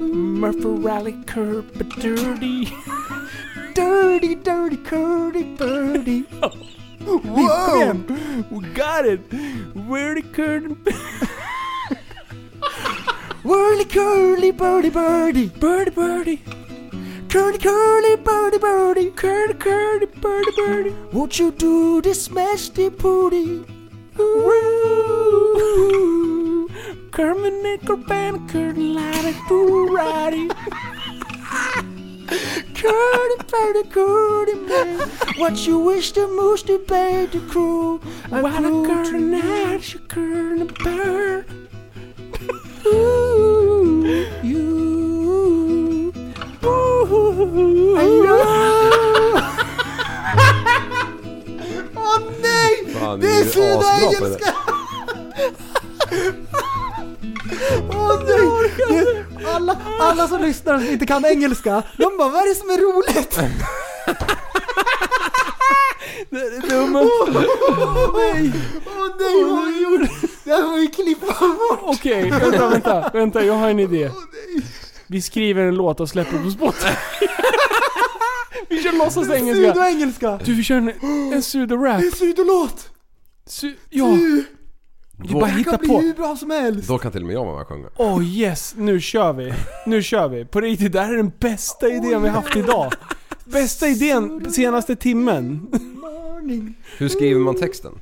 Murphy Curpaturdy. [LAUGHS] Dirty, dirty, curdy, [LAUGHS] birdie Kom Whoa! igen! We got it! Where the [LAUGHS] curtain... Whirly, curly, birdie, birdie Birdie birdie! Curly, curly, birdie, birdie Curdy curdy birdie birdie! Won't you do this smashy booty? Woo! Kermit Nickelback, curtain light and karate. Curly, birdie, curly, man What you wish the most to bad the crew I What a grew to curtain know night, you curtain bird. You I know Åh nej! Fan, Det är asbra på sydengelska! Åh nej! Det- Alla, alla som lyssnar som inte kan engelska, de bara vad är det som är [LAUGHS] roligt? Dumma... Åh nej, vad har vi gjort? Det här får vi klippa bort! Okej, vänta, vänta, vänta, jag har en idé. Vi skriver en låt och släpper på Spotify. [LAUGHS] Vi kör låtsas engelska. Sydoengelska! Du, vi kör en, en Det är pseudo-rap. en sydolåt! Su- ja, vi bara Det hittar kan bli på. hur bra som helst! Då kan till och med jag vara med och sjunga. Åh oh, yes, nu kör vi. Nu kör vi. På riktigt, det här är den bästa idén vi haft idag. Bästa idén på senaste timmen. Hur skriver man texten?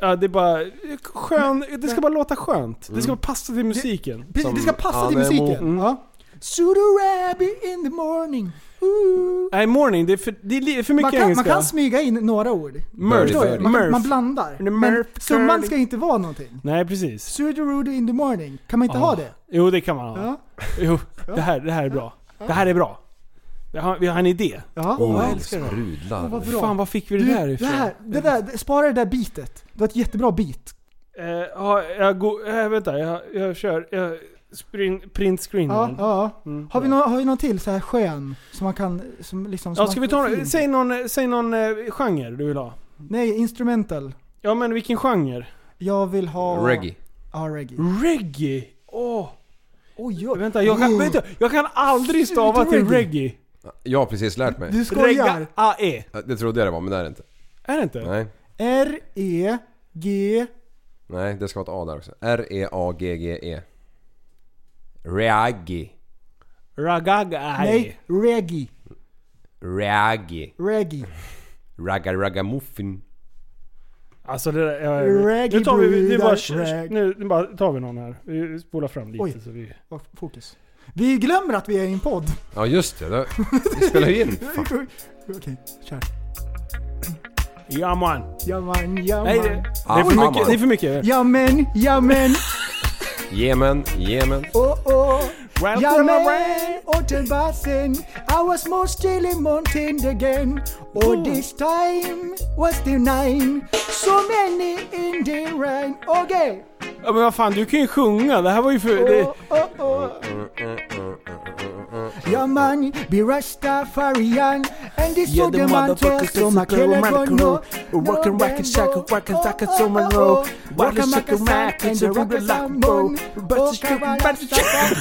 Ja, det är bara skön, det ska bara låta skönt. Det ska Mm. bara passa till musiken. Precis, det ska passa till Anemo. musiken. Mm. Sudorabi in the morning. Ooh. Nej, morning, det är för, det är li- för mycket Man kan, engelska. man kan smyga in några ord. Murph. Förstår jag. Man, Murph. man blandar. The Men Murph summan curly. ska inte vara någonting. Nej, precis. Sudorubi in the morning. Kan Ah. man inte ha det? Jo, det kan man ha. Ja. Jo, det här, det här är bra. Det här är bra. Jag har, vi har en idé. Ja. Åh, jag oh, älskar det. sprudlar. Åh, vad bra. Fan, var fick vi det Du, där det ifrån? här, det där, det- spara det där bitet. Du har ett jättebra bit. Eh, ja, jag går... eh, vänta, jag, jag kör... Jag, spring, print screen. Ja, ja. Mm. Har vi, någon, har vi någon till så här skön som man kan, som liksom... Som Ja, ska vi ta fin? Säg någon, säg någon eh, genre du vill ha. Nej, instrumental. Ja, men vilken genre? Jag vill ha... Reggae. Ja, reggae. Reggae! Åh! Oj, oj. Mm. Vänta, jag kan, Oh. vänta, jag kan aldrig stava till reggae. Jag har precis lärt mig. Du skojar. A-E. Det trodde jag det var, men det är det inte. E. Är det inte? Nej. E R-E-G... Nej, det ska vara ett A E. där också. R-E-A-G-G-E. Reagi. Ragaga. E. Nej, reggae. Reagi. Reggae. Ragga ragga muffin. Alltså det där... Jag, jag- Reggae nu tar vi... Nu bara, brudar, reg- nu, nu bara tar vi någon här. Vi spolar fram lite Oj. så vi... Och Fokus. Vi glömmer att vi är i en podd. Ja just det, det- vi spelar ju in. [LAUGHS] Okej, kör. Ja man. Jamen, Nej, det, jamen. det, är för Aman. mycket, det är för mycket. Jamen, [LAUGHS] jamen. Jemen, Jemen. Oh, oh. Welcome Jamen, away. Otterbassen. I was most still mountain again. Oh, this time was the nine. So many in the rain. Okej. Ja, men vad fan, du kan ju sjunga. Det här var ju för... Oh, Det, oh, oh. Your man be Rastafarian and this Yeah, the motherfuckers so just my a girl killer rock and no Oh, roll. Rock and rock and shaka, rock and shaka, so my roll. Rock and shaka, rock and shaka, rock and rock and oh. roll. But you shaka, but you shaka.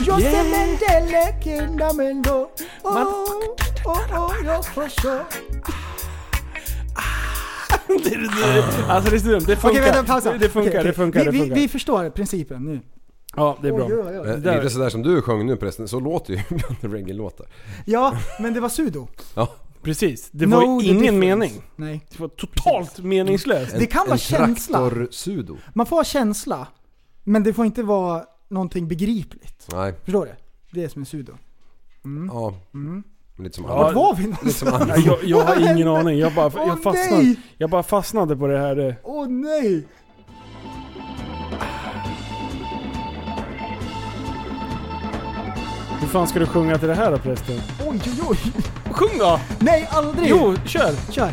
[LAUGHS] Jose oh. Mendele Kindamendo Oh, oh, oh, yo for sure det, det, alltså det är så dumt. Det funkar. Okej, vänta, pausa. Det, det funkar, Okej, det funkar, vi, det funkar. Vi, vi förstår principen nu. ja, det är bra. Eh. Oj, oj, oj. Men där- Lite sådär som du sjöng nu förresten, så låter ju [LAUGHS] ibland reggae-låtar. Ja, men det var sudo. Ja, Precis. Det Know var the ju ingen difference. mening. Nej. Det var totalt meningslöst. Det kan vara en känsla. traktor-sudo. Man får ha känsla, men det får inte vara någonting begripligt. Nej, Förstår du? Det är som en sudo. Mm. ja. Lite som Ja, Vart andra. var vi någonstans? Lite som andra. [LAUGHS] Ja, Jag, jag har ingen aning. Jag bara, Åh, jag, fastnade, nej! jag bara fastnade på det här. eh. Åh nej! Hur fan ska du sjunga till det här då prästen? Oj, oj, oj. Sjung då! Nej, aldrig! Jo, kör! Kör.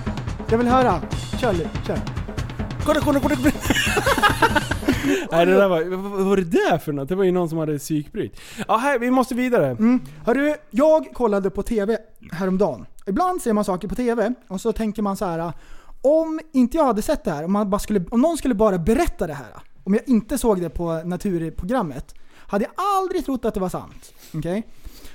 Jag vill höra. Kör, Liv, kör. Kolla, kolla, kolla, kolla. Nej det där var, vad var det där för något? Det var ju någon som hade psykbryt. Ja, här, vi måste vidare. Mm. Hörru, jag kollade på TV häromdagen. Ibland ser man saker på TV och så tänker man så här. Om inte jag hade sett det här, om, man bara skulle, om någon skulle bara berätta det här. Om jag inte såg det på naturprogrammet. Hade jag aldrig trott att det var sant. Okej?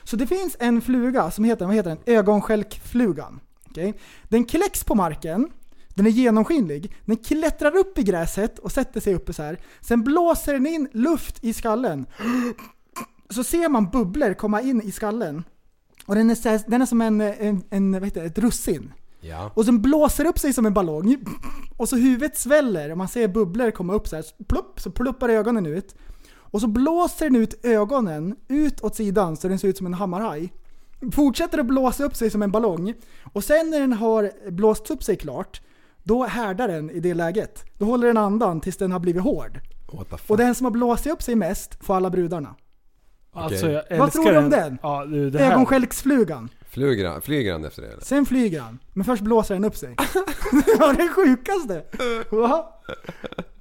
Så det finns en fluga som heter, vad heter den? Ögonskälkflugan. Okej? Den kläcks på marken. Den är genomskinlig. Den klättrar upp i gräset och sätter sig uppe så här. Sen blåser den in luft i skallen så ser man bubblor komma in i skallen. Och den är, så här, den är som en, en, en vad heter det, ett russin. Ja. Och sen blåser upp sig som en ballong. [LAUGHS] Och så huvudet sväller och man ser bubblor komma upp så här. Så Plupp, så pluppar ögonen ut. Och så blåser den ut ögonen ut åt sidan så den ser ut som en hammarhaj. Fortsätter att blåsa upp sig som en ballong. Och sen när den har blåst upp sig klart, då härdar den i det läget. Då håller den andan tills den har blivit hård. What the fuck? Och den som har blåst upp sig mest får alla brudarna. Alltså jag älskar Vad tror du om den? Ja, du, det här. Ögonskälksflugan. Flyger han, flyger han efter det eller? Sen flyger han, men först blåser den upp sig. [LAUGHS] det var det sjukaste! Va?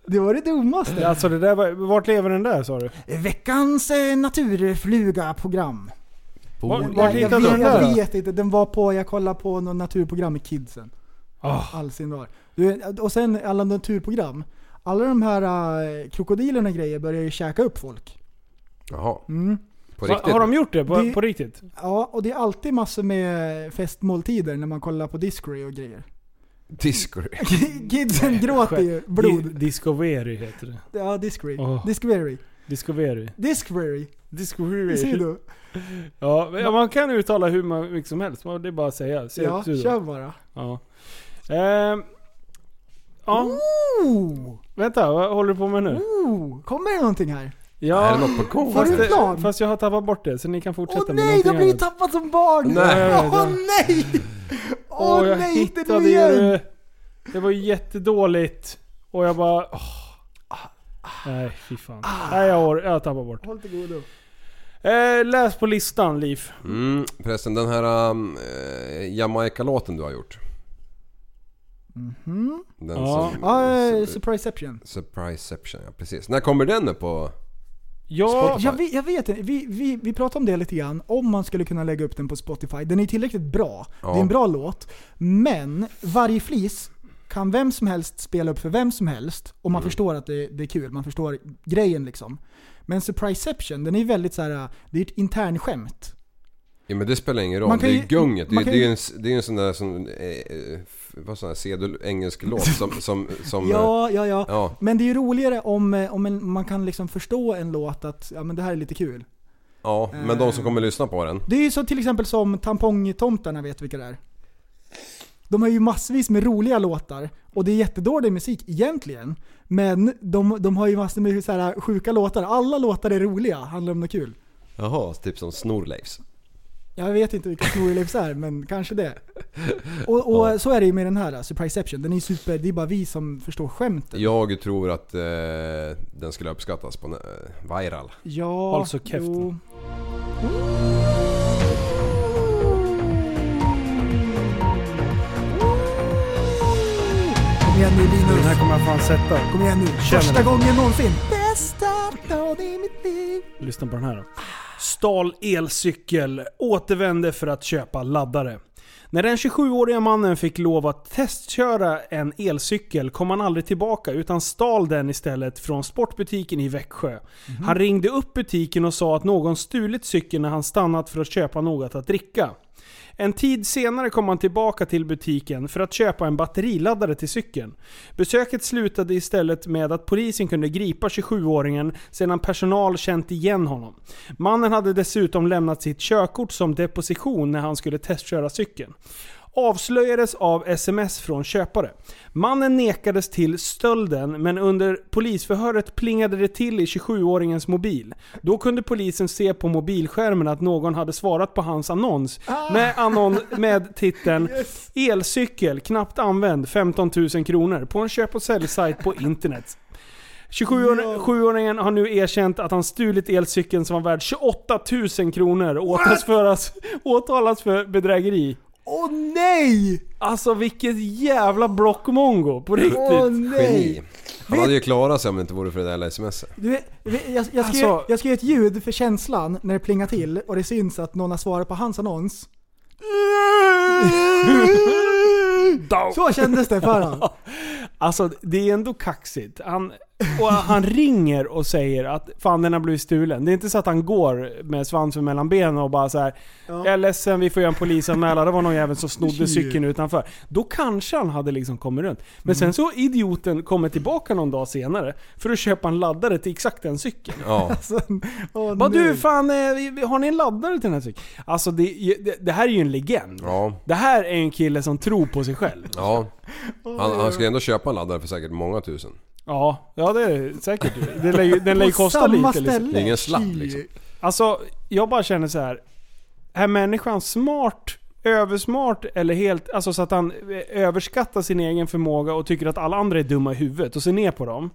Det var det dummaste. Alltså det där var, vart lever den där sa du? Veckans eh, naturfluga-program. Vart, Bor- vart jag, hittade du vet, den jag där? då? vet inte, den var på, jag kollade på något naturprogram med kidsen. Ah. All sin dag. Du, och sen alla naturprogram. Alla de här eh, krokodilerna och grejer börjar ju käka upp folk. Jaha. Mm. På Va, riktigt? har de gjort det på, Det- på riktigt? Ja, och det är alltid massor med festmåltider när man kollar på Discovery och grejer. [LAUGHS] Discovery. Kidsen gråter ju blod. Di- Discovery heter det. Ja, Discovery. Åh. Discovery. Discovery. Discovery. Det ser Discovery. du. Ja, men man kan uttala hur man, mycket som helst. Det är bara att säga. Säg Ja, upp du då. kör bara. Ja. Ehm, ja, Ooh, vänta. Vad håller du på med nu? ooh. Kommer det någonting här? Är Ja, det något på gång? Har fast, du en plan? fast jag har tappat bort det. Så ni kan Åh fortsätta med nej, då någonting blir du annat. tappad som barn! Nej. Åh nej! Åh Åh, jag nej, inte hittade nu ju igen! det. Det var ju jättedåligt. Och jag bara... åh. Nej, fy fan. Nej, jag, har, jag tappar bort. Håll till godo. Eh, läs på listan, Liv. Mm, förresten den här um, eh, Jamaica-låten du har gjort. Den Ja. som... Ja, eh, su- Mhm. surpriseception. Surpriseception, ja precis. När kommer den upp på... Ja, Spotify. Jag vet, jag vet inte, vi, vi, vi pratade om det lite grann, om man skulle kunna lägga upp den på Spotify. Den är ju tillräckligt bra, det är en bra låt. Men varje flis kan vem som helst spela upp för vem som helst och man Mm. förstår att det, det är kul, man förstår grejen liksom. Men Surpriseception, den är ju väldigt så här. det är ett internskämt. Ja men det spelar ingen roll, Man det kan är ju- ju gunget. Det, man är- kan det, är ju- en, s- det är ju en sån där som... eh, Eh, f- vad sån här sedel, engelsk låt [LAUGHS] som... som, som eh, Ja, ja, ja. ja. Men det är ju roligare om, eh, om en, man kan liksom förstå en låt att ja, men det här är lite kul. Ja, men de som kommer lyssna på den. Det är ju så till exempel som tampongtomtarna vet vilka det är. De har ju massvis med roliga låtar och det är jättedålig musik egentligen. Men de, de har ju massor med så här sjuka låtar. Alla låtar är roliga, handlar om något kul. Jaha, typ som Snorleifs. Jag vet inte vilka Snorlax är, men kanske det. Och, och så är det ju med den här, Surpriseception. Den är ju super, det är bara vi som förstår skämtet. Jag tror att eh, den skulle uppskattas på eh, viral. Ja, Håll så käften. jo. Kom igen nu den här Linus. kommer jag fan sätta. Kom igen nu. Känner Första det. gången någonsin. Bästa dagen i mitt liv. Lyssna på den här då. Stal elcykel, återvände för att köpa laddare. När den 27-åriga mannen fick lov att testköra en elcykel kom han aldrig tillbaka utan stal den istället från sportbutiken i Växjö. Han ringde upp butiken och sa att någon stulit cykeln när han stannat för att köpa något att dricka. En tid senare kom han tillbaka till butiken för att köpa en batteriladdare till cykeln. Besöket slutade istället med att polisen kunde gripa 27-åringen sedan personal känt igen honom. Mannen hade dessutom lämnat sitt körkort som deposition när han skulle testköra cykeln. Avslöjades av sms från köpare. Mannen nekades till stölden men under polisförhöret plingade det till i 27-åringens mobil. Då kunde polisen se på mobilskärmen att någon hade svarat på hans annons med, annon med titeln Elcykel, knappt använd, 15 000 kronor på en köp och säljsajt på internet. 27-åringen har nu erkänt att han stulit elcykeln som var värd 28 000 kronor och åtalas för, åtalas för bedrägeri. Åh nej! Alltså vilket jävla blockmongo på riktigt. Åh nej! Geni. Han hade ju klarat sig om det inte vore för det där jävla smset. Du, vet- vet- jag, jag, ska Alltså- göra, jag ska göra ett ljud för känslan när det plingar till och det syns att någon har svarat på hans annons. Down. Så kändes det [LAUGHS] för honom. Alltså det är ändå kaxigt. Han, och han ringer och säger att fan den har blivit stulen. Det är inte så att han går med svansen mellan benen och bara så här. Jag är ledsen, vi får göra en polisanmälan. Det var någon jävel som snodde cykeln utanför. Då kanske han hade liksom kommit runt. Men sen så idioten kommer tillbaka någon dag senare för att köpa en laddare till exakt den cykeln. [LAUGHS] Ja. Alltså, åh, Vad nej. du fan, eh, vi- vi- har ni en laddare till den här cykeln? Alltså det, det, det här är ju en legend. Ja. Det här är en kille som tror på sig själv. Ja. Han, han skulle ändå köpa en laddare för säkert många tusen. Ja, ja det är säkert. Den lär ju, den lär ju På kosta samma lite. Liksom. ställe. Det är ingen slapp liksom. Alltså, jag bara känner så här. Är människan smart, översmart eller helt... Alltså så att han eh, överskattar sin egen förmåga och tycker att alla andra är dumma i huvudet och ser ner på dem.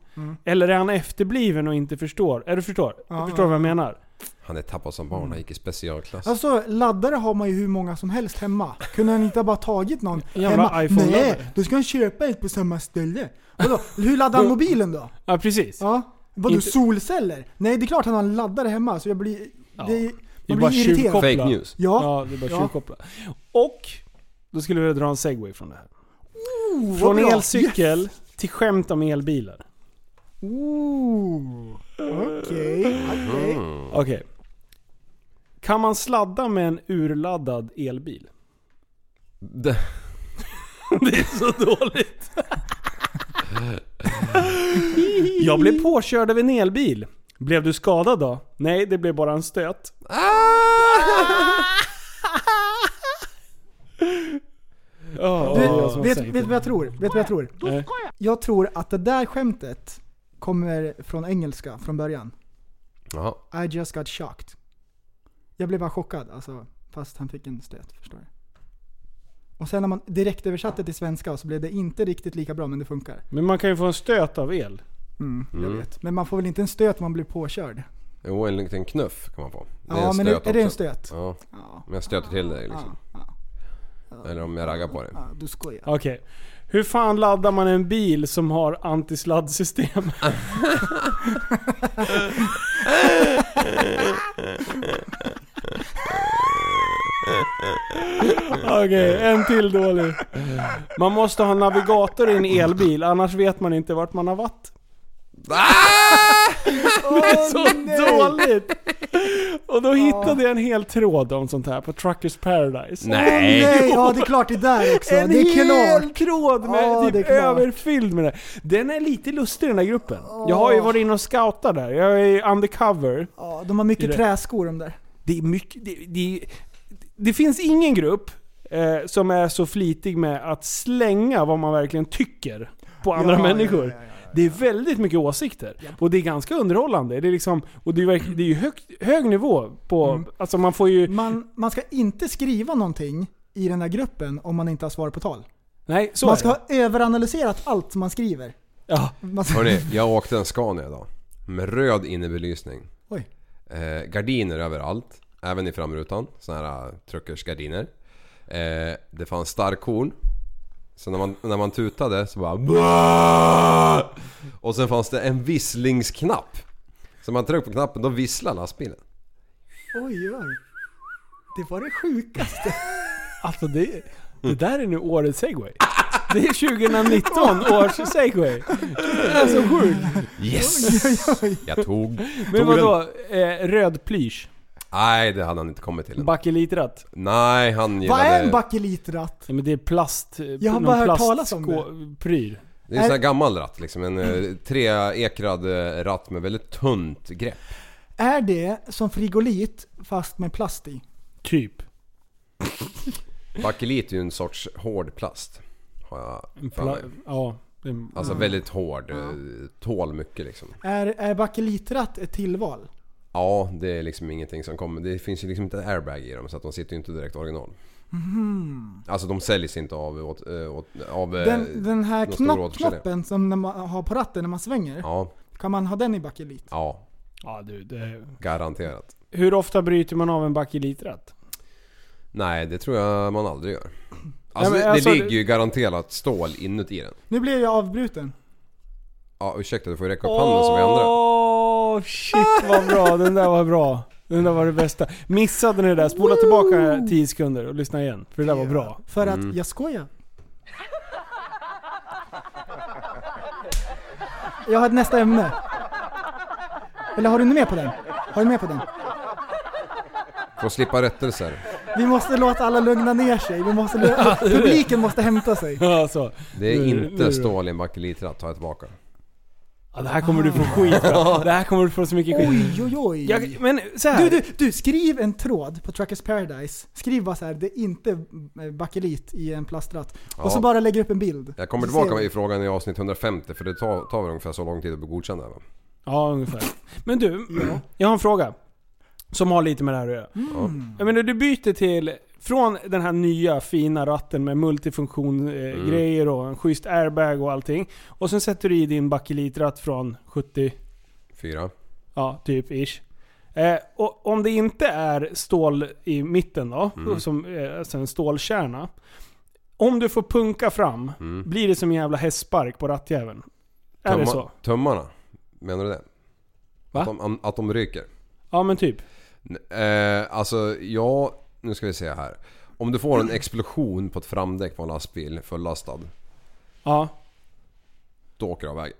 Eller är han efterbliven och inte förstår? Är du förstår? Ja, du förstår ja. vad jag menar? Han är tappad som barn, han gick i specialklass. Mm. Alltså laddare har man ju hur många som helst hemma. Kunde han inte ha bara tagit någon Jävla hemma? iPhone-laddare. Nej, då ska han köpa ett på samma ställe. Vadå? Hur laddar han mobilen då? Ja, precis. Ja. Vadå Inte- solceller? Nej det är klart han har en laddare hemma så jag blir... Det, man Det är bara blir irriterad. tjuvkoppla. Fake news. Ja. Ja, det är bara Ja. tjuvkoppla. Och, då skulle vi dra en segway från det här. Oh, Från vad bra. elcykel Yes. till skämt om elbilar. Ooh. Okej, okej. Okej. Kan man sladda med en urladdad elbil? Det- [LAUGHS] Det är så dåligt. [LAUGHS] Jag blev påkörd av en elbil. Blev du skadad då? Nej, det blev bara en stöt. Ah! Ja, Du, det var som vet, sagt. vet du vad jag tror? Vet du vad jag tror? Nej. Jag tror att det där skämtet kommer från engelska från början. Jaha. I just got shocked. Jag blev bara chockad alltså. Fast han fick en stöt, förstår du. Och sen när man direkt översatte till svenska så blev det inte riktigt lika bra men det funkar. Men man kan ju få en stöt av el. Mm, Jag vet. Men man får väl inte en stöt om man blir påkörd? Jo, en liten knuff kan man få. Det Ja, men är- är det en också. stöt? Ja, Ja. om jag stöter till dig liksom. Eller om jag raggar på dig. ja du skojar. Okej. Hur fan laddar man en bil som har antisladdsystem? Okej, en till dålig. Man måste ha navigator i en elbil, annars vet man inte vart man har varit. Det är så dåligt! Och då hittade jag en hel tråd om sånt här på Truckers Paradise. Nej, ja det är klart det är där också. En det är klart. hel tråd med, Ja, det är typ klart. överfylld med det. Den är lite lustig den här gruppen. Jag har ju varit inne och scoutat där. Jag är ju undercover. Ja, de har Det mycket är det. träskor de där. Det är mycket... Det, det, det finns ingen grupp eh, som är så flitig med att slänga vad man verkligen tycker på andra ja, människor. ja, ja, ja, Det är väldigt mycket åsikter. Och det är ganska underhållande. Det är, liksom, och det är, verk- det är ju högt, hög nivå på... Mm. Alltså man får ju... Man, man ska inte skriva någonting i den här gruppen om man inte har svar på tal. Nej, så man ska är det. ha överanalyserat allt som man skriver. Ja. Man ska, Hörrni, jag åkte en Scania idag. Med röd innerbelysning. oj. Eh, gardiner överallt. Även i framrutan. Såna här eh, truckersgardiner. Eh, det fanns starkhorn. Så när man, när man tutade så bara... "Baa!" Och sen fanns det en visslingsknapp. Så man tryckte på knappen då visslar lastbilen. Oj, oj. Det var det sjukaste. Alltså det, det där är nu årets segway. Det är [LAUGHS] 2019 års segway. Det är så sjukt. Yes! Jag tog... Men tog den. vadå? Eh, röd plysch? Nej, det hade han inte kommit till. än. Bakelitratt? Nej, han Vad gillade... är en bakelitratt? Nej men det är plast... Jag har bara hört talas om Pryl. Det är en sån här gammal ratt liksom. En eh, treekrad eh, ratt med väldigt tunt grepp. Är det som frigolit fast med plast i? Typ. Bakelit är ju en sorts hård plast. Har jag för mig. Pla- ja. det är- Alltså väldigt hård. eh, Tål mycket liksom. Är, är bakelitratt ett tillval? Ja, det är liksom ingenting som kommer. Det finns ju liksom inte en airbag i dem så att de sitter ju inte direkt original. Mhm. Alltså de säljs inte av... Åt, eh, åt, av eh, Den, den här de stora knapp, återförsäljare. knappen som när man har på ratten när man svänger. Ja. Kan man ha den i bucket list? Ja, Ja, du, det... garanterat. Hur ofta bryter man av en bakelitratt? Nej, det tror jag man aldrig gör. Alltså, men det, det alltså, ligger ju garanterat stål inuti den. Nu blir jag avbruten. Ja, ursäkta du får ju räcka upp handen som vi andra. Åh, shit vad bra. Den där var bra. Den där var det bästa. Missade ni det där, spola tillbaka 10 sekunder och lyssna igen. För det där var bra. För att Mm. [LAUGHS] jag skojar. Jag har ett nästa ämne. Eller har du med på den? Har du med på den? För att slippa rättelser. Vi måste låta alla lugna ner sig. Vi måste lö- publiken måste hämta sig. [LAUGHS] Alltså, Det är Nu- nu- inte stål i en bakelitratt, tar jag tillbaka. ja, det här kommer du få skit för. Det här kommer du få så mycket skit Oj, oj, oj. jag, Men så här. Du, du, du, skriv en tråd på Truckers Paradise. Skriv bara så här, det är inte eh, bakelit i en plastratt. Ja. Och så bara lägger upp en bild. Jag kommer Så ser tillbaka vi. i frågan i avsnitt 150 för det tar, tar väl ungefär så lång tid att bli godkänd här va? Ja, ungefär. Men du, jag har en fråga. Som har lite med det här att göra. Mm. Jag menar, du byter till, från den här nya fina ratten med multifunktiongrejer Mm. eh, grejer och en schysst airbag och allting. Och sen sätter du i din bakelitratt från 70, Fyra. ja typ ish. Eh, och om det inte är stål i mitten då, Mm. som, eh, alltså en stålkärna. Om du får punka fram, Mm. blir det som en jävla hästspark på rattjäveln? Är det så? Tummarna. Menar du det? Va? Att de, att de ryker? Ja men typ. N- Eh, alltså, ja... Nu ska vi se här. Om du får en explosion på ett framdäck på en lastbil fullastad, Ja. då åker du av vägen.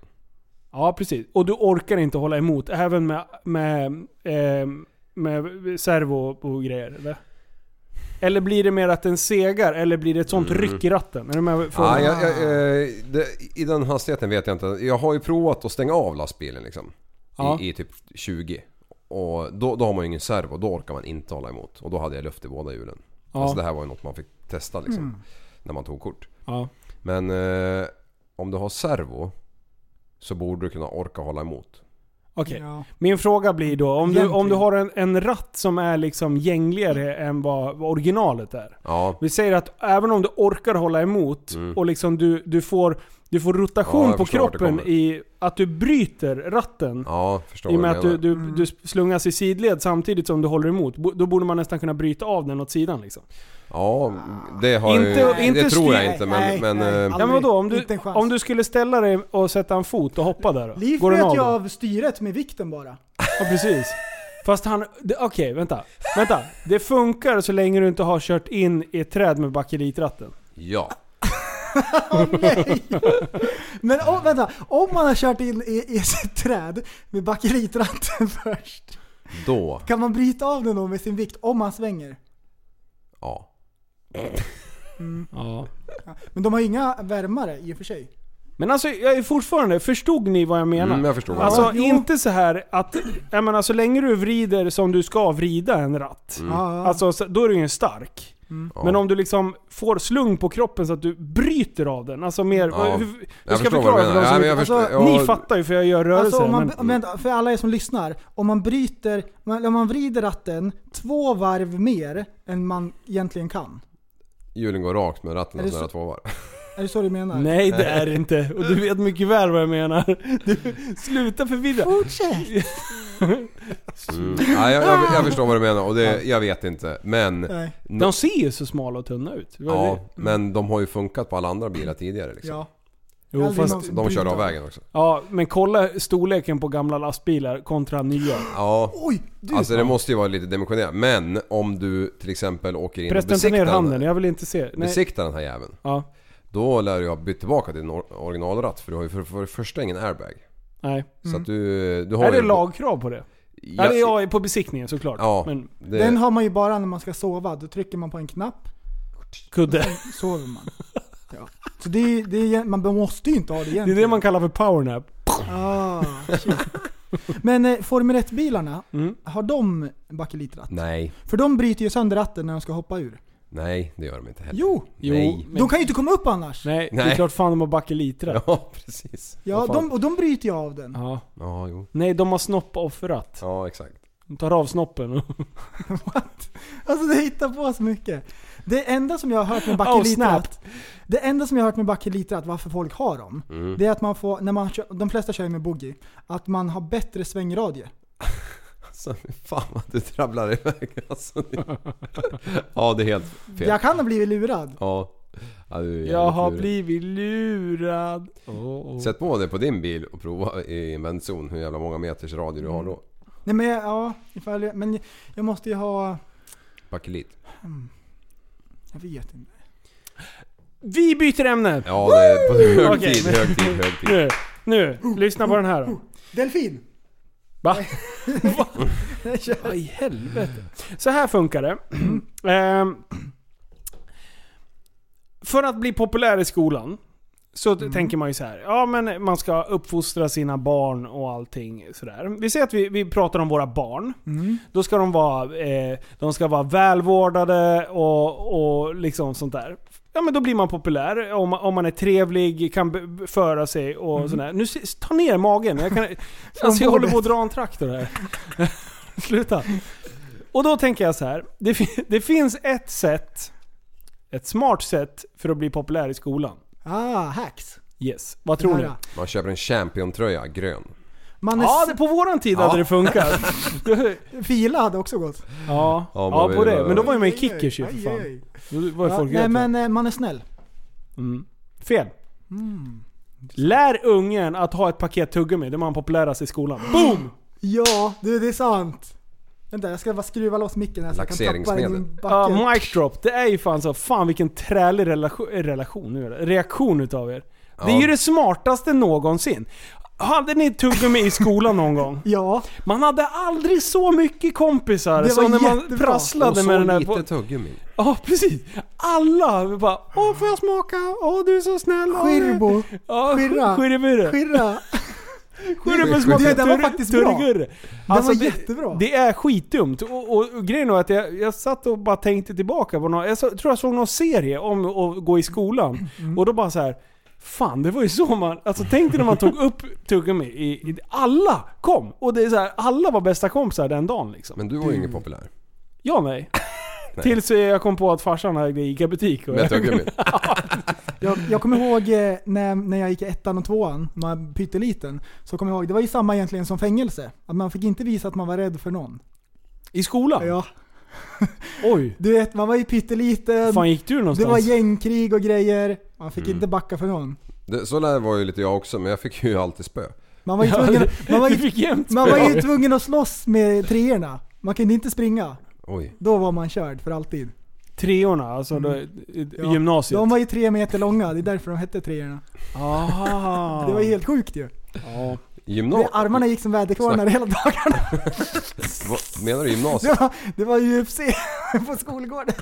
Ja, precis. Och du orkar inte hålla emot, även med, med, eh, med servo och grejer? Eller? eller blir det mer att den segar, eller blir det ett sånt ryck i ratten? Är du med på Ah, frågan? Mm. jag, jag, eh, det, I den hastigheten vet jag inte. Jag har ju provat att stänga av lastbilen liksom. Ja. I, I typ 20. Och då, då har man ju ingen servo, då orkar man inte hålla emot. Och då hade jag luft i båda hjulen. Ja. Mm. Alltså det här var ju något man fick testa liksom. När man tog kort. Ja. Men eh, om du har servo så borde du kunna orka hålla emot. Okej. Ja. Min fråga blir då, om du, om du Egentligen. har en, en ratt som är liksom gängligare än vad, vad originalet är. Ja. Vi säger att även om du orkar hålla emot och liksom du, du, får, du får rotation Mm. Ja, jag på förstår vart det kroppen kommer. i att du bryter ratten. Ja, förstår I och vad med du att du, menar. du, du Mm. slungas i sidled samtidigt som du håller emot. Bo- Då borde man nästan kunna bryta av den åt sidan liksom. Ja, det har Inte- jag ju, inte Det tror styr- jag inte men... nej, men nej, eh, aldrig. Ja, men vadå, om, du, inte en chans. om du skulle ställa dig och sätta en fot och hoppa där då? Liv Går den sköt av ju då? av styret med vikten bara. [LAUGHS] Ja, precis. Fast han... det- Okej, vänta. Vänta. Det funkar så länge du inte har kört in i ett träd med bakelitratten. ja. Nej. [LAUGHS] Men oh, vänta, om man har kört in i, i sitt träd med bakelitratten [LAUGHS] först. Då. Kan man bryta av den då med sin vikt om man svänger? Ja. Ja. Men de har ju inga värmare i och för sig. Men alltså, jag är fortfarande... Förstod ni vad jag menar? Mm, jag förstår vad du Alltså, menar. Jo. inte så här att... Jag menar, så länge du vrider som du ska vrida en ratt. Mm. Ja, ja. Alltså, så- då är du ju stark. Ja. Men om du liksom får slung på kroppen så att du bryter av den. Alltså mer... Ja. Hur, hur Jag ska förstår förklara vad du för dem menar. som Nej, men inte- jag förstår, alltså, ja, Ni fattar ju för jag gör rörelser. Alltså om man, men, om, vänta, för alla er som lyssnar. Om man bryter, man- om man vrider ratten två varv mer än man egentligen kan. Hjulen går rakt men ratten Är har det snurrat så- två varv. Är det så du menar? nej det är det inte. Och du vet mycket väl vad jag menar. Du, sluta förvirra. Fortsätt! Mm. Nej, jag, jag, jag förstår vad du menar och det, jag vet inte. Men... Nej. De ser ju så smala och tunna ut. Det var ju Ja, det. men de har ju funkat på alla andra bilar tidigare liksom. Ja. Jo, Aldrig fast, någonsin De kör bryta. av vägen också. ja, men kolla storleken på gamla lastbilar kontra nya. Ja. Oj! Du, Alltså det måste ju vara lite dimensionerat. Men om du till exempel åker in och Förresten, ta besiktar ner den, handen. Jag vill inte se. Nej. besiktar den här jäveln. Ja, Då lär du ha bytt tillbaka din or- originalratt för du har ju för, för det första ingen airbag. nej. Så att du, du har Är det ju- lagkrav på det? Ja, Ja, det är jag på besiktningen såklart. Ja, Men det, den har man ju bara när man ska sova. Då trycker man på en knapp, kudde. [LAUGHS] sover man. Ja. Så det är, det är, man måste ju inte ha det Det är egentligen. det man kallar för powernap. Ah, shit. Men eh, Formel 1-bilarna, Mm. har de bakelitratt? Nej, För de bryter ju sönder ratten när de ska hoppa ur. nej det gör de inte heller. Jo! Jo, Nej. men- De kan ju inte komma upp annars. Nej, det är Nej. klart fan de har bakelitrat. Ja, [LAUGHS] precis. Ja, Vad fan. de, och de bryter ju av den. Ja. Ja, jo. Nej, de har snopp och förratt. Ja, exakt. De tar av snoppen och... What? Alltså du hittar på så mycket. Det enda som jag har hört med [LAUGHS] Oh, snap. bakelitratt, det enda som jag har hört med bakelitratt, varför folk har dem, Mm. det är att man får, när man kör, de flesta kör ju med boogie, att man har bättre svängradie. Alltså, fan vad du trabblar iväg [LAUGHS] alltså. det- Ja, det är helt fel. Jag kan ha blivit lurad. Ja. ja du är jävligt Jag har lurig. blivit lurad. Sätt på det på din bil och prova i vändzon hur jävla många meters radie Mm. du har då. Nej men jag- ja, ifall jag, men jag måste ju ha, Bakelit. jag vet inte. Vi byter ämne! Ja, det är på hög Okej, tid, men- hög tid, hög tid. Nu, nu, lyssna på den här då. Delfin! Va? Vad i helvete? Så här funkar det. [CLEARS THROAT] Ehm, för att bli populär i skolan så t- tänker man ju så här. Ja men man ska uppfostra sina barn och allting sådär. Vi säger att vi, vi pratar om våra barn. Mm. Då ska de vara, eh, de ska vara välvårdade och, och liksom sånt där. Ja men då blir man populär om, om man är trevlig, kan b- b- föra sig och Mm. sådär. Nu s- ta ner magen. Jag, kan, [LAUGHS] alltså, jag håller på att dra en traktor här. [LAUGHS] Sluta. Och då tänker jag så här. Det, fi- det finns ett sätt, ett smart sätt för att bli populär i skolan. Ah, hacks. Yes. Vad tror ni? Nära. Man köper en Champion-tröja, grön. Man är Ja, s- det, på våran tid hade det [LAUGHS] funkat. Fila hade också gått. ja, Ja, ja, men på vi- det. Men då var ju med i Aj, aj, Kickers ju för aj, fan. aj. Då var ju Ja, folk nej rätt. men eh, man är snäll. Mm. Fel. Mm. Lär ungen att ha ett paket tuggummi. Det var han populärast i [GASPS] skolan. Boom! Ja, du det är sant. Vänta, jag ska bara skruva loss micken här så jag kan tappa den i Laxeringsmedel. en backe. Ja, mic drop. Det är ju fan så. Fan vilken trälig relation, eh, relation nu är det. reaktion utav er. Det är Ja. ju det smartaste någonsin. Hade ni tuggummi i skolan någon gång? ja, Man hade aldrig så mycket kompisar Det som var när man jättebra. prasslade och med den så här... lite på- tuggummi. Ja, precis. Alla bara Åh, får jag smaka? Åh, du är så snäll. Åh, du- skirbo. Ja, Skirra. Skirrebure. Skirra. Skirrebure Det smakar där var faktiskt bra. turgurre. Alltså, var det- jättebra. Det är skitdumt. Och, och, och grejen är att jag, jag satt och bara tänkte tillbaka på någon, jag så, tror jag såg någon serie om att gå i skolan. Mm. Och då bara så här. Fan, det var ju så man... Alltså tänk dig när man tog upp tuggummi i, i... Alla kom! Och det är så här, alla var bästa kompisar den dagen liksom. Men du var ju ingen populär. Ja, nej. Tills eh, jag kom på att farsan ägde ICA-butik. Och [LAUGHS] Med tuggummi. Jag, jag kommer ihåg eh, när, när jag gick i ettan och tvåan, man var pytteliten, så kommer jag ihåg, det var ju samma egentligen som fängelse. Att man fick inte visa att man var rädd för någon. I skolan? Ja, Oj. du vet, man var ju pytteliten, fan gick du det någonstans? var gängkrig och grejer. Man fick inte backa för någon. Det, så där var ju lite jag också, men jag fick ju alltid spö. Man var ju Ja, tvungen, det- man var du ju, fick jämt man var ju spö. tvungen att slåss med treorna. Man kunde inte springa. Oj. Då var man körd för alltid. Treorna, alltså då, i- i Ja. gymnasiet. De var ju tre meter långa, det är därför de hette treorna. Aha. Det var helt sjukt ju. Ja. Gymnasiet? Armarna gick som väderkvarnar hela dagarna. [LAUGHS] Menar [LAUGHS] du gymnasiet? Det var, det var UFC [LAUGHS] på skolgården.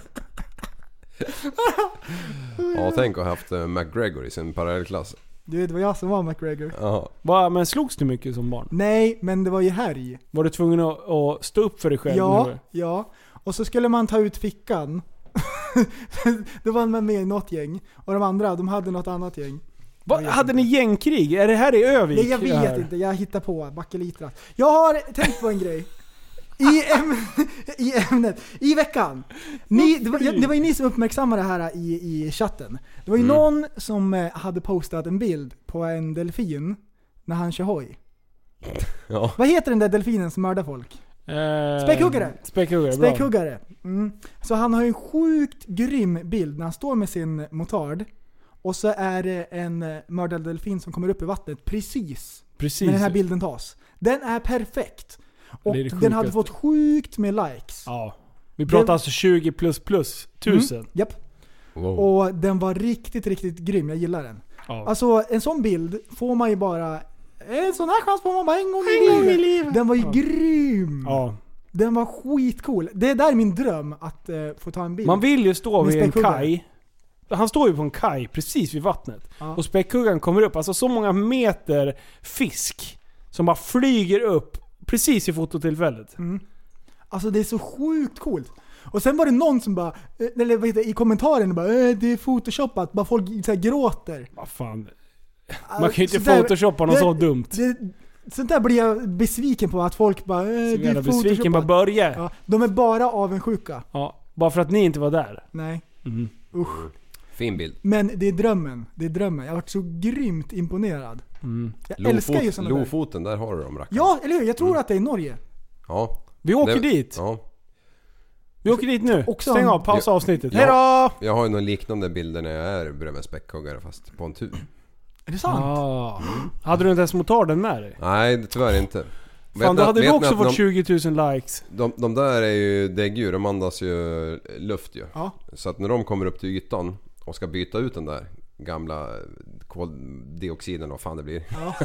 Ja, tänk att ha haft eh, McGregor i sin parallellklass. Du vet, det var jag som var McGregor. Ja. Va, men slogs du mycket som barn? Nej, men det var ju härj. Var du tvungen att, att stå upp för dig själv? Ja, nu? ja. Och så skulle man ta ut fickan. [LAUGHS] Då var man med i något gäng. Och de andra, de hade något annat gäng. Va, hade ni gängkrig? Är det här i Övik? Nej, jag Det här? vet inte. Jag hittar på. Bakelitrat. Jag har tänkt på en grej. I, äm- [LAUGHS] I ämnet. I veckan. Ni, det, var, jag- det var ju ni som uppmärksammade det här i, i chatten. Det var ju någon som eh, hade postat en bild på en delfin när han kör hoj. Ja. Vad heter den där delfinen som mördar folk? Eh, Späckhuggare. Späckhuggare, bra. Späckhuggare. Mm. Så han har ju en sjukt grym bild när han står med sin motard. Och så är det en eh, mördad delfin som kommer upp i vattnet precis Precis. när den här bilden tas. Den är perfekt. Och Det är det den hade fått sjukaste. sjukt med likes. Ja. Vi pratar Det- alltså 20 plus plus tusen. Mm, japp. Wow. Och den var riktigt, riktigt grym. Jag gillar den. Oh. Ja. Alltså en sån bild får man ju bara... En sån här chans får man bara en gång i, livet. Den var ju grym! ja. Den var skitcool. Det där är min dröm, att eh, få ta en bild. Man vill ju stå Med vid en späckhuggaren. kaj. Han står ju på en kaj precis vid vattnet. Ja. Och späckhuggaren kommer upp. Alltså så många meter fisk som bara flyger upp precis i fototillfället. Mm. Alltså det är så sjukt coolt. Och sen var det någon som bara, eh, eller vad heter det, i kommentaren bara eh, det är photoshopat, bara folk så här gråter. Vad fan. Man kan ju inte Så där- photoshoppa något det- så dumt. Det, Sånt där blir jag besviken på, att folk bara... Eh, Så det jävla är besviken på photoshopat. Börje. Ja. ja, De är bara avundsjuka. Bara för att ni inte var där. Nej. Mm. Usch. Fin bild. Men det är drömmen. Det är drömmen. Jag har varit så grymt imponerad. Mm. Jag älskar ju Lofot, såna där. Lofoten, där har du dem rackarna. Ja, eller hur? Jag Mm. tror att det är i Norge. ja. Vi åker Det- dit. Ja. Vi åker dit nu. Också Stäng en- av, pausa Ja. avsnittet. Ja. Hejdå! Jag har ju någon liknande bilder när jag är bredvid en späckhuggare fast på en tur. Är det sant? Ah. Hade du inte ens motarden med dig? Nej, det- tyvärr inte. Vet Fan, ni då att- hade vi vet ni också att fått de, 20 000 likes. de, de där är ju däggdjur, de andas ju luft ju. Ja. Så att när de kommer upp till ytan och ska byta ut den där gamla koldioxiden, vad fan det blir. [LAUGHS] Ja.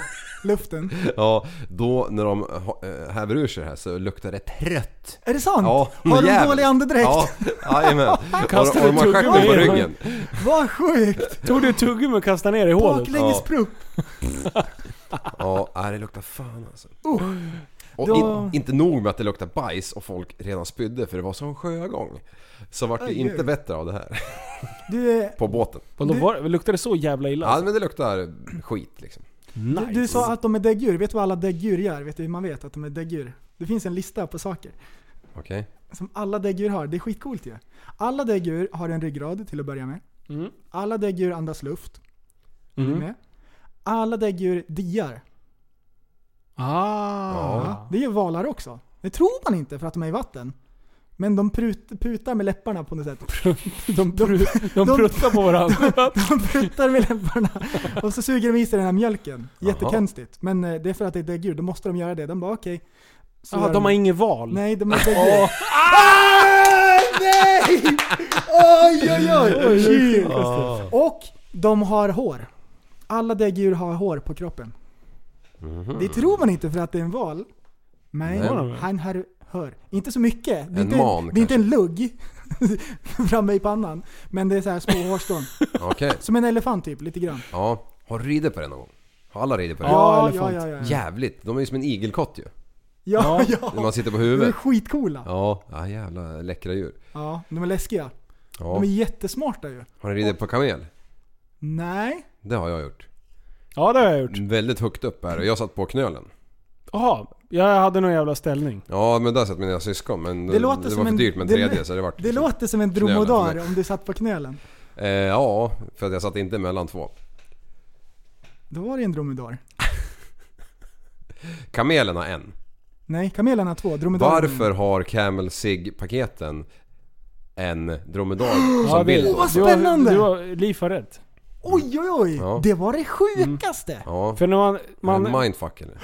Luften. Ja, då när de ha- eh, häver ur sig det här så luktar det trött. Är det sant? Ja, har de jävligt. dålig andedräkt? Ja, [LAUGHS] jajamän. Och, Kastar och de du tuggummi har stjärten på i den? ryggen. Vad sjukt! Tog du tuggummi och kastade ner i hålet? Baklänges Ja. prupp. Ja, nej, det luktar fan alltså. Oh. Och Då- in, inte nog med att det luktar bajs och folk redan spydde för det var sån sjögång. Så vart det Aj, inte aj. bättre av det här. Du, eh, På båten. Vadå, var, luktade det så jävla illa? Ja men det luktar skit liksom. nice. du, du sa att de är däggdjur. Vet du vad alla däggdjur gör? Vet du hur man vet att de är däggdjur? Det finns en lista på saker Okej. som alla däggdjur har. Det är skitcoolt ju. Alla däggdjur har en ryggrad till att börja med. Mm. Alla däggdjur andas luft. Är du Mm. med? Alla däggdjur diar. Ah. Ja, det gör valar också. Det tror man inte för att de är i vatten. Men de prut, putar med läpparna på något sätt. [LAUGHS] De, prut, de de- pruttar på [LAUGHS] varandra. De pruttar med läpparna och så suger de i sig den här mjölken. Jättekonstigt. Men eh, det är för att det är däggdjur. Då måste de göra det. De bara okej. Så ah, gör de har inget val. Nej, de är däggdjur. Nej! Oj, oj, oj! Shit. Och de har hår. Alla däggdjur har hår på kroppen. Det tror man inte för att det är en val. Mhm. Men Nej. han har hör. Inte så mycket. Det är, En inte, man, det är inte en lugg [LAUGHS] framme i pannan. Men det är så här små hårstrån. Okej. Som en elefant typ, lite grann. Ja. Har du ridit på den någon gång? Har alla ridit på den? Ja, elefant. ja, ja. Ja, Jävligt. De är ju som en igelkott ju. ja. ja. När man sitter på De är huvudet. skitcoola. Ja. Ja. Ja jävla läckra djur. de är läskiga. Ja. De är jättesmarta ju. Har ni ridit på kamel? Nej. Det har jag gjort. Ja, det har jag gjort. Väldigt högt upp här och jag satt på knölen. Jaha, jag hade någon jävla ställning. Ja men där satt mina syskon men det, låter var som för en- dyrt med det- en tredje så det vart Det liksom- låter som en Knölen för dromedar mig. om du satt på knölen. Eh, ja, för att jag satt inte mellan två. Då var det en dromedar. Kamelen har en. Nej, kamelen har två. Dromedaren har en. Varför har Camel Sig paketen en dromedar [GASPS] Ja, som bild? vad du har- spännande! Du har, Liv har rätt. Oj, oj, oj! Ja. Mm. Det var det sjukaste! Ja, För när man... man en mindfuck eller? Eh,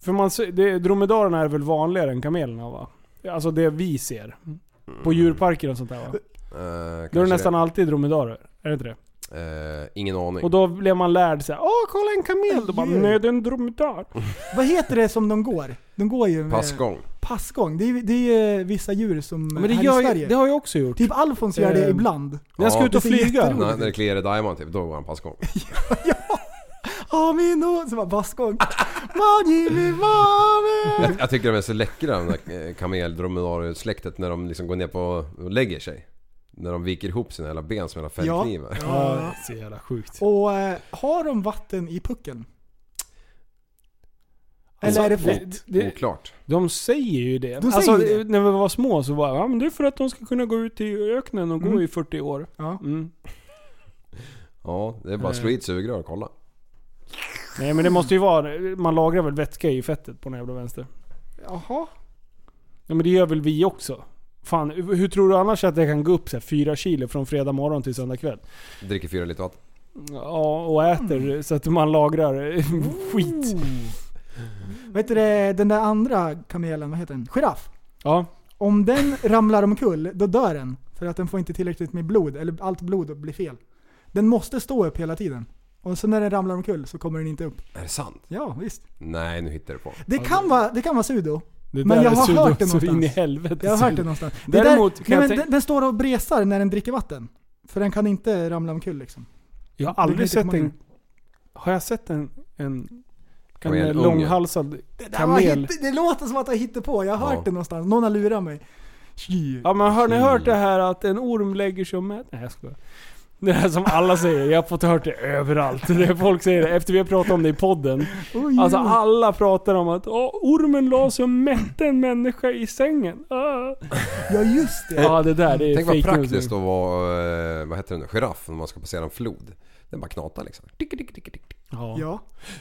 För man, se- det, dromedarerna är väl vanligare än kamelerna va? Alltså det vi ser. Mm. På djurparker och sånt där va? Eh, Då är det kanske nästan alltid dromedarer. Är det inte det? det. Eh, ingen aning. Och då blev man lärd såhär Åh kolla en kamel! Då bara Djur. Nej det är en dromedar. Vad heter det som de går? De går ju med Passgång. passgång. Det är, ju- det är ju eh, vissa djur som Men det, här gör, i Sverige. jag- det har jag också gjort. Typ Alfons gör det Ehm. ibland. När jag ska Ja. ut och Det ser flyga. jätteroligt När, när det kliar i Diamond typ, då går [LAUGHS] han passgång. Amino! Så bara [LAUGHS] bassgång. Mani, mi, mami. [LAUGHS] Jag, jag tycker de är så läckra de där eh, kamel-dromedar-släktet när de liksom går ner på och lägger sig. När de viker ihop sina jävla ben som jävla fällknivar. Ja, det är så jävla sjukt. Och eh, har de vatten i pucken? Eller Alltså, är det det, fett? det, Oklart. De säger ju det. De alltså, säger det. När vi var små så var ja, men det är för att de ska kunna gå ut i öknen och gå Mm. i 40 år. Ja. Mm. Ja, det är bara att Eh. slå i ett sugrör och kolla. Nej men det måste ju vara, man lagrar väl vätska i fettet på den jävla vänster. Jaha. Ja men det gör väl vi också? Fan, hur tror du annars att jag kan gå upp så här, 4 kilo från fredag morgon till söndag kväll? Dricker fyra liter vatten. Ja, och äter Mm. så att man lagrar [LAUGHS] skit. Vet du det, den där andra kamelen, vad heter den? Giraff. Ja. [LAUGHS] Om den ramlar omkull, då dör den. För att den får inte tillräckligt med blod, eller allt blod blir fel. Den måste stå upp hela tiden. Och så när den ramlar omkull så kommer den inte upp. Är det sant? Ja, visst. Nej, nu hittar du på. Det kan vara, det kan vara sudo. Det Men jag har sudo- hört det så in i någonstans. helvete. Jag har hört sudo. det någonstans. Det Däremot där, kan jag nej, men tänka- den, den står och bresar när den dricker vatten. För den kan inte ramla omkull liksom. Jag har Det aldrig kan sett inte en... Har jag sett en... en Kamel- en unge. långhalsad Det, där var kamel? hitte, det låter som att jag hittar på. Jag har Ja. hört det någonstans. Någon har lurat mig. Tji. Ja men har ni hört det här att en orm lägger sig om mät... Nej jag skojar. Det här som alla säger, jag har fått hört det överallt. Det är folk säger det efter vi har pratat om det i podden. Alltså alla pratar om att "Åh, ormen la sig och mätte en människa i sängen. Ah. Ja just det. Ja det där det är Eh, Tänk vad fake news. praktiskt att vara, eh, vad heter den, giraff när man ska passera en flod. Den bara knatar liksom. Tick, tick, tick, tick. Ja. Ja, Mm.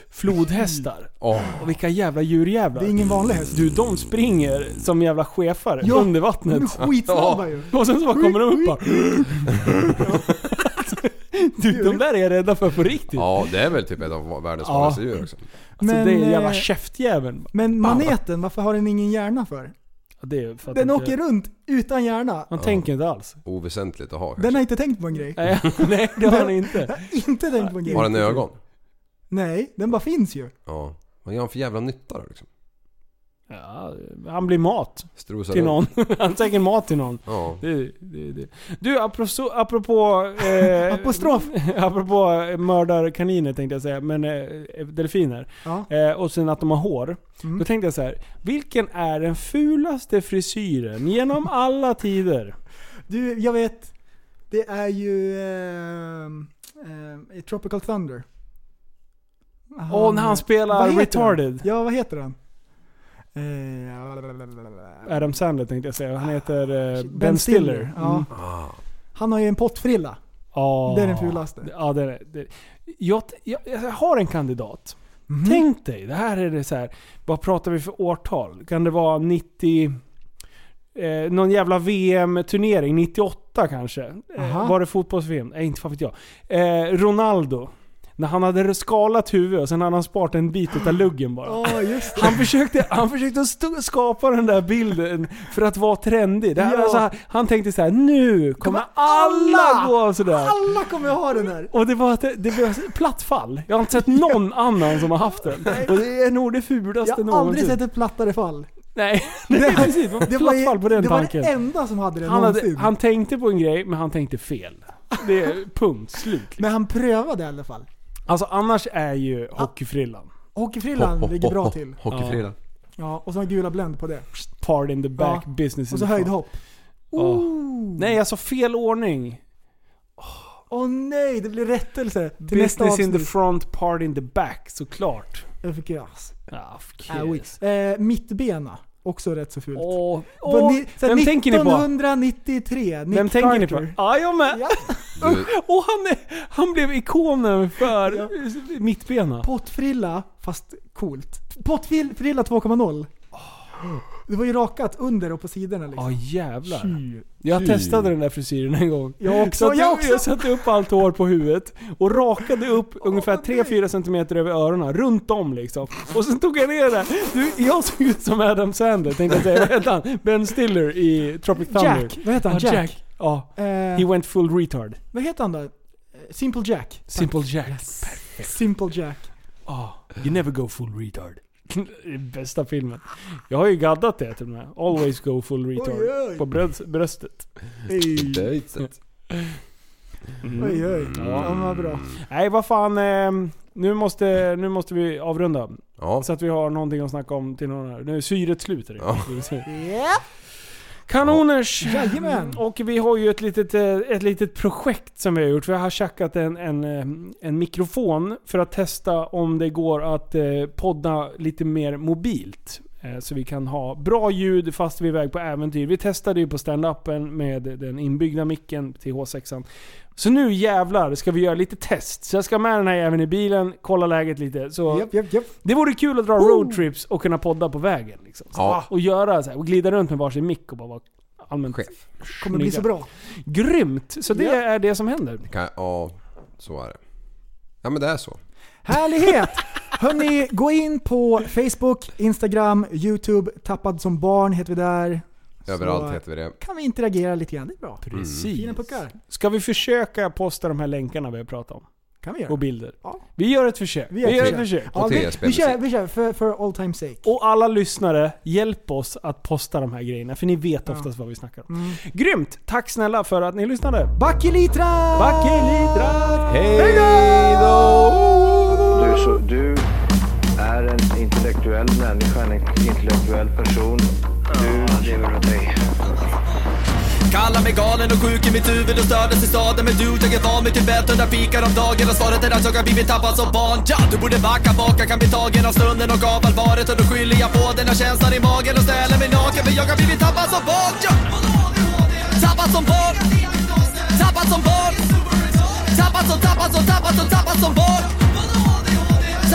Flodhästar. Åh, Och vilka jävla djurjävlar. det är ingen vanlig häst. Du, de springer som jävla chefar Ja. under De är vattnet. skitsnabba ju. Och sen så bara kommer de upp [LAUGHS] bara. Du, de där är jag rädda för på riktigt. Ja, det är väl typ ett av världens Ja. farligaste djur liksom. också. Alltså Men, det är jävla eh, käftjäveln. Men maneten, varför har den ingen hjärna för? Ja, Det är för att Den inte- åker runt utan hjärna. Man tänker inte alls. [LAUGHS] Oväsentligt att ha kanske. Den har inte tänkt på en grej. Nej, nej det har ni inte. Inte tänkt på en grej. Har den ögon? Nej, den bara finns ju. Ja. Vad gör han för jävla nytta då liksom? Ja, han blir mat Strosar till runt. någon. [LAUGHS] Han tänker mat till någon. Ja. Det, det, det. Du, apropå... apropå eh, [LAUGHS] Apostrof. [LAUGHS] apropå mördarkaniner tänkte jag säga, men eh, delfiner. Ja. Eh, och sen att de har hår. Mm. Då tänkte jag så här. vilken är den fulaste frisyren genom alla [LAUGHS] tider? Du, jag vet. Det är ju ehm, ehm, i Tropical Thunder. Åh, när han Vad spelar heter retarded. Han? Ja, vad heter han? Eh, Adam Sandler tänkte jag säga, han heter eh, Ah, Ben ben, Stiller. Mm. Ja. Ah. Han har ju en pottfrilla. Ja. Det är den fulaste. Ja, det är det. Jag, jag, jag har en kandidat. Mhm. Mm. Tänk dig, det här är det så här. Vad pratar vi för årtal? Kan det vara 90... Eh, någon jävla VM-turnering, 98 kanske? Eh, Aha. var det fotbolls-VM? Nej, inte fan vet jag. Eh, Ronaldo. När han hade skalat huvudet och sen hade han sparat en bit utav luggen bara. Ja, just det. Han försökte, han försökte stå, skapa den där bilden för att vara trendig. Det här, Ja. alltså, han tänkte så här: nu kommer alla alla- gå sådär. Alla kommer ha den här. Och det var att det, det blev platt fall. Jag har inte sett någon annan som har haft den. Och det är nog det Jag fulaste har aldrig någonsin. sett ett plattare fall. Nej, [LAUGHS] nej precis. Det var platt fall på den det var tanken. det enda som hade den han, hade, någonsin. han tänkte på en grej, men han tänkte fel. Det är punkt, slut. Men han prövade i alla fall. Alltså annars är ju Ah. hockeyfrillan. Hockeyfrillan ligger bra till. Hockeyfrilla. Ja, och så en gula Blend på det. Part in the back, Ja. business in Och så Oh. the front. höjdhopp. Ja. Nej, alltså fel ordning. Åh nej, det blir rättelse till nästa Business in the avsnitt. front, part in the back, såklart. Jag fick gas. Ah, fuck Äh, yes. oj. eh, mittbena, också rätt så fult. Åh, Vad åh, ni- så här vem tänker ni på? 1993, Nick Vem tänker ni på? Carter. Ah, jag med! Ja. Du, Och han, är, han blev ikonen för Ja. mittbena. Pottfrilla, fast coolt. Pottfrilla 2.0. Det var ju rakat under och på sidorna Ja liksom. jävlar. Tju. Jag testade den där frisyren en gång. Jag också, Satte- jag också. jag satte upp allt hår på huvudet och rakade upp ungefär 3-4 cm över öronen, runt om liksom. Och sen tog jag ner det. Du, jag såg ut som Adam Sandler tänkte jag säga. Vad hette han? Ben Stiller i Tropic Thunder. Jack, vad heter han? Ja, Jack. Ja. He Eh, went full retard. vad heter han då? Eh, Simple Jack. Tack. Simple Jack. Simple Jack. Ah, you never go full retard. [LAUGHS] Bästa filmen. Jag har ju gaddat det till och med. Always go full retard. Oj, oj. På bröds- bröstet. det är inte ett- Mm. Oj oj. Ja, men vad bra. Mm. Nej, vad fan. Eh, nu, måste, nu måste vi avrunda. Ja. Så att vi har någonting att snacka om till någon här. Nu är syret slut. är det. Ja. Kanoners! Jajamän. Mm, Och vi har ju ett litet, eh, ett litet projekt som vi har gjort. Vi har tjackat en, en, eh, en mikrofon för att testa om det går att eh, podda lite mer mobilt. Eh, Så vi kan ha bra ljud fast vi är iväg på äventyr. Vi testade ju på stand-upen med den inbyggda micken till H6an. Så nu jävlar ska vi göra lite test. Så jag ska med den här även i bilen, kolla läget lite. Så Japp, japp, japp. det vore kul att dra roadtrips och kunna podda på vägen. Liksom. Så, Ja. Och göra så här, och glida runt med varsin mick och bara vara allmänt Chef. Kommer bli snygga. så bra. Grymt! Så det Ja. är det som händer. Kan, ja, så är det. Ja men det är så. Härlighet! Hörni, gå in på Facebook, Instagram, Youtube, Tappad som barn heter vi där. Överallt Så- heter vi det. Kan vi interagera lite grann, det är bra. Precis. Fina puckar. Ska vi försöka posta de här länkarna vi har pratat om? Kan vi göra. Och bilder. Ja. Vi gör ett försök. Vi gör ett, försök. Ja, Och vi, TSB vi kör, musik. vi kör för, för all time sake. Och alla lyssnare, hjälp oss att posta de här grejerna. För ni vet oftast vad vi snackar om. Grymt! Tack snälla för att ni lyssnade. Bakelitra! Bakelitra! Hej då! Du, är så, du är en intellektuell människa, en intellektuell person. Du lever av dig. Kalla Kallar mig galen och sjuk i mitt huvud och stördes i staden Men du, jag är van vid Tibet och där fikar om dagen Och svaret är att jag har blivit tappad som barn ja, Du borde backa baka, kan bli tagen av stunden och av allvaret Och då skyller jag på den här känslan i magen och ställer mig naken För jag har blivit tappad som barn ja. Tappad som barn Tappad som barn Tappad som, tappad som, tappad som, tappad som barn